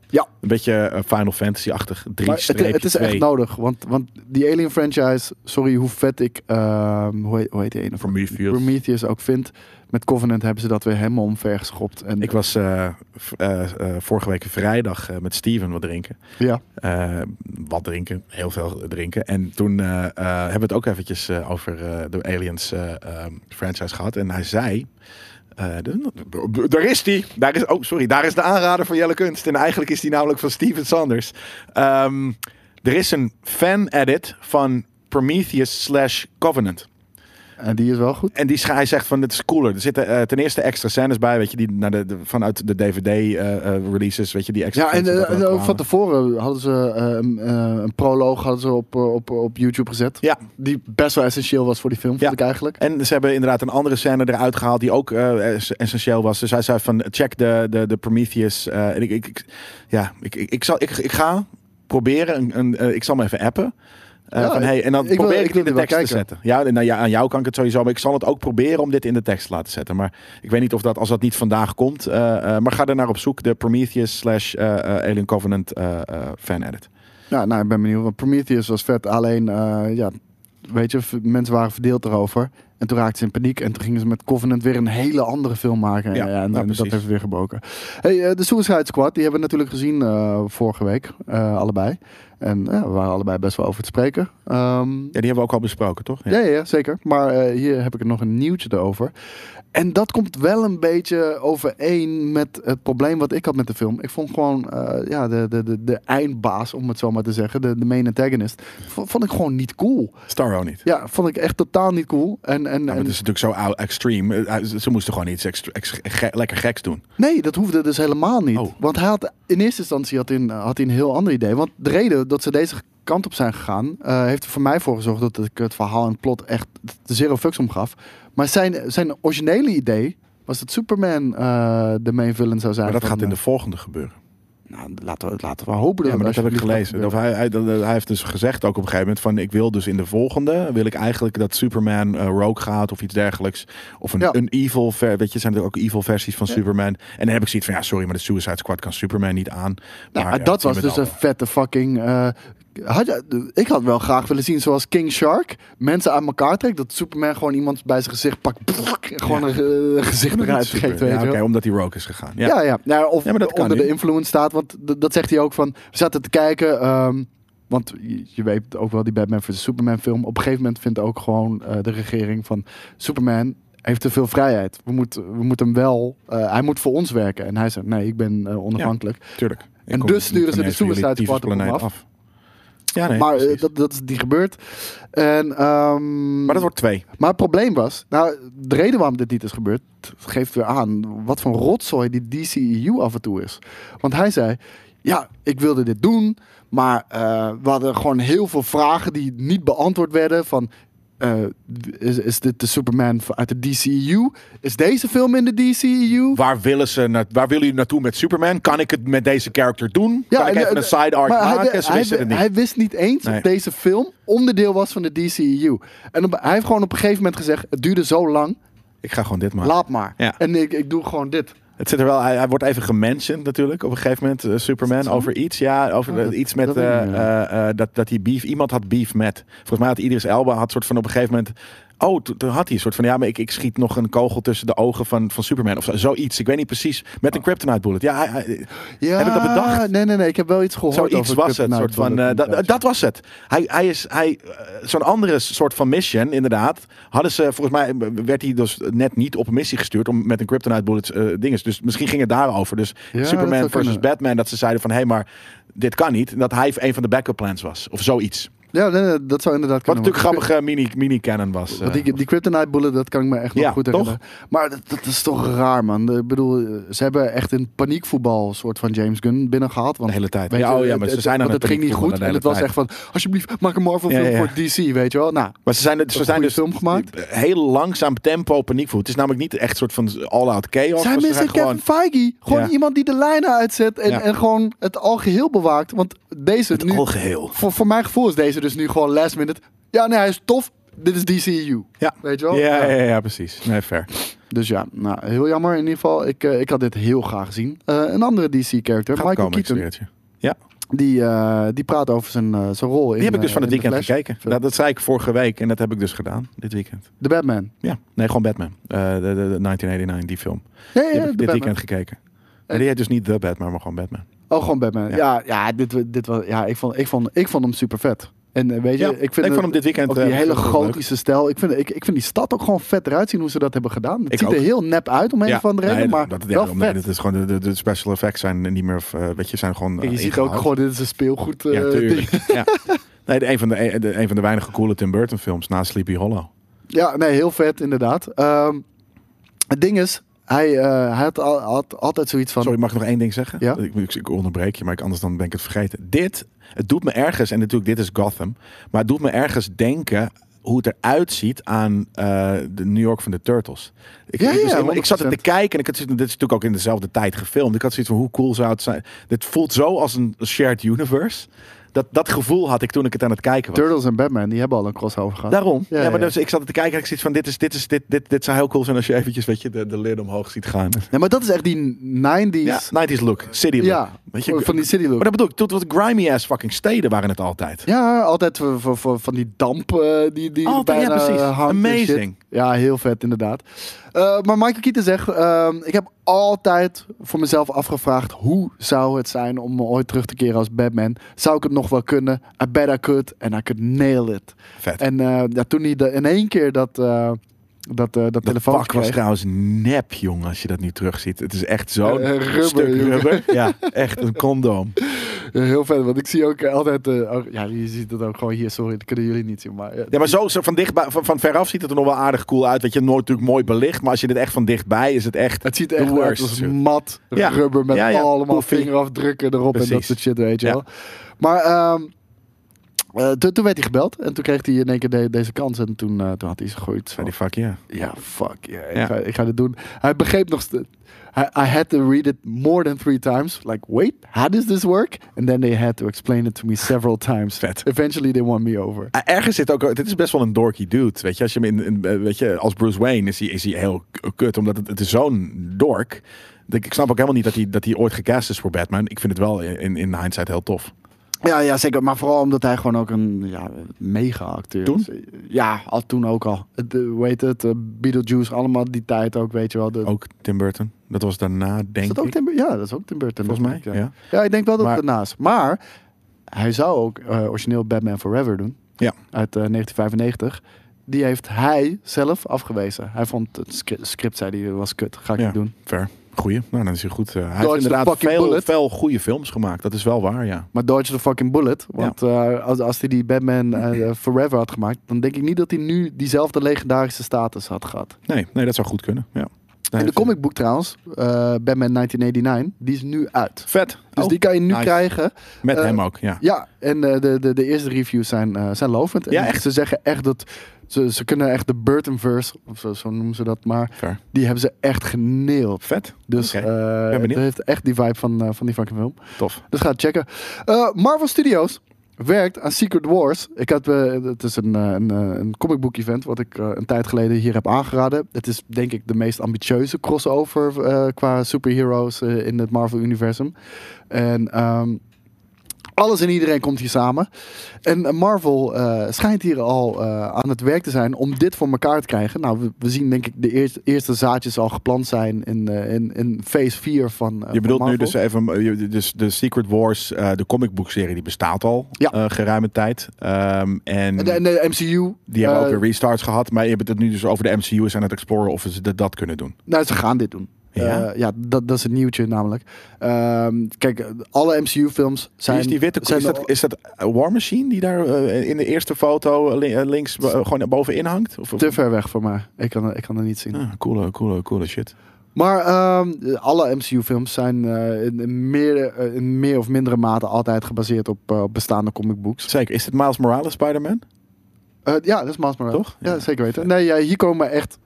Speaker 3: Ja.
Speaker 2: Een beetje eh, Final Fantasy-achtig.
Speaker 3: Maar
Speaker 2: 3
Speaker 3: het, het is echt nou- nodig, want, want die Alien franchise, sorry hoe vet ik, ehm, hoe, heet, hoe heet die ene?
Speaker 2: Prometheus.
Speaker 3: Prometheus ook vind. Met Covenant hebben ze dat weer helemaal omver geschopt. En,
Speaker 2: Ik was eh, v- eh, eh, vorige week vrijdag eh, met Steven wat drinken.
Speaker 3: ja.
Speaker 2: Eh, wat drinken, heel veel drinken. En toen eh, eh, hebben we het ook eventjes eh, over eh, de Aliens eh, ehm, franchise gehad. En hij zei. eh, de- de- daar is die. Daar is, oh, sorry. Daar is de aanrader van Jelle Kunst. En eigenlijk is die namelijk van Steven Sanders. Ehm, er is een fan-edit van Prometheus slash Covenant.
Speaker 3: En die is wel goed.
Speaker 2: En die scha- hij zegt van, dit is cooler. Er zitten eh, ten eerste extra scènes bij, weet je, die naar de, de- vanuit de DVD-releases, eh, weet je, die extra
Speaker 3: Ja, en
Speaker 2: scènes dat
Speaker 3: eh,
Speaker 2: er
Speaker 3: en ook
Speaker 2: kwamen.
Speaker 3: van tevoren hadden ze eh, een, eh, een proloog hadden ze op, eh, op, op YouTube gezet.
Speaker 2: Ja.
Speaker 3: Die best wel essentieel was voor die film,
Speaker 2: Ja.
Speaker 3: vond ik eigenlijk.
Speaker 2: En ze hebben inderdaad een andere scène eruit gehaald die ook eh, es- essentieel was. Dus hij zei van check de, de, de Prometheus. eh, en ik, ik, ik- ja, ik, ik, ik, zal, ik, ik ga proberen. Een, een, eh, ik zal hem even appen. Eh,
Speaker 3: Ja,
Speaker 2: van, hey, en dan
Speaker 3: ik wil-
Speaker 2: probeer ik,
Speaker 3: ik
Speaker 2: het
Speaker 3: wil
Speaker 2: in de
Speaker 3: die wel
Speaker 2: tekst te
Speaker 3: kijken.
Speaker 2: zetten. Ja, nou ja, aan jou kan ik het sowieso. Maar ik zal het ook proberen om dit in de tekst te laten zetten. Maar ik weet niet of dat als dat niet vandaag komt. eh, eh, maar ga er naar op zoek. De Prometheus slash eh, eh, Alien Covenant eh, eh, fan edit.
Speaker 3: Ja, nou, ik ben benieuwd. Want Prometheus was vet. Alleen, eh, ja, weet je, v- mensen waren verdeeld erover. En toen raakten ze in paniek. En toen gingen ze met Covenant weer een hele andere film maken. En,
Speaker 2: Ja,
Speaker 3: Ja, en,
Speaker 2: nou,
Speaker 3: en dat
Speaker 2: precies.
Speaker 3: heeft weer gebroken. Hey, eh, de Suicide Squad, die hebben we natuurlijk gezien eh, vorige week. eh, allebei. En ja, we waren allebei best wel over te spreken. Ehm,
Speaker 2: Ja, die hebben we ook al besproken, toch?
Speaker 3: Ja, ja, ja, zeker. Maar eh, hier heb ik er nog een nieuwtje over. En dat komt wel een beetje overeen met het probleem wat ik had met de film. Ik vond gewoon eh, ja, de, de, de, de eindbaas, om het zo maar te zeggen, de, de main antagonist, vo- vond ik gewoon niet cool.
Speaker 2: Starro niet.
Speaker 3: Ja, vond ik echt totaal niet cool. En, en,
Speaker 2: Ja, Nou, maar
Speaker 3: en,
Speaker 2: het is natuurlijk zo ou- extreem. Eh, hij- Ze moesten gewoon iets extra, ex- ge- lekker geks doen.
Speaker 3: Nee, dat hoefde dus helemaal niet.
Speaker 2: Oh.
Speaker 3: Want hij had, in eerste instantie had hij, een, had hij een heel ander idee. Want de reden dat ze deze kant op zijn gegaan, eh, heeft er voor mij voor gezorgd dat ik het verhaal en plot echt zero fucks om gaf. Maar zijn, zijn originele idee was dat Superman eh, de main villain zou zijn.
Speaker 2: Maar dat
Speaker 3: van,
Speaker 2: gaat in de
Speaker 3: eh,
Speaker 2: volgende gebeuren.
Speaker 3: nou, laten, we, laten we hopen
Speaker 2: Ja,
Speaker 3: dat
Speaker 2: maar dat
Speaker 3: het
Speaker 2: heb ik
Speaker 3: alsjeblieft
Speaker 2: gelezen.
Speaker 3: gaat
Speaker 2: Of hij, hij, dat- dat- hij heeft dus gezegd ook op een gegeven moment van... ik wil dus in de volgende, wil ik eigenlijk dat Superman eh, rogue gaat of iets dergelijks. Of een,
Speaker 3: Ja.
Speaker 2: een evil, ver, weet je, zijn er ook evil versies van Superman. En dan heb ik zoiets van, ja sorry, maar de Suicide Squad kan Superman niet aan.
Speaker 3: Nou,
Speaker 2: Maar, ja,
Speaker 3: dat
Speaker 2: zien
Speaker 3: was
Speaker 2: we
Speaker 3: dus
Speaker 2: dan
Speaker 3: een vette fucking eh, Had je- ik had wel graag willen zien zoals King Shark mensen aan elkaar trekt. Dat Superman gewoon iemand bij zijn gezicht pakt. pfft, en gewoon
Speaker 2: Ja.
Speaker 3: een ge- gezicht (laughs) eruit
Speaker 2: Super.
Speaker 3: trekt.
Speaker 2: Ja,
Speaker 3: Weet je
Speaker 2: oké,
Speaker 3: wel.
Speaker 2: omdat hij rogue is gegaan. Ja.
Speaker 3: Ja, ja. Nou, of
Speaker 2: Ja, maar dat kan
Speaker 3: onder
Speaker 2: nu.
Speaker 3: de influence staat. Want d- dat zegt hij ook van. We zaten te kijken. ehm, want je- je weet ook wel die Batman vs Superman film. Op een gegeven moment vindt ook gewoon eh, de regering van Superman heeft te veel vrijheid. We moeten, we moeten hem wel. eh, hij moet voor ons werken. En hij zegt nee, ik ben eh, onafhankelijk.
Speaker 2: tuurlijk. Ik
Speaker 3: En
Speaker 2: kom
Speaker 3: dus
Speaker 2: niet
Speaker 3: sturen ze
Speaker 2: ineens
Speaker 3: de
Speaker 2: van jullie
Speaker 3: Suicide Squad op hem
Speaker 2: tyfusplaneet
Speaker 3: af.
Speaker 2: Ja, nee.
Speaker 3: maar eh,
Speaker 2: precies.
Speaker 3: dat, dat is niet gebeurd. En, ehm,
Speaker 2: maar dat wordt twee.
Speaker 3: maar het probleem was, nou, de reden waarom dit niet is gebeurd, geeft weer aan wat voor een rotzooi die DCEU af en toe is. Want hij zei, ja, ik wilde dit doen, maar eh, we hadden gewoon heel veel vragen die niet beantwoord werden van... eh, is, is dit de Superman uit de DCEU? Is deze film in de E DCEU?
Speaker 2: Waar willen, ze na- waar willen jullie naartoe met Superman? Kan ik het met deze character doen? kan ik
Speaker 3: en-
Speaker 2: even
Speaker 3: en-
Speaker 2: een side arc
Speaker 3: maar hij
Speaker 2: maken?
Speaker 3: wi-
Speaker 2: ze wisten
Speaker 3: hij,
Speaker 2: het
Speaker 3: wi-
Speaker 2: niet.
Speaker 3: Hij wist niet eens
Speaker 2: Nee.
Speaker 3: dat deze film onderdeel was van de DCEU. En op- hij heeft gewoon op een gegeven moment gezegd... het duurde zo lang,
Speaker 2: ik ga gewoon dit maken.
Speaker 3: laat maar.
Speaker 2: Ja.
Speaker 3: En ik, ik doe gewoon dit.
Speaker 2: Het zit er wel, hij, hij wordt even gementiond natuurlijk op een gegeven moment, eh, Superman, over iets. Ja, over
Speaker 3: Oh, dat-
Speaker 2: eh, iets met
Speaker 3: dat
Speaker 2: dat,
Speaker 3: weet ik niet meer.
Speaker 2: dat, dat hij beef, iemand had beef met. Volgens mij had Idris Elba had soort van op een gegeven moment, oh, toen toen had hij een soort van, ja, maar ik, ik schiet nog een kogel tussen de ogen van, van Superman of zo, zoiets. Ik weet niet precies, met een kryptonite bullet. Ja, hij- hij-
Speaker 3: Oh. Ja,
Speaker 2: heb ik dat bedacht?
Speaker 3: Nee, nee, nee. Ik heb wel iets gehoord
Speaker 2: Zoiets
Speaker 3: over
Speaker 2: was het.
Speaker 3: Kryptonite
Speaker 2: Soort van,
Speaker 3: Bullet
Speaker 2: eh, dat-
Speaker 3: inderdaad.
Speaker 2: dat was het. Hij, hij is, hij, eh, zo'n andere soort van mission, inderdaad. Hadden ze, volgens mij eh, werd hij dus net niet op een missie gestuurd om met een kryptonite bullets eh dinges. Dus misschien ging het daarover. Dus
Speaker 3: Ja, dat
Speaker 2: Superman
Speaker 3: zou
Speaker 2: versus
Speaker 3: kunnen.
Speaker 2: Batman, dat ze zeiden van, hé, hey, maar dit kan niet. En Dat hij een van de backup plans was. Of zoiets.
Speaker 3: Ja, nee, nee, dat zou inderdaad
Speaker 2: Wat
Speaker 3: kunnen.
Speaker 2: natuurlijk
Speaker 3: want-
Speaker 2: grappige mini, mini-canon was. eh,
Speaker 3: Want die, die Kryptonite Bullet, dat kan ik me echt nog
Speaker 2: Ja,
Speaker 3: goed
Speaker 2: toch?
Speaker 3: herinneren. Maar dat, dat is toch raar, man. Ik bedoel, eh, ze hebben echt een paniekvoetbal een soort van James Gunn binnengehaald. Want,
Speaker 2: De hele tijd.
Speaker 3: weet
Speaker 2: Ja,
Speaker 3: je,
Speaker 2: oh ja, maar
Speaker 3: het-
Speaker 2: ze
Speaker 3: het-
Speaker 2: zijn aan
Speaker 3: want
Speaker 2: het
Speaker 3: het ging niet
Speaker 2: paniekvoetballen
Speaker 3: goed.
Speaker 2: de
Speaker 3: En het
Speaker 2: hele
Speaker 3: was echt van, alsjeblieft, maak een Marvel film
Speaker 2: Ja, ja.
Speaker 3: voor DC, weet je wel. Nou,
Speaker 2: Maar ze zijn, ze
Speaker 3: een
Speaker 2: zijn
Speaker 3: goede
Speaker 2: dus
Speaker 3: film gemaakt.
Speaker 2: heel langzaam tempo paniekvoet. Het is namelijk niet echt soort van all-out chaos. maar
Speaker 3: Zij
Speaker 2: ze
Speaker 3: missen
Speaker 2: zijn
Speaker 3: Kevin
Speaker 2: gewoon-
Speaker 3: Feige. Gewoon
Speaker 2: Ja.
Speaker 3: iemand die de lijnen uitzet en,
Speaker 2: Ja.
Speaker 3: en gewoon het algeheel bewaakt. Want deze
Speaker 2: Het
Speaker 3: nu...
Speaker 2: algeheel.
Speaker 3: Voor, voor mijn gevoel is deze dus nu gewoon last minute. Ja, nee, hij is tof. Dit is DCU.
Speaker 2: Ja.
Speaker 3: Weet je wel?
Speaker 2: Ja,
Speaker 3: Ja.
Speaker 2: ja, ja, ja, precies. Nee, fair.
Speaker 3: Dus ja, nou, heel jammer in ieder geval. Ik, eh, ik had dit heel graag gezien. Eh, een andere DC-character,
Speaker 2: Gaat
Speaker 3: Michael
Speaker 2: komen, ik
Speaker 3: Keaton,
Speaker 2: zweer het je. Ja,
Speaker 3: die, eh, die praat over zijn, eh, zijn rol in
Speaker 2: die heb ik dus
Speaker 3: eh,
Speaker 2: van het
Speaker 3: in
Speaker 2: weekend
Speaker 3: The Flash.
Speaker 2: gekeken. Dat, dat zei ik vorige week en dat heb ik dus gedaan, dit weekend.
Speaker 3: De Batman.
Speaker 2: Ja, nee, gewoon Batman. Eh, de, de, de 1989, die film.
Speaker 3: Ja,
Speaker 2: Die
Speaker 3: ja,
Speaker 2: heb
Speaker 3: de
Speaker 2: ik dit
Speaker 3: Batman.
Speaker 2: weekend gekeken. En die heet dus niet The Batman, maar gewoon Batman.
Speaker 3: Oh, gewoon Batman. Ja,
Speaker 2: Ja.
Speaker 3: ja, dit, wa- dit was, ja ik, vond, ik, vond, ik vond hem super vet. En eh, weet je,
Speaker 2: Ja,
Speaker 3: ik vind
Speaker 2: ik vond
Speaker 3: het-
Speaker 2: hem dit weekend,
Speaker 3: ook die
Speaker 2: eh,
Speaker 3: hele
Speaker 2: vond ik wel leuk.
Speaker 3: gotische stijl. Ik vind, ik, ik vind die stad ook gewoon vet eruit zien hoe ze dat hebben gedaan. Het
Speaker 2: Ik
Speaker 3: ziet er
Speaker 2: ook.
Speaker 3: heel nep uit om een of andere reden,
Speaker 2: nee,
Speaker 3: maar
Speaker 2: dat, ja,
Speaker 3: wel
Speaker 2: omdat
Speaker 3: vet.
Speaker 2: Het is gewoon de, de, de special effects zijn niet meer, eh, weet je, zijn gewoon
Speaker 3: Kijk, je
Speaker 2: eh,
Speaker 3: ziet ook
Speaker 2: ingehaald.
Speaker 3: gewoon, dit is een speelgoed eh,
Speaker 2: Ja,
Speaker 3: ding.
Speaker 2: tuurlijk. ja. Nee, de, een, van de, de, een van de weinige coole Tim Burton films na Sleepy Hollow.
Speaker 3: Ja, nee, heel vet inderdaad. Ehm, het ding is, hij, eh, hij had, al- had altijd zoiets van...
Speaker 2: Sorry, mag ik nog één ding zeggen?
Speaker 3: Ja?
Speaker 2: Ik, ik, ik onderbreek je, maar ik, anders dan ben ik het vergeten. Dit, het doet me ergens, en natuurlijk dit is Gotham, maar het doet me ergens denken hoe het eruit ziet aan eh, de New York van de Turtles. Ik,
Speaker 3: Ja,
Speaker 2: ik,
Speaker 3: ja,
Speaker 2: ik, ik zat het te
Speaker 3: 100%.
Speaker 2: kijken en ik had, zoiets- dit is natuurlijk ook in dezelfde tijd gefilmd. Ik had zoiets van hoe cool zou het zijn. Dit voelt zo als een shared universe. Dat, dat gevoel had ik toen ik het aan het kijken was.
Speaker 3: Turtles en Batman, die hebben al een crossover gehad.
Speaker 2: Daarom.
Speaker 3: Ja,
Speaker 2: Ja, maar
Speaker 3: ja.
Speaker 2: Dus, ik zat te kijken en ik zoiets van dit, is, dit, is, dit, dit, dit zou heel cool zijn als je eventjes weet je, de, de lid omhoog ziet gaan.
Speaker 3: Nee, maar dat is echt die 90s...
Speaker 2: Ja, 90s look, city look.
Speaker 3: Ja,
Speaker 2: Weet
Speaker 3: van die city look.
Speaker 2: Maar dat bedoel ik, tot wat grimy ass fucking steden waren het altijd.
Speaker 3: Ja, altijd voor, voor, voor- van die damp eh, die, die
Speaker 2: Altijd,
Speaker 3: bijna
Speaker 2: ja, precies.
Speaker 3: hangt en
Speaker 2: Amazing.
Speaker 3: shit. Ja, heel vet inderdaad. Eh, maar Michael Keaton zegt, ehm, ik heb altijd voor mezelf afgevraagd... hoe zou het zijn om ooit terug te keren als Batman? Zou ik het nog wel kunnen? I bet I could and I could nail it.
Speaker 2: Vet.
Speaker 3: En eh, ja, toen hij de, in één keer dat, eh dat, eh dat
Speaker 2: dat
Speaker 3: telefoon
Speaker 2: pak was
Speaker 3: kreeg...
Speaker 2: trouwens nep, jong, als je dat nu terugziet. Het is echt zo'n
Speaker 3: Eh, eh, rubber,
Speaker 2: stuk
Speaker 3: jongen.
Speaker 2: rubber. Ja, echt een condoom.
Speaker 3: Ja, heel vet, want ik zie ook eh, altijd... eh, ook- ja, je ziet het ook gewoon hier, sorry, dat kunnen jullie niet zien. Maar, eh,
Speaker 2: Ja, maar zo, zo van, dichtbij, van, van veraf ziet het er nog wel aardig cool uit. Weet je, nooit natuurlijk mooi belicht. Maar als je dit echt van dichtbij, is het echt
Speaker 3: Het ziet
Speaker 2: the
Speaker 3: er echt uit
Speaker 2: worst.
Speaker 3: als
Speaker 2: Natuurlijk.
Speaker 3: mat
Speaker 2: Ja.
Speaker 3: rubber met
Speaker 2: Ja, ja.
Speaker 3: allemaal
Speaker 2: Poefie.
Speaker 3: vingerafdrukken erop en dat
Speaker 2: Precies.
Speaker 3: soort shit, weet je
Speaker 2: Ja.
Speaker 3: wel. Maar ehm, eh, toen- toen werd hij gebeld en toen kreeg hij in één keer de- deze kans en toen, eh, toen had hij gegooid.
Speaker 2: Ja, die fuck, ja.
Speaker 3: Ja, fuck, yeah, ik,
Speaker 2: Ja.
Speaker 3: ga, ik ga dit doen. Hij begreep nog steeds. I, I had to read it more than three times. Like, wait, how does this work? And then they had to explain it to me several times.
Speaker 2: Vet.
Speaker 3: Eventually they won me over.
Speaker 2: Eh, Ergens zit ook, dit is best wel een dorky dude. Weet je, als, je hem in, in- eh, weet je, als Bruce Wayne is hij, is hij heel k- kut, omdat het, het is zo'n dork. Ik ik snap ook helemaal niet dat hij, dat hij ooit gecast is voor Batman. Ik vind het wel in, in hindsight heel tof.
Speaker 3: Ja, ja, zeker. Maar vooral omdat hij gewoon ook een ja, mega-acteur
Speaker 2: Toen?
Speaker 3: is. Ja, al, toen ook al. Het, eh, hoe heet het? eh, Beetlejuice, allemaal die tijd ook, weet je wel. De,
Speaker 2: Ook Tim Burton. Dat was daarna, denk
Speaker 3: is dat ook
Speaker 2: ik.
Speaker 3: Tim Burton? Ja, dat is ook Tim Burton.
Speaker 2: Volgens mij,
Speaker 3: natuurlijk,
Speaker 2: ja.
Speaker 3: Ja, ik denk wel dat
Speaker 2: Maar-
Speaker 3: het daarnaast. Maar hij zou ook eh, origineel Batman Forever doen.
Speaker 2: Ja.
Speaker 3: Uit eh, 1995. Die heeft hij zelf afgewezen. Hij vond het scri- script, zei hij, was kut. Ga ik
Speaker 2: Ja.
Speaker 3: niet doen.
Speaker 2: Fair. Goeie. Nou, dan is hij goed. Eh, hij
Speaker 3: Dodge
Speaker 2: heeft
Speaker 3: the
Speaker 2: inderdaad
Speaker 3: fucking
Speaker 2: veel,
Speaker 3: bullet.
Speaker 2: veel goede films gemaakt. Dat is wel waar, ja.
Speaker 3: Maar dodge the fucking bullet. Want eh, als, als hij die
Speaker 2: (clears throat)
Speaker 3: Batman eh, Forever had gemaakt... dan denk ik niet dat hij nu diezelfde legendarische status had gehad.
Speaker 2: Nee, nee dat zou goed kunnen. Ja.
Speaker 3: En de
Speaker 2: heeft-
Speaker 3: comicboek trouwens, eh, Batman 1989, die is nu uit.
Speaker 2: Vet.
Speaker 3: Dus
Speaker 2: Oh,
Speaker 3: die kan je nu
Speaker 2: nice.
Speaker 3: krijgen.
Speaker 2: Met
Speaker 3: eh,
Speaker 2: hem ook, ja.
Speaker 3: Ja, en eh, de, de, de eerste reviews zijn, eh, zijn lovend. En
Speaker 2: Ja, echt?
Speaker 3: Ze zeggen echt dat... Ze, ze kunnen echt de Burtonverse, of zo, zo noemen ze dat maar...
Speaker 2: Fair.
Speaker 3: Die hebben ze echt geneeld.
Speaker 2: Vet.
Speaker 3: Dus
Speaker 2: Oké,
Speaker 3: eh,
Speaker 2: ben
Speaker 3: het
Speaker 2: benieuwd.
Speaker 3: heeft echt die vibe van, eh, van die fucking film.
Speaker 2: Tof.
Speaker 3: Dus ga het checken. Eh, Marvel Studios werkt aan Secret Wars. Ik had, eh, het is een, eh, een, eh, een comic book event wat ik eh, een tijd geleden hier heb aangeraden. Het is denk ik de meest ambitieuze crossover eh, qua superheroes eh, in het Marvel universum. En ehm, alles en iedereen komt hier samen. En eh, Marvel eh, schijnt hier al eh, aan het werk te zijn om dit voor elkaar te krijgen. Nou, we, we zien denk ik de eerste, eerste zaadjes al geplant zijn in, eh, in, in phase 4 van eh,
Speaker 2: Je
Speaker 3: van
Speaker 2: bedoelt nu
Speaker 3: Marvel.
Speaker 2: dus even eh, je- dus de Secret Wars, eh, de comicboekserie, die bestaat al
Speaker 3: Ja.
Speaker 2: eh, geruime tijd. Ehm, en
Speaker 3: En de, en de MCU.
Speaker 2: die hebben ook
Speaker 3: eh,
Speaker 2: weer restarts gehad. Maar je hebt het nu dus over de MCU is aan het exploren of ze dat, dat kunnen doen.
Speaker 3: Nou, ze gaan dit doen.
Speaker 2: Ja?
Speaker 3: Ja, ja dat, dat is het nieuwtje namelijk. Ehm, kijk, alle MCU-films zijn...
Speaker 2: Wie is die witte?
Speaker 3: zijn
Speaker 2: is, dat, is dat War Machine die daar eh, in de eerste foto li- eh, links eh, gewoon bovenin hangt? Of, of-
Speaker 3: te ver weg voor mij. Ik kan, ik kan het niet zien.
Speaker 2: Ah, coole, coole, coole shit.
Speaker 3: Maar ehm, alle MCU-films zijn eh, in, in meer, eh, in meer of mindere mate altijd gebaseerd op eh, op bestaande comic books.
Speaker 2: Zeker. Is het Miles Morales Spider-Man?
Speaker 3: Eh, ja, dat is Miles Morales.
Speaker 2: Toch?
Speaker 3: Ja,
Speaker 2: Ja,
Speaker 3: zeker weten. Nee, ja, hier komen echt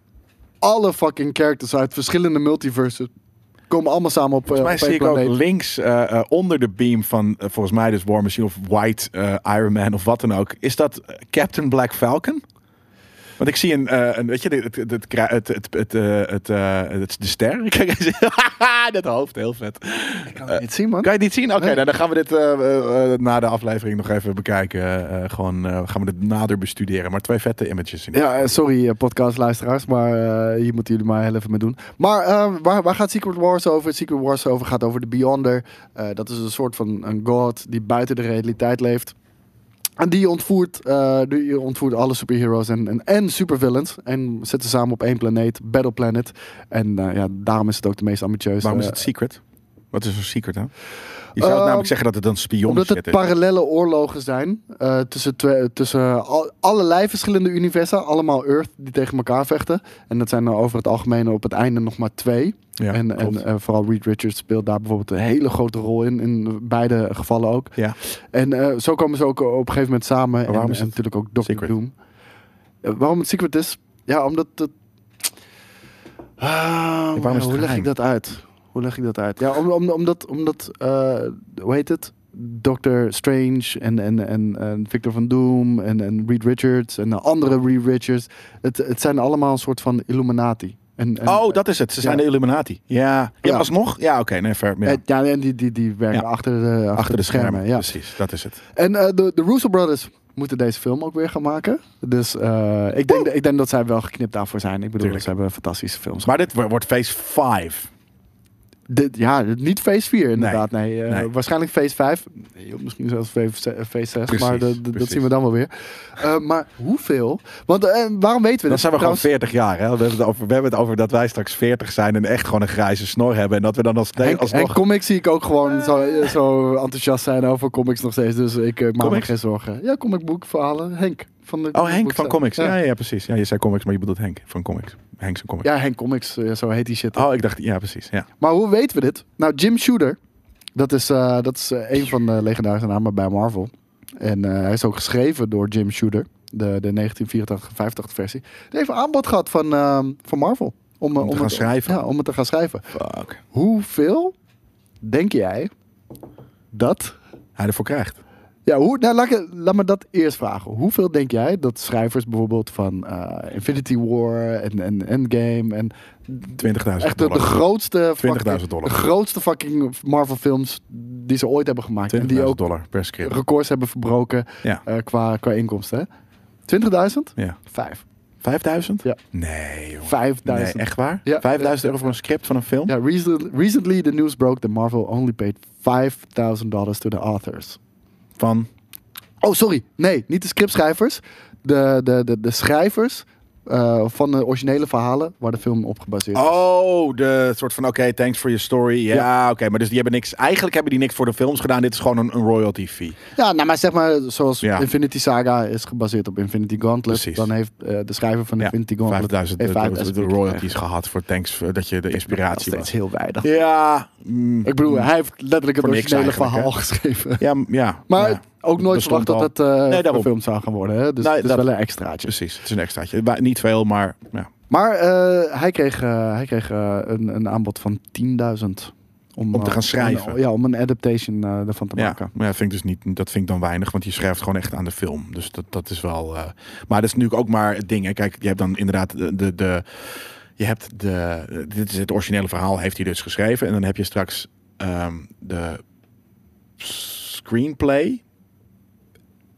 Speaker 3: alle fucking characters uit verschillende multiverses. Komen allemaal samen op, eh,
Speaker 2: Volgens mij
Speaker 3: op één
Speaker 2: zie ik ook
Speaker 3: planeet.
Speaker 2: links eh, eh, onder de beam van eh, volgens mij dus War Machine of White eh, Iron Man of wat dan ook. Is dat eh, Captain Black Falcon? Want ik zie een, eh, een weet je, het, het, het, kra- het, het, het, eh, het, eh, het- de ster. (laughs) Kijk, hij zit- Haha, dat hoofd, heel vet.
Speaker 3: Kan ik niet zien, man.
Speaker 2: Kan je het niet zien? Oké,
Speaker 3: Nee.
Speaker 2: nou, dan gaan we dit eh, eh, eh, na de aflevering nog even bekijken. Eh, eh, gewoon eh, gaan we dit nader bestuderen. Maar twee vette images in.
Speaker 3: Ja, eh, sorry eh, podcastluisteraars, maar eh, hier moeten jullie maar heel even mee doen. Maar eh, waar, waar gaat Secret Wars over? Secret Wars over gaat over de Beyonder. Eh, dat is een soort van een god die buiten de realiteit leeft. En die ontvoert, eh, die ontvoert alle superheroes en, en, en supervillains. En zet ze samen op één planeet, Battle Planet. En eh, ja, daarom is het ook de meest ambitieuze.
Speaker 2: Waarom is
Speaker 3: eh,
Speaker 2: het secret? Wat is een secret, hè? Je zou het
Speaker 3: Ehm,
Speaker 2: namelijk zeggen dat het een spion
Speaker 3: omdat
Speaker 2: shit
Speaker 3: het
Speaker 2: is.
Speaker 3: parallele oorlogen zijn eh, tussen, twee, tussen al, allerlei verschillende universa, allemaal Earth, die tegen elkaar vechten. En dat zijn er over het algemeen op het einde nog maar twee.
Speaker 2: Ja,
Speaker 3: en en
Speaker 2: klopt.
Speaker 3: eh, vooral Reed Richards speelt daar bijvoorbeeld een hele grote rol in, in beide gevallen ook.
Speaker 2: ja.
Speaker 3: En eh, zo komen ze ook op een gegeven moment samen. En,
Speaker 2: waarom is
Speaker 3: en
Speaker 2: het
Speaker 3: natuurlijk ook Doctor
Speaker 2: secret?
Speaker 3: Doom. Eh, waarom het secret is? Ja, omdat het... Ah, ja,
Speaker 2: het
Speaker 3: hoe leg
Speaker 2: geheim?
Speaker 3: ik dat uit? Hoe leg ik dat uit? Ja, om, om, omdat, omdat eh, hoe heet het? Doctor Strange en, en, en, en Victor van Doom en, en Reed Richards en de andere Reed Richards. Het, het zijn allemaal een soort van Illuminati. En, en,
Speaker 2: Oh, dat is het. Ze zijn
Speaker 3: Ja.
Speaker 2: de Illuminati. Ja. Ja,
Speaker 3: Ja.
Speaker 2: alsnog? Ja, oké. nee, ver, ja.
Speaker 3: eh, Ja, en die, die, die werken
Speaker 2: Ja.
Speaker 3: achter, de, achter,
Speaker 2: Achter de schermen.
Speaker 3: ja.
Speaker 2: Precies, dat is het.
Speaker 3: En eh, de, de Russo Brothers moeten deze film ook weer gaan maken. Dus eh, ik, denk, ik denk dat zij wel geknipt daarvoor zijn. Ik bedoel,
Speaker 2: Tuurlijk.
Speaker 3: ze hebben fantastische films.
Speaker 2: Maar dit wo- wordt phase 5.
Speaker 3: Dit, ja, niet Phase 4 inderdaad. Nee, eh,
Speaker 2: nee.
Speaker 3: Waarschijnlijk Phase 5. Nee, misschien zelfs Phase ze- eh, phase 6.
Speaker 2: Precies,
Speaker 3: maar de- de- dat
Speaker 2: precies.
Speaker 3: zien we dan wel weer. Eh, maar hoeveel? Want eh, waarom weten we
Speaker 2: Dan
Speaker 3: dat?
Speaker 2: zijn we gewoon
Speaker 3: Trouwens,
Speaker 2: 40 jaar. Hè? We, hebben het over, we hebben het over dat wij straks 40 zijn en echt gewoon een grijze snor hebben. En dat we dan als, nee,
Speaker 3: En, en
Speaker 2: alsnog...
Speaker 3: comics zie ik ook gewoon zo, eh, zo enthousiast zijn over comics nog steeds. Dus ik eh, maak me
Speaker 2: Comics?
Speaker 3: geen zorgen. Ja, comicboekverhalen. Henk. Van de
Speaker 2: Oh, Henk van
Speaker 3: comicboekse-
Speaker 2: Comics. Ja,
Speaker 3: Ja.
Speaker 2: ja, ja, precies. Ja, je zei Comics, maar je bedoelt Henk van Comics. Henk zijn Comics.
Speaker 3: ja, Henk Comics. eh, zo heet die shit.
Speaker 2: Oh, ik dacht... Ja, precies. Ja.
Speaker 3: Maar hoe weten we dit? Nou, Jim Shooter, dat is, eh, dat is eh, een van de legendarische namen bij Marvel. En eh, hij is ook geschreven door Jim Shooter, de, de 1984-85 versie. Die heeft een aanbod gehad van, ehm, van Marvel. Om, eh,
Speaker 2: te gaan
Speaker 3: het,
Speaker 2: schrijven.
Speaker 3: Ja, om het te gaan schrijven.
Speaker 2: Fuck.
Speaker 3: Hoeveel denk jij dat
Speaker 2: Hij ervoor krijgt.
Speaker 3: Ja, hoe, nou, laat, ik- laat me dat eerst vragen. Hoeveel denk jij dat schrijvers bijvoorbeeld van eh, Infinity War en, en Endgame en
Speaker 2: 20.000
Speaker 3: echt de, de
Speaker 2: dollar.
Speaker 3: grootste, fucking,
Speaker 2: 20.000
Speaker 3: de
Speaker 2: dollar.
Speaker 3: grootste fucking Marvel films die ze ooit hebben gemaakt en
Speaker 2: 20.000
Speaker 3: die ook
Speaker 2: dollar per script.
Speaker 3: records hebben verbroken
Speaker 2: Ja.
Speaker 3: eh, qua, qua inkomsten. hè? 20.000?
Speaker 2: ja.
Speaker 3: Vijf.
Speaker 2: 5000?
Speaker 3: Ja.
Speaker 2: Nee, joh.
Speaker 3: 5000.
Speaker 2: Nee, echt waar?
Speaker 3: Ja.
Speaker 2: 5000 euro voor een script van een film?
Speaker 3: Ja, recently, recently the news broke that Marvel only paid $5,000 to the authors.
Speaker 2: Van
Speaker 3: Oh, sorry. Nee, niet de scriptschrijvers. De, de, de, de schrijvers eh, van de originele verhalen waar de film op gebaseerd is.
Speaker 2: Oh, de soort van oké, thanks for your story. Ja,
Speaker 3: Ja.
Speaker 2: oké, maar dus die hebben niks. Eigenlijk hebben die niks voor de films gedaan. Dit is gewoon een, een royalty fee.
Speaker 3: Ja, nou, maar zeg maar, zoals
Speaker 2: Ja.
Speaker 3: Infinity Saga is gebaseerd op Infinity Gauntlet.
Speaker 2: Precies.
Speaker 3: Dan heeft eh, de schrijver van
Speaker 2: Ja,
Speaker 3: Infinity Gauntlet
Speaker 2: 5000
Speaker 3: heeft
Speaker 2: de- de,
Speaker 3: 5000
Speaker 2: de
Speaker 3: piek
Speaker 2: royalties
Speaker 3: gekregen.
Speaker 2: gehad voor thanks voor dat je de inspiratie
Speaker 3: Dat is
Speaker 2: was.
Speaker 3: heel weinig.
Speaker 2: Ja, mm,
Speaker 3: Ik bedoel, hij heeft letterlijk het
Speaker 2: Voor niks
Speaker 3: originele
Speaker 2: eigenlijk,
Speaker 3: verhaal
Speaker 2: hè?
Speaker 3: geschreven.
Speaker 2: ja, m- ja.
Speaker 3: (laughs) Maar
Speaker 2: ja.
Speaker 3: ook nooit
Speaker 2: Bestond
Speaker 3: verwacht dat
Speaker 2: al.
Speaker 3: het eh
Speaker 2: Nee, daarom.
Speaker 3: gefilmd zou gaan worden. Hè? Dus
Speaker 2: Nee,
Speaker 3: het is
Speaker 2: dat-
Speaker 3: wel een extraatje.
Speaker 2: Precies, het is een extraatje. Wa- Niet veel, maar ja.
Speaker 3: Maar eh, hij kreeg, eh, hij kreeg eh, een, een aanbod van 10.000.
Speaker 2: Om te
Speaker 3: eh,
Speaker 2: gaan schrijven.
Speaker 3: ja, om een adaptation eh, ervan te
Speaker 2: Ja,
Speaker 3: maken.
Speaker 2: maar ja, vind ik dus niet, dat vind ik dan weinig, want je schrijft gewoon echt aan de film. Dus dat, dat is wel. eh, maar dat is natuurlijk ook maar het ding. Hè. Kijk, je hebt dan inderdaad de. de, de je hebt de. Dit is het originele verhaal, heeft hij dus geschreven. En dan heb je straks ehm, de screenplay.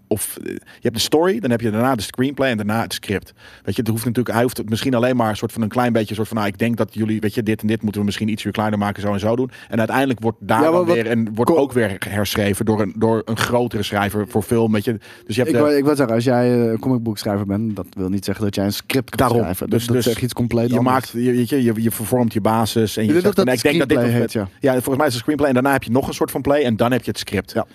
Speaker 2: Of eh, je hebt de story, dan heb je daarna de screenplay en daarna het script. Weet je, het hoeft natuurlijk, hij hoeft het misschien alleen maar een soort van een klein beetje, een soort van, nou, ik denk dat jullie, weet je, dit en dit moeten we misschien ietsje kleiner maken, zo en zo doen. En uiteindelijk wordt daar
Speaker 3: Ja, maar
Speaker 2: dan
Speaker 3: wat-
Speaker 2: weer en wordt
Speaker 3: Ko-
Speaker 2: ook weer herschreven door een, door een grotere schrijver voor film. Weet je. Dus je hebt
Speaker 3: Ik,
Speaker 2: de-
Speaker 3: wou, ik wou zeggen, als jij eh, een comicboekschrijver bent, dat wil niet zeggen dat jij een script kan
Speaker 2: daarom.
Speaker 3: schrijven. Dus, dat is echt iets compleet
Speaker 2: je
Speaker 3: anders.
Speaker 2: maakt, je, weet je, je, je vervormt je basis. En je
Speaker 3: denk
Speaker 2: zegt van,
Speaker 3: dat dat screenplay
Speaker 2: dit-
Speaker 3: heet,
Speaker 2: ja. volgens mij is het screenplay. En daarna heb je nog een soort van play. En dan heb je het script.
Speaker 3: Ja.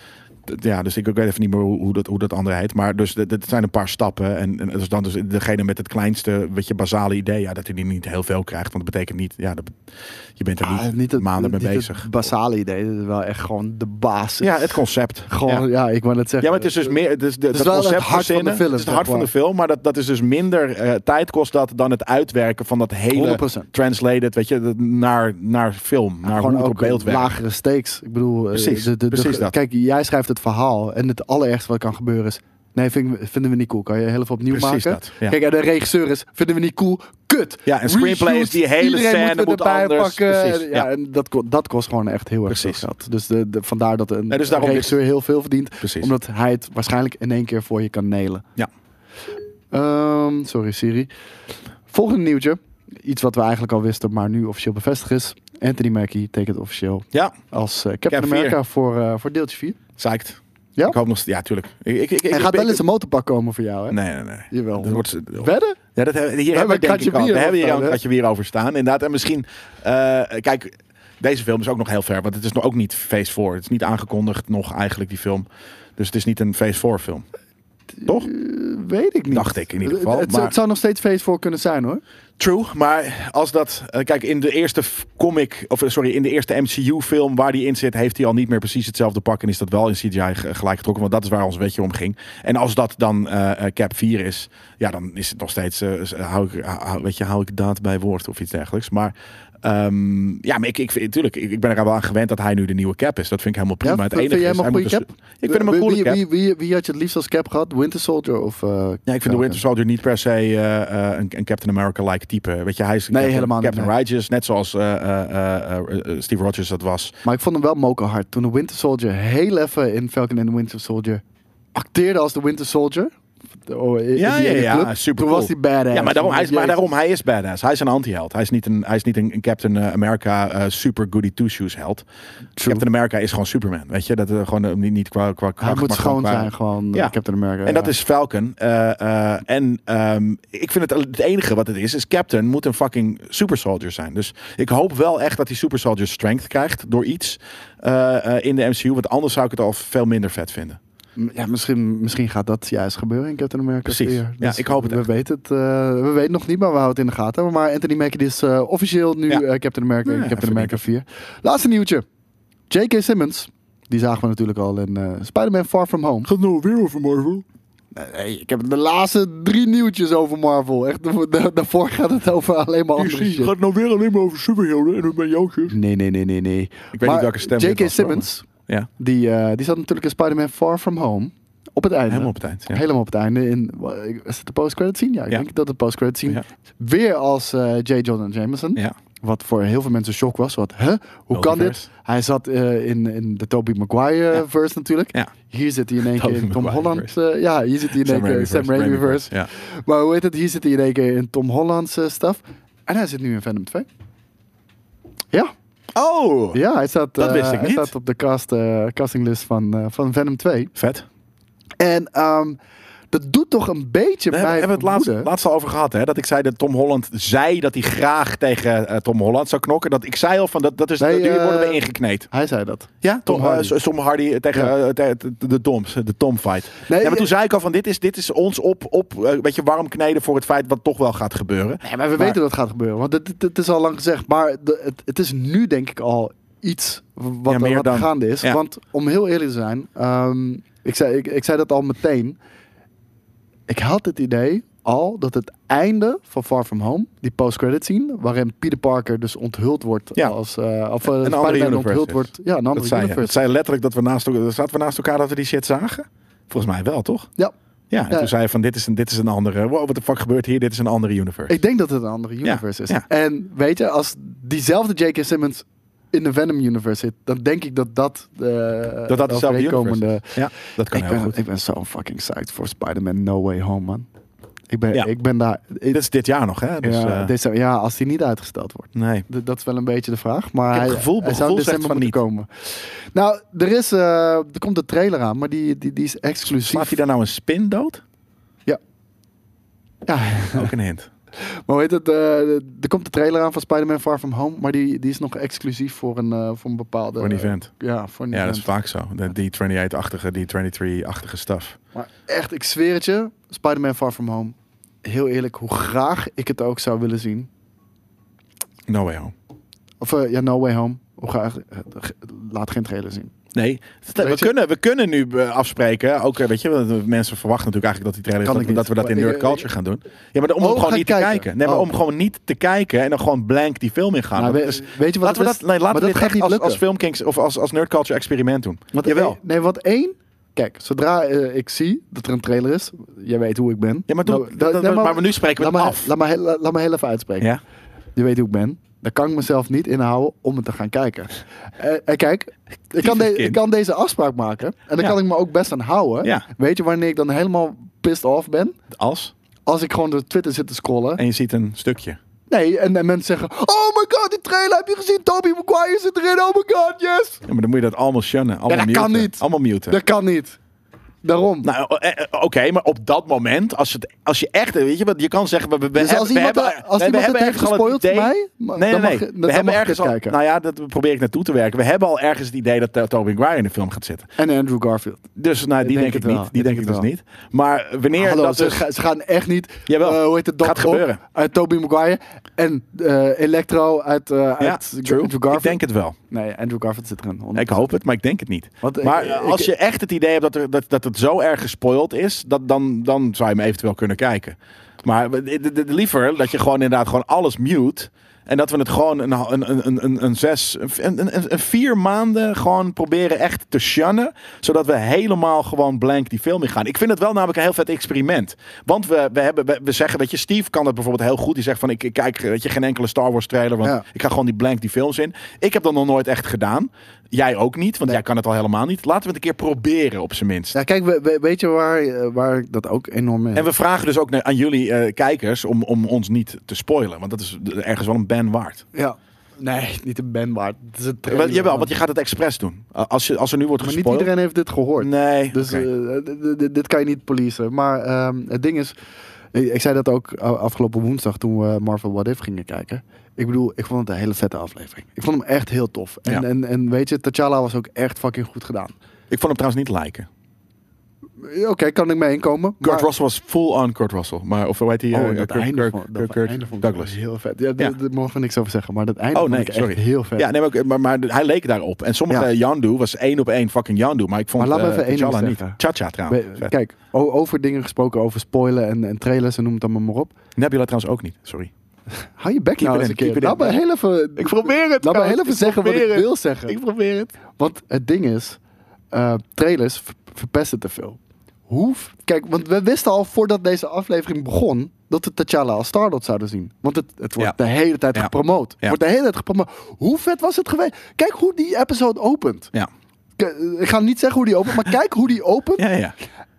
Speaker 2: D- Ja, dus ik ik weet even niet meer hoe, hoe dat, hoe dat andere heet. Maar dus d- dat zijn een paar stappen. En, en dus dan dus degene met het kleinste, weet je, basale idee. Ja, dat hij die niet heel veel krijgt. Want dat betekent niet, ja, dat, bet- je bent er
Speaker 3: Ah,
Speaker 2: niet,
Speaker 3: niet het,
Speaker 2: maanden mee
Speaker 3: niet het
Speaker 2: bezig.
Speaker 3: basale idee, dat is wel echt gewoon de basis.
Speaker 2: Ja, het concept.
Speaker 3: Gewoon,
Speaker 2: Ja.
Speaker 3: ja. ik wou net zeggen. eh,
Speaker 2: Ja, maar het is dus meer. Het is de,
Speaker 3: is
Speaker 2: dat
Speaker 3: wel het
Speaker 2: concept
Speaker 3: hart van de
Speaker 2: verzinnen.
Speaker 3: film,
Speaker 2: Het is het
Speaker 3: zeg
Speaker 2: hart van de
Speaker 3: maar.
Speaker 2: film, maar dat, dat is dus minder eh, tijd kost dat dan het uitwerken van dat hele
Speaker 3: 100%.
Speaker 2: translated, weet je, dat- naar, naar film, naar hoe
Speaker 3: gewoon
Speaker 2: het
Speaker 3: ook
Speaker 2: op beeld werkt.
Speaker 3: lagere stakes. Ik bedoel, eh,
Speaker 2: Precies,
Speaker 3: de, de, de-
Speaker 2: precies dat.
Speaker 3: kijk, jij schrijft het verhaal en het allerergste wat kan gebeuren is. Nee, vind, ik- vinden we niet cool. Kan je heel even opnieuw
Speaker 2: Precies
Speaker 3: maken?
Speaker 2: dat, ja.
Speaker 3: Kijk, en de regisseur is, vinden we niet cool. Kut.
Speaker 2: Ja, en screenplay is die hele
Speaker 3: Iedereen
Speaker 2: scène
Speaker 3: moeten we
Speaker 2: moet
Speaker 3: erbij
Speaker 2: anders.
Speaker 3: Pakken.
Speaker 2: Precies,
Speaker 3: ja,
Speaker 2: ja.
Speaker 3: En dat, ko- dat kost gewoon echt heel erg veel
Speaker 2: Precies.
Speaker 3: geld. Dus de, de, vandaar dat een
Speaker 2: Nee, dus daarom
Speaker 3: regisseur heel veel verdient.
Speaker 2: Precies.
Speaker 3: Omdat hij het waarschijnlijk in één keer voor je kan nelen.
Speaker 2: Ja.
Speaker 3: Ehm, sorry Siri. Volgende nieuwtje. Iets wat we eigenlijk al wisten, maar nu officieel bevestigd is. Anthony Mackie tekent officieel
Speaker 2: Ja,
Speaker 3: als eh, Captain
Speaker 2: Cap vier.
Speaker 3: America voor, eh, voor deeltje 4.
Speaker 2: psyched.
Speaker 3: Ja?
Speaker 2: Ik hoop nog, ja, tuurlijk. Ik, ik, ik,
Speaker 3: Hij
Speaker 2: ik-
Speaker 3: gaat
Speaker 2: ik-
Speaker 3: wel eens een motorpak komen voor jou, hè?
Speaker 2: Nee, nee, nee.
Speaker 3: (laughs) Jawel.
Speaker 2: Dat wordt,
Speaker 3: Wedden?
Speaker 2: Ja, dat hebben, hier hebben
Speaker 3: maar
Speaker 2: we denk
Speaker 3: kratje
Speaker 2: ik al.
Speaker 3: bier
Speaker 2: We hebben hier al
Speaker 3: overstaan, hè?
Speaker 2: een kratje bier over staan, inderdaad. En misschien, eh, kijk, deze film is ook nog heel ver, want het is nog ook niet Phase 4. Het is niet aangekondigd nog eigenlijk, die film. Dus het is niet een Phase 4 film. Toch?
Speaker 3: Eh, weet ik niet.
Speaker 2: Dacht ik in ieder geval,
Speaker 3: Het, het-
Speaker 2: maar-
Speaker 3: het zou nog steeds feest voor kunnen zijn, hoor.
Speaker 2: True, maar als dat. eh, kijk, in de eerste f- comic. Of eh, sorry, in de eerste MCU-film waar die in zit. heeft hij al niet meer precies hetzelfde pak. En is dat wel in CGI ge- gelijk getrokken. Want dat is waar ons wetje om ging. En als dat dan eh, eh, Cap 4 is. ja, dan is het nog steeds. eh, s- hou ik, hou- weet je, hou ik daad bij woord of iets dergelijks. Maar. ehm, ja, maar ik, ik, vind- tuurlijk, ik, ik ben er wel aan gewend dat hij nu de nieuwe cap is. Dat vind ik helemaal prima.
Speaker 3: Ja,
Speaker 2: het
Speaker 3: vind-
Speaker 2: enige
Speaker 3: vind jij
Speaker 2: is,
Speaker 3: hem een
Speaker 2: hij
Speaker 3: goede
Speaker 2: moet dus- Ik vind hem een
Speaker 3: Wie-
Speaker 2: coole
Speaker 3: wie,
Speaker 2: cap.
Speaker 3: Wie, wie, wie had je het liefst als cap gehad? Winter Soldier of... eh,
Speaker 2: Ja, ik vind
Speaker 3: Falcon?
Speaker 2: de Winter Soldier niet per se eh, eh, een, een Captain America-like type. Weet je, hij is een
Speaker 3: Nee,
Speaker 2: Captain,
Speaker 3: helemaal niet,
Speaker 2: Captain
Speaker 3: nee.
Speaker 2: Righteous, net zoals eh, eh, eh, eh, eh, Steve Rogers dat was.
Speaker 3: Maar ik vond hem wel mokerhard. Toen de Winter Soldier heel even in Falcon and the Winter Soldier acteerde als de Winter Soldier. Oh, in- in
Speaker 2: Ja,
Speaker 3: die
Speaker 2: ja,
Speaker 3: ene
Speaker 2: ja,
Speaker 3: club.
Speaker 2: super
Speaker 3: Toen
Speaker 2: cool.
Speaker 3: was hij badass.
Speaker 2: ja, maar daarom, hij is, maar
Speaker 3: Jezus.
Speaker 2: daarom, hij is badass. Hij is een anti-held. Hij is niet een, hij is niet een, een Captain eh, America eh, super goody two-shoes held. Captain America is gewoon Superman, weet je. Dat eh, gewoon eh, niet, niet qua, qua
Speaker 3: Hij
Speaker 2: kracht,
Speaker 3: moet
Speaker 2: maar gewoon
Speaker 3: schoon
Speaker 2: qua-
Speaker 3: zijn, gewoon
Speaker 2: Ja.
Speaker 3: ja. Captain America.
Speaker 2: En dat
Speaker 3: ja.
Speaker 2: is Falcon. Eh, eh, en ehm, ik vind het het enige wat het is, is Captain moet een fucking super soldier zijn. Dus ik hoop wel echt dat die super soldier strength krijgt door iets eh, eh, in de MCU. Want anders zou ik het al veel minder vet vinden.
Speaker 3: M- Ja, misschien, misschien gaat dat juist gebeuren in Captain America.
Speaker 2: Precies.
Speaker 3: 4.
Speaker 2: Ja, ik hoop het
Speaker 3: We
Speaker 2: echt.
Speaker 3: weten het. eh, we weten nog niet, maar we houden het in de gaten. Maar Anthony Mackie is eh, officieel nu
Speaker 2: Ja.
Speaker 3: eh, Captain America en
Speaker 2: Ja,
Speaker 3: Captain
Speaker 2: even
Speaker 3: America 4. Laatste nieuwtje. J.K. Simmons. Die zagen we natuurlijk al in eh, Spider-Man Far From Home.
Speaker 2: Gaat nou weer over Marvel?
Speaker 3: Nee, ik heb de laatste drie nieuwtjes over Marvel. Echt, (laughs) da- da- daarvoor gaat het over alleen maar andere shit.
Speaker 2: nou weer alleen maar over superhelden en hun jootjes.
Speaker 3: Nee, nee, nee, nee, nee.
Speaker 2: Ik weet niet welke stem dit
Speaker 3: J.K.
Speaker 2: was, hoor,
Speaker 3: Simmons
Speaker 2: Ja,
Speaker 3: Die, eh, die zat natuurlijk in Spider-Man Far From Home. Op het einde.
Speaker 2: helemaal op tijd. Ja.
Speaker 3: Helemaal op het einde. In, is het de post-credit scene? Ja, ik
Speaker 2: Ja.
Speaker 3: denk dat de post-credit scene.
Speaker 2: Ja.
Speaker 3: Weer als eh J. Jonah Jameson.
Speaker 2: Ja.
Speaker 3: Wat voor heel veel mensen shock was. Wat, hè? Hoe kan dit?
Speaker 2: Multiverse.
Speaker 3: Hij zat eh, in, in de Tobey Maguire eh,
Speaker 2: Ja.
Speaker 3: verse natuurlijk.
Speaker 2: Ja.
Speaker 3: Hier zit hij in één keer
Speaker 2: (laughs) Tobey
Speaker 3: in Tom
Speaker 2: Maguire
Speaker 3: Holland. eh, ja, hier zit hij in één keer in Sam
Speaker 2: Raimi
Speaker 3: Raimi verse.
Speaker 2: verse, Ja.
Speaker 3: Maar hoe heet het? Hier zit hij in één keer in Tom Holland's eh, stuff. En hij zit nu in Venom 2. Ja,
Speaker 2: Oh!
Speaker 3: ja hij, staat,
Speaker 2: Dat
Speaker 3: eh,
Speaker 2: wist ik
Speaker 3: hij
Speaker 2: niet.
Speaker 3: staat op de cast, eh, castinglist van, eh, van Venom 2.
Speaker 2: Vet.
Speaker 3: En ehm, dat doet toch een
Speaker 2: We
Speaker 3: beetje bij
Speaker 2: hebben, hebben het laatst,
Speaker 3: vermoeden.
Speaker 2: laatst al over gehad. Hè? Dat ik zei dat Tom Holland zei dat hij graag tegen eh, Tom Holland zou knokken. Dat ik zei al van dat, dat is.
Speaker 3: Nee,
Speaker 2: dat- jullie worden
Speaker 3: eh,
Speaker 2: weer ingekneet.
Speaker 3: Hij zei dat.
Speaker 2: Ja, Tom, eh,
Speaker 3: Hardy.
Speaker 2: so- Tom Hardy tegen
Speaker 3: Ja.
Speaker 2: eh, te- te- de Toms, eh, de Tom fight.
Speaker 3: Nee,
Speaker 2: ja, maar
Speaker 3: eh,
Speaker 2: toen zei ik al van dit is, dit is ons op, op eh, een beetje warm kneden voor het feit wat toch wel gaat gebeuren.
Speaker 3: Nee, maar we weten dat het gaat gebeuren. Want het, het- het is al lang gezegd. Maar de- het, het is nu denk ik al iets wat,
Speaker 2: Ja, meer
Speaker 3: wat
Speaker 2: dan.
Speaker 3: gaande is.
Speaker 2: Ja.
Speaker 3: Want om heel eerlijk te zijn. ehm, ik, zei, ik, ik zei dat al meteen. Ik had het idee al dat het einde van Far From Home, die post-credit scene, waarin Peter Parker dus onthuld wordt
Speaker 2: Ja.
Speaker 3: als... eh, of eh,
Speaker 2: andere
Speaker 3: Spider-Man
Speaker 2: universe
Speaker 3: onthuld
Speaker 2: is.
Speaker 3: wordt. Ja, een andere
Speaker 2: Dat zei, je.
Speaker 3: universe.
Speaker 2: dat zei letterlijk dat we naast, elkaar- zaten we naast elkaar dat we die shit zagen. Volgens mij wel, toch?
Speaker 3: Ja.
Speaker 2: Ja, en
Speaker 3: Ja.
Speaker 2: toen zei je van dit is een, dit is een andere. Wow, wat de fuck gebeurt hier? Dit is een andere universe.
Speaker 3: Ik denk dat het een andere universe is.
Speaker 2: ja.
Speaker 3: En weet je, als diezelfde J.K. Simmons in de Venom universe zit, dan denk ik dat dat eh,
Speaker 2: dat dat dezelfde
Speaker 3: overeenkomende-
Speaker 2: universe is. Ja, dat kan
Speaker 3: Ik eh,
Speaker 2: heel
Speaker 3: ben,
Speaker 2: goed.
Speaker 3: ik ben zo fucking psyched voor Spider-Man No Way Home, man. Ik ben,
Speaker 2: Ja.
Speaker 3: ik ben daar. ik-
Speaker 2: dit is dit jaar nog, hè? Dus,
Speaker 3: ja,
Speaker 2: eh,
Speaker 3: december- ja, als die niet uitgesteld wordt.
Speaker 2: nee.
Speaker 3: D- dat is wel een beetje de vraag. Maar
Speaker 2: Ik heb het
Speaker 3: hij-
Speaker 2: gevoel-
Speaker 3: hij
Speaker 2: mijn
Speaker 3: zou in
Speaker 2: gevoel zegt
Speaker 3: december moeten
Speaker 2: van
Speaker 3: komen. Nou, er, is, eh, er komt de trailer aan, maar die, die, die is
Speaker 2: Slaat
Speaker 3: exclusief.
Speaker 2: hij daar nou een spin
Speaker 3: (laughs)
Speaker 2: dood?
Speaker 3: Ja,
Speaker 2: Ook een hint.
Speaker 3: Maar weet het, eh, er komt de trailer aan van Spider-Man Far From Home, maar die, die is nog exclusief voor een, eh, voor een bepaalde...
Speaker 2: Voor een event.
Speaker 3: ja, voor een
Speaker 2: Ja, dat
Speaker 3: event.
Speaker 2: is vaak zo. De D28-achtige, D23-achtige stuff.
Speaker 3: Maar echt, ik zweer het je, Spider-Man Far From Home, heel eerlijk, hoe graag ik het ook zou willen zien.
Speaker 2: No way home.
Speaker 3: Of eh, ja, No Way Home. Hoe graag, eh, ge- laat geen trailer zien.
Speaker 2: Nee, we
Speaker 3: Weet je-
Speaker 2: kunnen, we kunnen nu eh, afspreken. Ook, eh, weet je, want mensen verwachten natuurlijk eigenlijk dat die trailer
Speaker 3: Kan
Speaker 2: dat,
Speaker 3: ik
Speaker 2: we-
Speaker 3: niet.
Speaker 2: dat we dat in
Speaker 3: Maar
Speaker 2: nerd
Speaker 3: ik-
Speaker 2: culture gaan doen. Ja, maar om
Speaker 3: Oh, ga
Speaker 2: gewoon
Speaker 3: ik
Speaker 2: niet
Speaker 3: kijken?
Speaker 2: te kijken. Nee, maar
Speaker 3: Oh.
Speaker 2: om gewoon niet te kijken en dan gewoon blank die film ingaan.
Speaker 3: Nou,
Speaker 2: Want
Speaker 3: we-
Speaker 2: het is-
Speaker 3: weet je wat
Speaker 2: laten we
Speaker 3: het is?
Speaker 2: Ah, dat, nee, laten
Speaker 3: Maar
Speaker 2: we
Speaker 3: dat
Speaker 2: dit
Speaker 3: gaat
Speaker 2: echt
Speaker 3: niet
Speaker 2: als,
Speaker 3: lukken.
Speaker 2: als filmkings of als, als nerd culture experiment doen.
Speaker 3: Want
Speaker 2: Jawel.
Speaker 3: één- nee, want één... Kijk, zodra eh, ik zie dat er een trailer is, jij weet hoe ik ben.
Speaker 2: Ja, maar doe-
Speaker 3: Nou,
Speaker 2: dat- dat-
Speaker 3: nee,
Speaker 2: maar nu spreken we
Speaker 3: laat
Speaker 2: het
Speaker 3: me-
Speaker 2: af.
Speaker 3: Laat me, heel- laat me heel even uitspreken.
Speaker 2: Ja?
Speaker 3: je weet hoe ik ben. Dan kan ik mezelf niet inhouden om het te gaan kijken. Eh, eh, kijk, ik kan, de-
Speaker 2: Typisch kind.
Speaker 3: ik kan deze afspraak maken. En dan
Speaker 2: Ja.
Speaker 3: kan ik me ook best aan houden.
Speaker 2: Ja.
Speaker 3: Weet je wanneer ik dan helemaal pissed off ben?
Speaker 2: Als?
Speaker 3: Als ik gewoon door Twitter zit te scrollen.
Speaker 2: En je ziet een stukje.
Speaker 3: Nee, en, en mensen zeggen... Oh my god, die trailer heb je gezien? Toby Maguire zit erin. Oh my god, yes.
Speaker 2: Ja, maar dan moet je dat allemaal shunnen. Allemaal
Speaker 3: dat kan
Speaker 2: muten.
Speaker 3: niet.
Speaker 2: Allemaal muten.
Speaker 3: Dat kan niet. Daarom.
Speaker 2: Nou, eh, eh, oké, maar op dat moment, als, het, als je echt, weet je wat, je kan zeggen, we, we, we
Speaker 3: Dus
Speaker 2: hebben,
Speaker 3: als
Speaker 2: we
Speaker 3: iemand,
Speaker 2: hebben,
Speaker 3: eh, als
Speaker 2: nee, we
Speaker 3: iemand
Speaker 2: hebben
Speaker 3: het heeft
Speaker 2: ergens al
Speaker 3: gespoild voor
Speaker 2: idee-
Speaker 3: mij, maar
Speaker 2: nee, nee,
Speaker 3: dan mag
Speaker 2: nee.
Speaker 3: je- dan-
Speaker 2: we
Speaker 3: dan
Speaker 2: hebben
Speaker 3: mag je
Speaker 2: ergens
Speaker 3: het
Speaker 2: al,
Speaker 3: kijken.
Speaker 2: nou ja, dat probeer ik naartoe te werken. We hebben al ergens het idee dat eh, Tobey Maguire in de film gaat zitten.
Speaker 3: en Andrew Garfield.
Speaker 2: Dus nou, die
Speaker 3: denk
Speaker 2: denk,
Speaker 3: het
Speaker 2: ik
Speaker 3: wel.
Speaker 2: niet. Die
Speaker 3: Ik
Speaker 2: denk
Speaker 3: denk
Speaker 2: ik
Speaker 3: het
Speaker 2: dus niet. Maar wanneer
Speaker 3: Hallo,
Speaker 2: dat
Speaker 3: ze,
Speaker 2: dus,
Speaker 3: ga- ze gaan echt niet.
Speaker 2: Jawel.
Speaker 3: eh, hoe heet het?
Speaker 2: Gaat gebeuren.
Speaker 3: Uit Toby Maguire en eh, Electro uit, eh,
Speaker 2: ja,
Speaker 3: uit
Speaker 2: true.
Speaker 3: Andrew
Speaker 2: Ik
Speaker 3: Garfield.
Speaker 2: denk het wel.
Speaker 3: Nee, Andrew Garfield zit erin. 100%.
Speaker 2: Ik hoop het, maar ik denk het niet.
Speaker 3: Want ik-
Speaker 2: maar eh,
Speaker 3: ik-
Speaker 2: als je echt het idee hebt dat, er, dat, dat het zo erg gespoild is, dat, dan, dan zou je hem eventueel kunnen kijken. Maar we- de- de- de- liever dat je gewoon inderdaad gewoon alles mute. En dat we het gewoon een, een, een- een, een, een zes, een, een, een- een vier maanden gewoon proberen echt te shunnen. Zodat we helemaal gewoon blank die film in gaan. Ik vind het wel namelijk een heel vet experiment. Want we, we, hebben, we, we zeggen, weet je, Steve kan dat bijvoorbeeld heel goed. Die zegt van, ik, ik kijk weet je, geen enkele Star Wars trailer. Want
Speaker 3: Ja.
Speaker 2: ik ga gewoon die blank die films in. Ik heb dat nog nooit echt gedaan. Jij ook niet, want jij kan het al helemaal niet. Laten we het een keer proberen op zijn minst.
Speaker 3: Ja, kijk, we, we- weet je waar, eh, waar ik dat ook enorm in
Speaker 2: En we vragen dus ook naar- aan jullie eh, kijkers om, om ons niet te spoilen. Want dat is ergens wel een ban waard. Eh,
Speaker 3: Ja. Nee, niet een band, maar het is een
Speaker 2: Wel,
Speaker 3: trailer.
Speaker 2: jawel, want je gaat het expres doen. Uh, Als, je, als er nu wordt
Speaker 3: Maar niet
Speaker 2: gespoild.
Speaker 3: iedereen heeft dit gehoord.
Speaker 2: Nee.
Speaker 3: Dus
Speaker 2: oké.
Speaker 3: eh, d- d- d- dit kan je niet policen. Maar ehm, het ding is, ik, ik zei dat ook a- afgelopen woensdag toen we Marvel What If gingen kijken. Ik bedoel, ik vond het een hele vette aflevering. Ik vond hem echt heel tof. En,
Speaker 2: Ja.
Speaker 3: en, en weet je, T'Challa was ook echt fucking goed gedaan. Eh,
Speaker 2: Ik vond hem trouwens niet liken.
Speaker 3: Oké, kan ik mee inkomen.
Speaker 2: Kurt
Speaker 3: maar-
Speaker 2: Russell was full on Kurt Russell. Maar of hoe heet hij?
Speaker 3: Oh,
Speaker 2: eh,
Speaker 3: dat
Speaker 2: Kirk-
Speaker 3: einde
Speaker 2: Kirk-
Speaker 3: vond- dat
Speaker 2: Kirk- Kirk
Speaker 3: einde vond ik
Speaker 2: Douglas.
Speaker 3: Heel vet. Ja, d-
Speaker 2: Ja.
Speaker 3: d- Daar mogen we niks over zeggen, maar dat einde
Speaker 2: Oh
Speaker 3: vond
Speaker 2: nee,
Speaker 3: ik echt
Speaker 2: sorry.
Speaker 3: heel vet.
Speaker 2: Ja, nee, maar, ook- maar, maar hij leek daarop. En sommige
Speaker 3: Ja.
Speaker 2: eh, Yandu was één op één fucking Yandu. Maar ik vond
Speaker 3: Maar laat me
Speaker 2: eh,
Speaker 3: even één ding
Speaker 2: T'Challa niet.
Speaker 3: zeggen.
Speaker 2: Cha-Cha trouwens.
Speaker 3: We-
Speaker 2: nou, Vet.
Speaker 3: kijk, o- over dingen gesproken, over spoilen en, en trailers en noem het allemaal maar op.
Speaker 2: Nebula trouwens ook niet. Sorry.
Speaker 3: Hou je bek nou
Speaker 2: it
Speaker 3: eens
Speaker 2: in,
Speaker 3: een keer.
Speaker 2: keep it
Speaker 3: Laat
Speaker 2: in.
Speaker 3: me heel even,
Speaker 2: Ik probeer het.
Speaker 3: laat me
Speaker 2: Koos.
Speaker 3: heel even
Speaker 2: Ik
Speaker 3: zeggen wat ik
Speaker 2: probeer het.
Speaker 3: wil zeggen.
Speaker 2: Ik probeer het.
Speaker 3: Want het ding is, eh, trailers ver- verpesten te veel. Hoe? f- Kijk, want we wisten al voordat deze aflevering begon dat we T'Challa als Stardot zouden zien. Want het, het wordt
Speaker 2: Ja.
Speaker 3: de hele tijd
Speaker 2: Ja.
Speaker 3: gepromoot.
Speaker 2: Ja.
Speaker 3: Wordt de hele tijd gepromoot. Hoe vet was het geweest? Kijk hoe die episode opent.
Speaker 2: Ja.
Speaker 3: K- eh, Ik ga niet zeggen hoe die opent, maar kijk hoe die opent.
Speaker 2: (laughs) Ja, ja.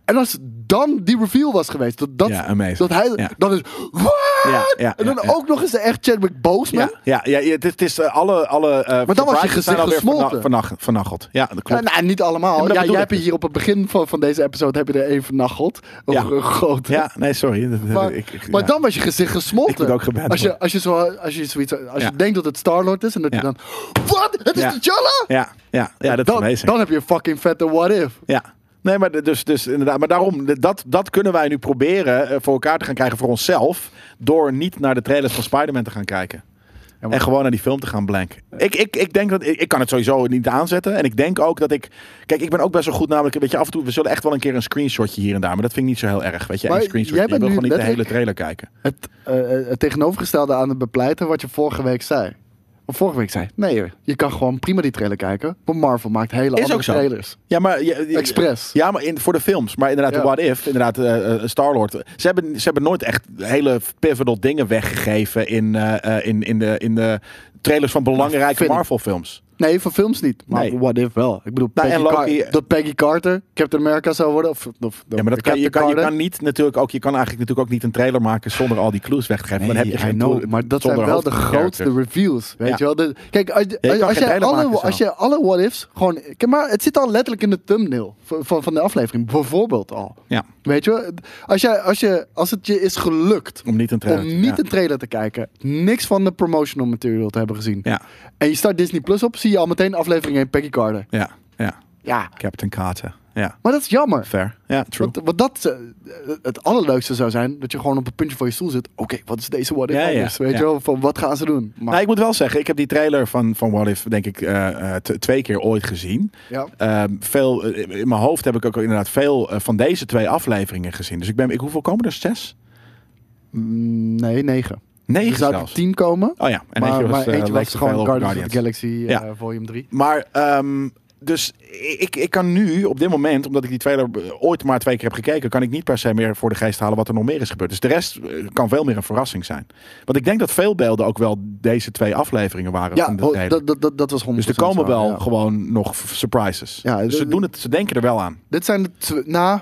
Speaker 3: En als dan die reveal was geweest, dat, dat,
Speaker 2: Ja, amazing.
Speaker 3: dat hij,
Speaker 2: Ja.
Speaker 3: dan is, what?
Speaker 2: Ja, ja,
Speaker 3: en dan
Speaker 2: ja, ja.
Speaker 3: ook nog eens de echt Chadwick Boseman.
Speaker 2: Ja, ja, ja, ja, het is, het is eh, alle, alle eh
Speaker 3: was je
Speaker 2: surprises zijn
Speaker 3: gezicht
Speaker 2: alweer verna-
Speaker 3: gesmolten.
Speaker 2: vernach- vernacheld. Ja, dat klopt.
Speaker 3: Nou, nou, niet
Speaker 2: Ja,
Speaker 3: allemaal.
Speaker 2: maar
Speaker 3: Ja,
Speaker 2: dat bedoel
Speaker 3: jij
Speaker 2: ik
Speaker 3: hebt
Speaker 2: dus.
Speaker 3: hier op het begin van, van deze episode heb je er één vernacheld. Of
Speaker 2: Ja.
Speaker 3: ja. groot.
Speaker 2: Ja, nee, sorry. Dat- dat-
Speaker 3: (laughs) Maar,
Speaker 2: ik- ik-
Speaker 3: maar
Speaker 2: ja.
Speaker 3: dan was je gezicht gesmolten.
Speaker 2: Ik moet ook geband
Speaker 3: als je,
Speaker 2: worden.
Speaker 3: als je, zo, als je, zoiets, als
Speaker 2: Ja.
Speaker 3: je denkt dat het Star-Lord is en dat
Speaker 2: Ja.
Speaker 3: je dan... Wat? Het is
Speaker 2: Ja.
Speaker 3: de T'Challa?
Speaker 2: Ja, ja, ja, dat is
Speaker 3: dan,
Speaker 2: amazing.
Speaker 3: dan heb je een fucking vette what-if.
Speaker 2: Ja. Nee, maar d- dus, dus inderdaad. Maar daarom, d- dat, dat kunnen wij nu proberen eh, voor elkaar te gaan krijgen voor onszelf. Door niet naar de trailers van Spider-Man te gaan kijken.
Speaker 3: maar-
Speaker 2: En gewoon naar die film te gaan blank. Ik, ik, ik denk dat ik, ik kan het sowieso niet aanzetten. En ik denk ook dat ik. Kijk, ik ben ook best wel goed, namelijk. Weet je, af en toe. We zullen echt wel een keer een screenshotje hier en daar. Maar dat vind ik niet zo heel erg. Weet je,
Speaker 3: Maar
Speaker 2: een screenshotje.
Speaker 3: jij
Speaker 2: Je wil
Speaker 3: bent
Speaker 2: gewoon
Speaker 3: nu
Speaker 2: niet de hele
Speaker 3: letterlijk-
Speaker 2: trailer kijken.
Speaker 3: Het, eh, eh, het tegenovergestelde aan het bepleiten wat je vorige week zei. Of vorige week zei. Nee, joh, je kan gewoon prima die trailer kijken. Want Marvel maakt hele
Speaker 2: Is
Speaker 3: andere
Speaker 2: ook zo.
Speaker 3: trailers.
Speaker 2: Ja, maar. je- je-
Speaker 3: Express.
Speaker 2: Ja, maar in, voor de films. Maar inderdaad, de
Speaker 3: Ja.
Speaker 2: What If, inderdaad, eh, eh, Star-Lord. Ze hebben, ze hebben nooit echt hele pivotal dingen weggegeven in, eh, eh, in, in, de, in de trailers van belangrijke
Speaker 3: Vind ik.
Speaker 2: Marvel-films.
Speaker 3: Nee, voor films niet. Maar
Speaker 2: Nee.
Speaker 3: voor what if wel. Ik bedoel,
Speaker 2: Nou,
Speaker 3: Peggy
Speaker 2: en Loki-
Speaker 3: Car- dat Peggy Carter Captain America zou worden. Of, of,
Speaker 2: Ja, maar dat kan, je, kan, je
Speaker 3: Captain
Speaker 2: kan niet natuurlijk ook, je kan eigenlijk natuurlijk ook niet een trailer maken zonder al die clues weg te geven. maar dan heb je
Speaker 3: I
Speaker 2: geen
Speaker 3: know,
Speaker 2: clue-
Speaker 3: maar dat zijn
Speaker 2: zonder
Speaker 3: wel de
Speaker 2: hoofdcharacters.
Speaker 3: grootste reviews. Weet
Speaker 2: Ja.
Speaker 3: je wel? De- kijk, als,
Speaker 2: kan
Speaker 3: als,
Speaker 2: geen
Speaker 3: jij
Speaker 2: trailer
Speaker 3: alle,
Speaker 2: maken zo.
Speaker 3: als je alle what-ifs gewoon... Kijk maar, het zit al letterlijk in de thumbnail van, van, van de aflevering. Bijvoorbeeld al.
Speaker 2: Ja,
Speaker 3: Weet je wel? Als, jij, als, je, als het je is gelukt
Speaker 2: om niet een trailer.
Speaker 3: om
Speaker 2: te-
Speaker 3: niet
Speaker 2: ja.
Speaker 3: een trailer te kijken, niks van de promotional material te hebben gezien...
Speaker 2: Ja,
Speaker 3: en je start Disney Plus op, zie je al meteen aflevering 1 Peggy Carter.
Speaker 2: ja, ja.
Speaker 3: Ja,
Speaker 2: Captain Carter. Ja,
Speaker 3: maar dat is jammer.
Speaker 2: fair. Ja, true.
Speaker 3: Want, want dat eh, het allerleukste zou zijn, dat je gewoon op het puntje van je stoel zit. Oké, wat is deze what if
Speaker 2: Ja, ja,
Speaker 3: anders? Weet
Speaker 2: ja.
Speaker 3: je wel, van wat gaan ze doen? Maar,
Speaker 2: Nou, ik moet wel zeggen, ik heb die trailer van, van What If, denk ik, eh, eh, t- twee keer ooit gezien.
Speaker 3: ja.
Speaker 2: Ehm, veel, eh, in mijn hoofd heb ik ook inderdaad veel eh, van deze twee afleveringen gezien. Dus ik ben, ik, hoeveel komen er? Zes?
Speaker 3: Mm, Nee, 9.
Speaker 2: Negen
Speaker 3: Er zou
Speaker 2: zelfs.
Speaker 3: er 10 komen.
Speaker 2: Oh ja, en
Speaker 3: maar
Speaker 2: eentje was,
Speaker 3: maar
Speaker 2: eh,
Speaker 3: eentje
Speaker 2: Lake
Speaker 3: was
Speaker 2: of
Speaker 3: gewoon
Speaker 2: Fire
Speaker 3: Guardians,
Speaker 2: of
Speaker 3: of the
Speaker 2: Guardians.
Speaker 3: Galaxy eh,
Speaker 2: Ja.
Speaker 3: volume 3.
Speaker 2: Maar ehm, dus ik, ik kan nu, op dit moment, omdat ik die trailer eh, ooit maar twee keer heb gekeken, kan ik niet per se meer voor de geest halen wat er nog meer is gebeurd. Dus de rest eh, kan veel meer een verrassing zijn. Want ik denk dat veel beelden ook wel deze twee afleveringen waren.
Speaker 3: Ja,
Speaker 2: van de
Speaker 3: oh,
Speaker 2: trailer.
Speaker 3: dat, dat, dat, dat was 100%
Speaker 2: dus er komen
Speaker 3: zo,
Speaker 2: wel
Speaker 3: ja.
Speaker 2: gewoon nog f- surprises.
Speaker 3: Ja,
Speaker 2: dus
Speaker 3: de-
Speaker 2: ze, doen het, ze denken er wel aan.
Speaker 3: Dit zijn de, tw- nou,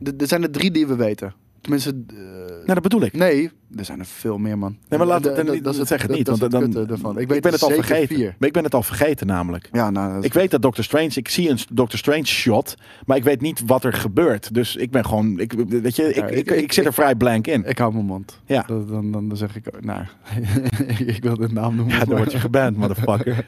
Speaker 3: dit, dit zijn de drie die we weten. Tenminste, eh,
Speaker 2: Nou, dat bedoel ik.
Speaker 3: nee, er zijn er veel meer, man.
Speaker 2: Nee, maar laat
Speaker 3: Da-
Speaker 2: het dan
Speaker 3: da-
Speaker 2: niet,
Speaker 3: dat
Speaker 2: dat
Speaker 3: is
Speaker 2: zeg het
Speaker 3: dat-
Speaker 2: niet.
Speaker 3: dat
Speaker 2: Want
Speaker 3: is
Speaker 2: dan,
Speaker 3: het kutte ervan.
Speaker 2: ik,
Speaker 3: weet
Speaker 2: ben het al
Speaker 3: zeker
Speaker 2: vergeten.
Speaker 3: vier.
Speaker 2: Maar ik ben het al vergeten namelijk.
Speaker 3: Ja, nou, dat is-
Speaker 2: Ik weet dat Doctor Strange, ik zie een Doctor Strange shot, maar ik weet niet wat er gebeurt. Dus ik ben gewoon, ik, weet je, ik,
Speaker 3: Ja,
Speaker 2: ik, ik,
Speaker 3: ik- ik-
Speaker 2: zit er
Speaker 3: ik-
Speaker 2: vrij blank in.
Speaker 3: Ik hou mijn mond.
Speaker 2: Ja.
Speaker 3: Dan, dan, dan zeg ik, ook- nou, (laughs) ik wil de naam noemen.
Speaker 2: ja, dan
Speaker 3: maar- (laughs)
Speaker 2: word je geband, motherfucker.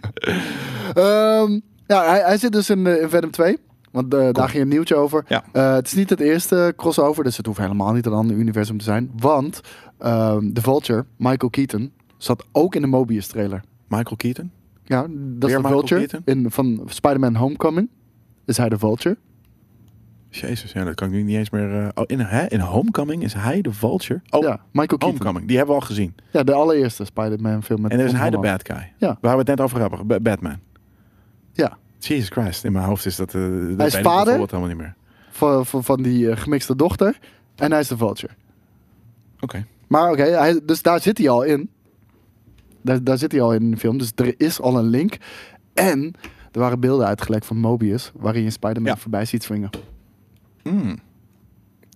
Speaker 3: Ehm, ja, hij, hij zit dus in, eh, in Venom 2. Want eh, daar ging een nieuwtje over.
Speaker 2: Ja.
Speaker 3: Eh, het is niet het eerste crossover, dus het hoeft helemaal niet een ander universum te zijn. Want ehm, de Vulture, Michael Keaton, zat ook in de Mobius trailer.
Speaker 2: Michael Keaton?
Speaker 3: Ja, dat is de
Speaker 2: Michael
Speaker 3: Vulture.
Speaker 2: Keaton?
Speaker 3: In, van Spider-Man Homecoming is hij de Vulture.
Speaker 2: Jezus, ja, dat kan ik nu niet eens meer... eh, oh, in, hè? in Homecoming is hij de vulture? Oh,
Speaker 3: ja, Michael Keaton.
Speaker 2: Homecoming, die hebben we al gezien.
Speaker 3: Ja, de allereerste Spider-Man film. Met
Speaker 2: En dan is
Speaker 3: Tom
Speaker 2: hij de
Speaker 3: Holland.
Speaker 2: bad guy.
Speaker 3: Ja.
Speaker 2: Waar we het net over hebben, Ba- Batman.
Speaker 3: Ja,
Speaker 2: Jesus Christ, in mijn hoofd is dat... eh dat weet ik
Speaker 3: vader.
Speaker 2: bijvoorbeeld helemaal niet meer.
Speaker 3: van, van, van die eh, gemixte dochter. En hij is de Vulture.
Speaker 2: Oké.
Speaker 3: Maar oké, hij- dus daar zit hij al in. Daar, daar zit hij al in de film. Dus er is al een link. En er waren beelden uitgelekt van Mobius, waarin je Spider-Man
Speaker 2: Ja.
Speaker 3: voorbij ziet swingen.
Speaker 2: Hmm.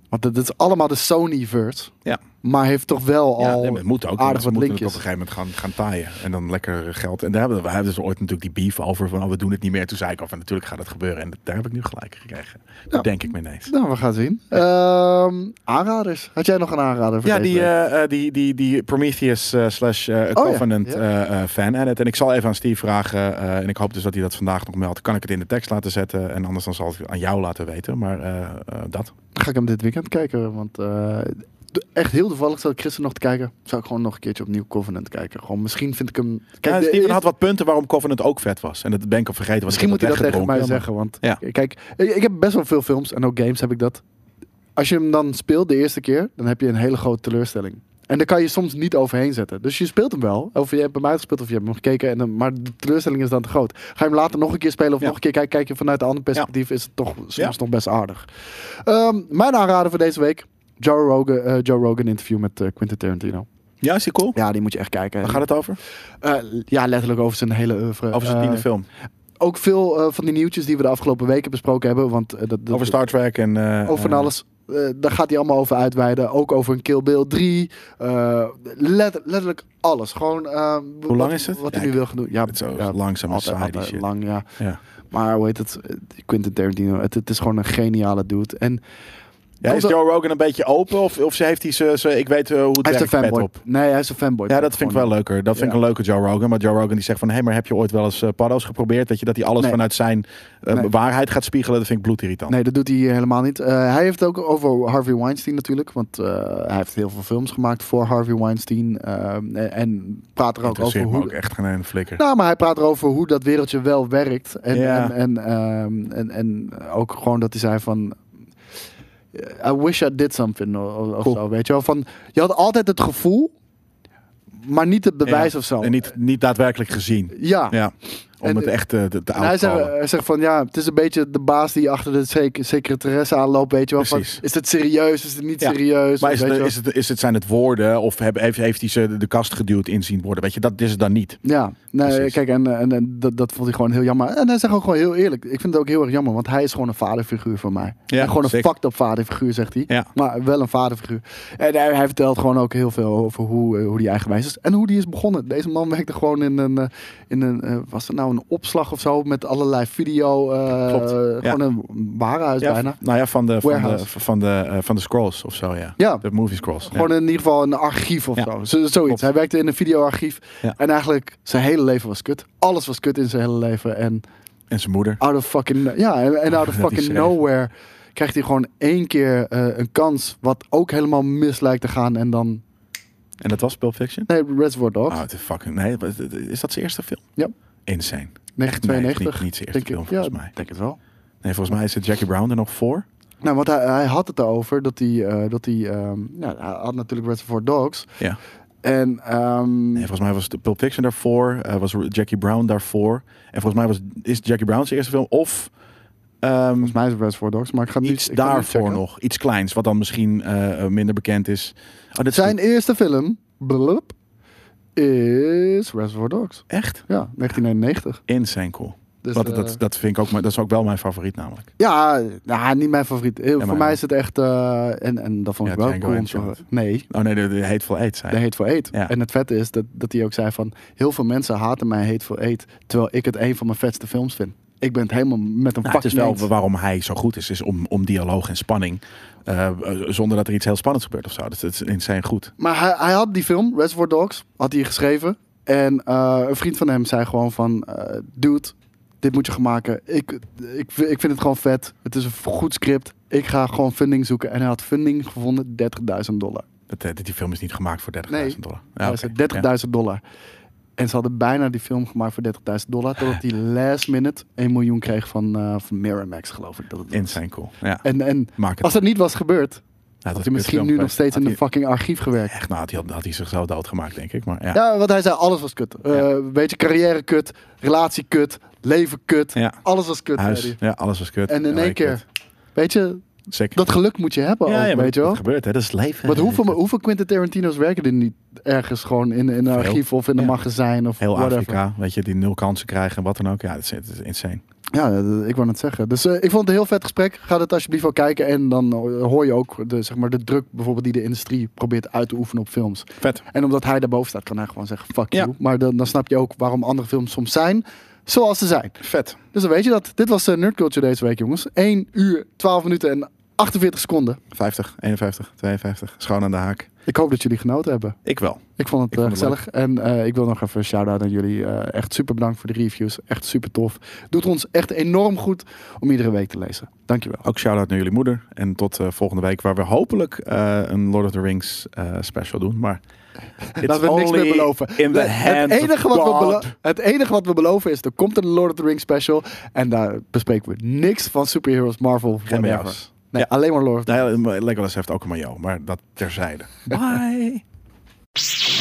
Speaker 3: Want dat dat is allemaal de Sony-verse.
Speaker 2: Ja.
Speaker 3: Maar heeft toch wel
Speaker 2: Ja,
Speaker 3: al
Speaker 2: nee, maar het moet ook.
Speaker 3: aardig
Speaker 2: Aardig
Speaker 3: wat
Speaker 2: moeten het op
Speaker 3: linkjes.
Speaker 2: een gegeven moment gaan, gaan taaien. En dan lekker geld. En daar hebben we, we hebben dus ooit natuurlijk die beef over van oh, we doen het niet meer. Toen zei ik al van natuurlijk gaat het gebeuren. En daar heb ik nu gelijk gekregen. Dat denk ik me ineens.
Speaker 3: Nou, we gaan zien. Ehm, aanraders. Had jij nog een aanrader voor
Speaker 2: Ja,
Speaker 3: deze
Speaker 2: die,
Speaker 3: week?
Speaker 2: eh, eh, die, die, die Prometheus eh, slash eh,
Speaker 3: ja.
Speaker 2: Covenant
Speaker 3: Ja.
Speaker 2: eh, eh, fan edit. En ik zal even aan Steve vragen. eh, en ik hoop dus dat hij dat vandaag nog meldt. Kan ik het in de tekst laten zetten? En anders dan zal ik het aan jou laten weten. Maar eh, eh, dat.
Speaker 3: Ga ik hem dit weekend kijken, want... eh, d- Echt heel toevallig zat ik gisteren nog te kijken. Zou ik gewoon nog een keertje opnieuw Covenant kijken. Gewoon, misschien vind ik hem...
Speaker 2: Kijk,
Speaker 3: de
Speaker 2: Steven
Speaker 3: eerste-
Speaker 2: had wat punten waarom Covenant ook vet was. En dat ben ik al vergeten. want ik
Speaker 3: Misschien moet hij
Speaker 2: heb
Speaker 3: dat tegen mij
Speaker 2: weggedronken.
Speaker 3: zeggen, want
Speaker 2: Ja.
Speaker 3: kijk, ik, ik heb best wel veel films en ook games heb ik dat. Als je hem dan speelt de eerste keer, dan heb je een hele grote teleurstelling. En daar kan je soms niet overheen zetten. Dus je speelt hem wel. Of je hebt hem uitgespeeld of je hebt hem gekeken. En, dan- maar de teleurstelling is dan te groot. Ga je hem later nog een keer spelen of
Speaker 2: Ja.
Speaker 3: nog een keer kijken. Kijk je vanuit een ander perspectief is het toch soms
Speaker 2: Ja.
Speaker 3: nog best aardig. Ehm, mijn aanrader voor deze week. Joe Rogan, eh, Joe Rogan interview met eh, Quentin Tarantino.
Speaker 2: Ja, is die cool?
Speaker 3: Ja, die moet je echt kijken.
Speaker 2: Waar gaat het over?
Speaker 3: Eh, ja, letterlijk over zijn hele oeuvre.
Speaker 2: Over zijn
Speaker 3: Eh,
Speaker 2: tiende film.
Speaker 3: Ook veel eh, van die nieuwtjes die we de afgelopen weken besproken hebben. Want, eh, dat, dat-
Speaker 2: Over Star Trek en... eh,
Speaker 3: over van
Speaker 2: eh,
Speaker 3: alles. Eh, daar gaat hij allemaal over uitweiden. Ook over een Kill Bill 3. Eh, let- letterlijk alles. Gewoon, eh,
Speaker 2: Hoe lang
Speaker 3: wat-
Speaker 2: is het?
Speaker 3: Wat
Speaker 2: Ja,
Speaker 3: hij nu
Speaker 2: ik-
Speaker 3: wil gaan doen. Ja,
Speaker 2: Het is zo
Speaker 3: ja,
Speaker 2: langzaam en
Speaker 3: altijd,
Speaker 2: saai, die
Speaker 3: altijd
Speaker 2: shit.
Speaker 3: lang, ja.
Speaker 2: Ja.
Speaker 3: Maar hoe heet het? Eh, Quentin Tarantino. Het, het is gewoon een geniale dude. En
Speaker 2: Ja, is
Speaker 3: Komt er-
Speaker 2: Joe Rogan een beetje open? Of, of ze heeft hij ze, ze- Ik weet eh, hoe het
Speaker 3: hij is een
Speaker 2: werkt, pet
Speaker 3: fanboy.
Speaker 2: op.
Speaker 3: Nee, hij is een fanboy.
Speaker 2: Ja, dat vind ik wel leuker. Dat vind ik
Speaker 3: Ja.
Speaker 2: een leuke Joe Rogan. Maar Joe Rogan die zegt van... Hé, maar heb je ooit wel eens eh, paddo's geprobeerd? Weet je, dat hij alles
Speaker 3: Nee.
Speaker 2: vanuit zijn eh,
Speaker 3: Nee.
Speaker 2: waarheid gaat spiegelen. Dat vind ik bloedirritant.
Speaker 3: Nee, dat doet hij hier helemaal niet. Eh, hij heeft het ook over Harvey Weinstein natuurlijk. Want eh, hij heeft heel veel films gemaakt voor Harvey Weinstein. eh, en, en praat er ook over
Speaker 2: Interesseert me
Speaker 3: hoe,
Speaker 2: ook echt geen ene flikker.
Speaker 3: Nou, maar hij praat erover hoe dat wereldje wel werkt. En,
Speaker 2: Ja.
Speaker 3: en, en, ehm, en, en ook gewoon dat hij zei van... I wish I did something of, of
Speaker 2: Cool.
Speaker 3: zo, weet je wel. Van, je had altijd het gevoel, maar niet het bewijs
Speaker 2: Ja.
Speaker 3: of zo.
Speaker 2: En niet, niet daadwerkelijk gezien.
Speaker 3: ja.
Speaker 2: Ja. Om
Speaker 3: En-
Speaker 2: het echt eh, te, te
Speaker 3: En hij zegt,
Speaker 2: outcallen.
Speaker 3: hij zegt van ja, het is een beetje de baas die achter de sec- secretaresse aanloopt, weet je wel. Van,
Speaker 2: Precies.
Speaker 3: is het serieus, is het niet
Speaker 2: Ja.
Speaker 3: serieus?
Speaker 2: Maar
Speaker 3: Of
Speaker 2: is
Speaker 3: weet
Speaker 2: het,
Speaker 3: je wel.
Speaker 2: is het, is het, zijn het woorden of heb, heeft, heeft hij ze de, de kast geduwd inzien worden? Weet je, dat is het dan niet.
Speaker 3: Ja, nee,
Speaker 2: Precies.
Speaker 3: kijk, en, en, en dat, dat vond hij gewoon heel jammer. En hij zegt ook gewoon heel eerlijk. Ik vind het ook heel erg jammer, want hij is gewoon een vaderfiguur voor mij.
Speaker 2: Ja,
Speaker 3: En gewoon een
Speaker 2: zeker.
Speaker 3: fucked up vaderfiguur, zegt hij.
Speaker 2: Ja.
Speaker 3: Maar wel een vaderfiguur. En hij, hij vertelt gewoon ook heel veel over hoe, eh, hoe die eigenwijs is. En hoe die is begonnen. Deze man werkte gewoon in een, eh, in een eh, was het nou een opslag of zo, met allerlei video. eh,
Speaker 2: Klopt, ja.
Speaker 3: Gewoon een warenhuis
Speaker 2: Ja,
Speaker 3: bijna.
Speaker 2: Nou ja, van de, van de,
Speaker 3: Warehouse.
Speaker 2: van de, eh, van de scrolls of zo, ja.
Speaker 3: Ja.
Speaker 2: De movie scrolls.
Speaker 3: Gewoon in ieder geval een archief of
Speaker 2: Ja.
Speaker 3: zo. Z- zoiets.
Speaker 2: Klopt.
Speaker 3: Hij werkte in een videoarchief.
Speaker 2: Ja.
Speaker 3: En eigenlijk zijn hele leven was kut. Alles was kut in zijn hele leven. En
Speaker 2: ja. En zijn moeder.
Speaker 3: out of fucking ja en, en out of
Speaker 2: Ah, (laughs) dat
Speaker 3: fucking
Speaker 2: is erg.
Speaker 3: nowhere krijgt hij gewoon één keer eh, een kans wat ook helemaal mis lijkt te gaan en dan
Speaker 2: En dat was Pulp Fiction?
Speaker 3: nee Reservoir Dogs
Speaker 2: Oh, het is fucking... Nee, wat- is dat zijn eerste film?
Speaker 3: Ja.
Speaker 2: Insane.
Speaker 3: 1992
Speaker 2: Nee, niet- niet zijn eerste
Speaker 3: denk ik.
Speaker 2: film, volgens mij.
Speaker 3: denk het wel
Speaker 2: Nee, volgens mij is het Jackie Brown er nog voor.
Speaker 3: nou want hij, hij had het erover dat hij eh, dat hij ehm, ja, hij had natuurlijk Reservoir Dogs
Speaker 2: Ja.
Speaker 3: en ehm,
Speaker 2: Nee, volgens mij was de Pulp Fiction daarvoor. eh, was Jackie Brown daarvoor. En volgens mij was, is Jackie Brown zijn eerste film. Of... ehm,
Speaker 3: volgens mij is het Reservoir Dogs maar ik ga niet
Speaker 2: iets
Speaker 3: ik ga niet
Speaker 2: daarvoor
Speaker 3: checken.
Speaker 2: nog. Iets kleins, wat dan misschien eh, minder bekend is. Oh, dit is
Speaker 3: zijn eerste film blub, is Reservoir Dogs
Speaker 2: echt
Speaker 3: ja 1991
Speaker 2: insane cool.
Speaker 3: dus
Speaker 2: dat,
Speaker 3: eh,
Speaker 2: dat, dat vind ik ook, maar dat is ook wel mijn favoriet namelijk.
Speaker 3: Ja, nou, niet mijn favoriet. Eh, voor
Speaker 2: maar-
Speaker 3: mij is het echt... eh, en, en dat vond
Speaker 2: Ja,
Speaker 3: ik wel
Speaker 2: Django
Speaker 3: cool. om te
Speaker 2: Unchained.
Speaker 3: horen. Nee,
Speaker 2: Oh nee, de, de Hateful Eight zijn.
Speaker 3: de Hateful Eight.
Speaker 2: Ja.
Speaker 3: En het vette is dat, dat hij ook zei van... Heel veel mensen haten mij Hateful Eight... terwijl ik het een van mijn vetste films vind. Ik ben het helemaal met een
Speaker 2: Nou, het
Speaker 3: fucking
Speaker 2: is wel
Speaker 3: eens.
Speaker 2: waarom hij zo goed is, is om, om dialoog en spanning. eh, eh, zonder dat er iets heel spannends gebeurt of zo. Dat, dat is insane goed.
Speaker 3: Maar hij, hij had die film, Reservoir Dogs, had hij geschreven. En eh, een vriend van hem zei gewoon van... eh, dude, dit moet je gaan maken. Ik, ik, ik vind het gewoon vet. Het is een goed script. Ik ga gewoon funding zoeken. En hij had funding gevonden, 30.000 dollar.
Speaker 2: Dat, eh, dat die film is niet gemaakt voor 30.000
Speaker 3: Nee.
Speaker 2: dollar.
Speaker 3: Ja,
Speaker 2: Ja, oké.
Speaker 3: dat is 30.000 dollar. En ze hadden bijna die film gemaakt voor 30.000 dollar. Totdat
Speaker 2: (laughs)
Speaker 3: die last minute 1 miljoen kreeg van, eh, van Miramax, geloof ik. Dat het
Speaker 2: Ja, Insane cool. Ja.
Speaker 3: En, en
Speaker 2: Maak het.
Speaker 3: als dat niet was gebeurd,
Speaker 2: Nou, dat is
Speaker 3: had hij
Speaker 2: een
Speaker 3: misschien
Speaker 2: kutfilm
Speaker 3: nu nog
Speaker 2: geweest.
Speaker 3: steeds in
Speaker 2: Had
Speaker 3: een fucking archief
Speaker 2: hij-
Speaker 3: gewerkt.
Speaker 2: Echt, nou, had hij, had hij zichzelf doodgemaakt, denk ik. Maar ja.
Speaker 3: Ja, want hij zei alles was kut. Eh, Weet je, carrière kut, relatie kut, leven kut.
Speaker 2: Ja.
Speaker 3: Alles was kut.
Speaker 2: Huis,
Speaker 3: zei hij.
Speaker 2: ja, alles was kut.
Speaker 3: En in
Speaker 2: Ja,
Speaker 3: één
Speaker 2: ik
Speaker 3: keer,
Speaker 2: weet-
Speaker 3: weet je,
Speaker 2: Zeker.
Speaker 3: dat geluk moet je hebben ook,
Speaker 2: maar
Speaker 3: weet je wel.
Speaker 2: Dat gebeurt, hè? Dat is leven.
Speaker 3: Want
Speaker 2: hè.
Speaker 3: hoeveel, hoeveel Quentin Tarantino's werken er niet ergens gewoon in, in een
Speaker 2: Veel.
Speaker 3: archief of in een
Speaker 2: Ja.
Speaker 3: magazijn of
Speaker 2: Heel
Speaker 3: whatever.
Speaker 2: Afrika, weet je, die nul kansen krijgen en wat dan ook. Ja, dat is, dat is insane.
Speaker 3: Ja, d- ik wou het zeggen. Dus eh, ik vond het een heel vet gesprek. Ga dat alsjeblieft wel kijken. En dan eh, hoor je ook de, zeg maar, de druk bijvoorbeeld die de industrie probeert uit te oefenen op films.
Speaker 2: Vet.
Speaker 3: En omdat hij daarboven staat, kan hij gewoon zeggen fuck
Speaker 2: Ja.
Speaker 3: you. Maar dan, dan snap je ook waarom andere films soms zijn zoals ze zijn.
Speaker 2: Vet.
Speaker 3: Dus dan weet je dat. Dit was eh, Nerd Culture deze week, jongens. 1 uur, 12 minuten en 48 seconden.
Speaker 2: 50, 51, 52. Schoon aan de haak.
Speaker 3: Ik hoop dat jullie genoten hebben.
Speaker 2: Ik wel.
Speaker 3: Ik vond het
Speaker 2: Ik vond
Speaker 3: eh,
Speaker 2: het
Speaker 3: gezellig. En eh, ik wil nog even een shout-out aan jullie. Eh, echt super bedankt voor de reviews. Echt super tof. Doet ons echt enorm goed om iedere week te lezen. Dankjewel.
Speaker 2: Ook shout-out naar jullie moeder. En tot eh, volgende week, waar we hopelijk eh, een Lord of the Rings eh, special doen.
Speaker 3: (laughs)
Speaker 2: Maar it's
Speaker 3: Laten we niks
Speaker 2: only
Speaker 3: meer beloven.
Speaker 2: In the
Speaker 3: Het- het,
Speaker 2: hands
Speaker 3: enige
Speaker 2: of
Speaker 3: wat we
Speaker 2: God.
Speaker 3: belo- het enige wat we beloven is, er komt een Lord of the Rings special. En daar bespreken we niks van superheroes, Marvel,
Speaker 2: Geen
Speaker 3: whatever.
Speaker 2: majo's.
Speaker 3: Nee,
Speaker 2: Ja.
Speaker 3: alleen maar Lord of the
Speaker 2: Nou ja, Legolas heeft ook een maillot, maar dat terzijde. Bye.
Speaker 5: Psst.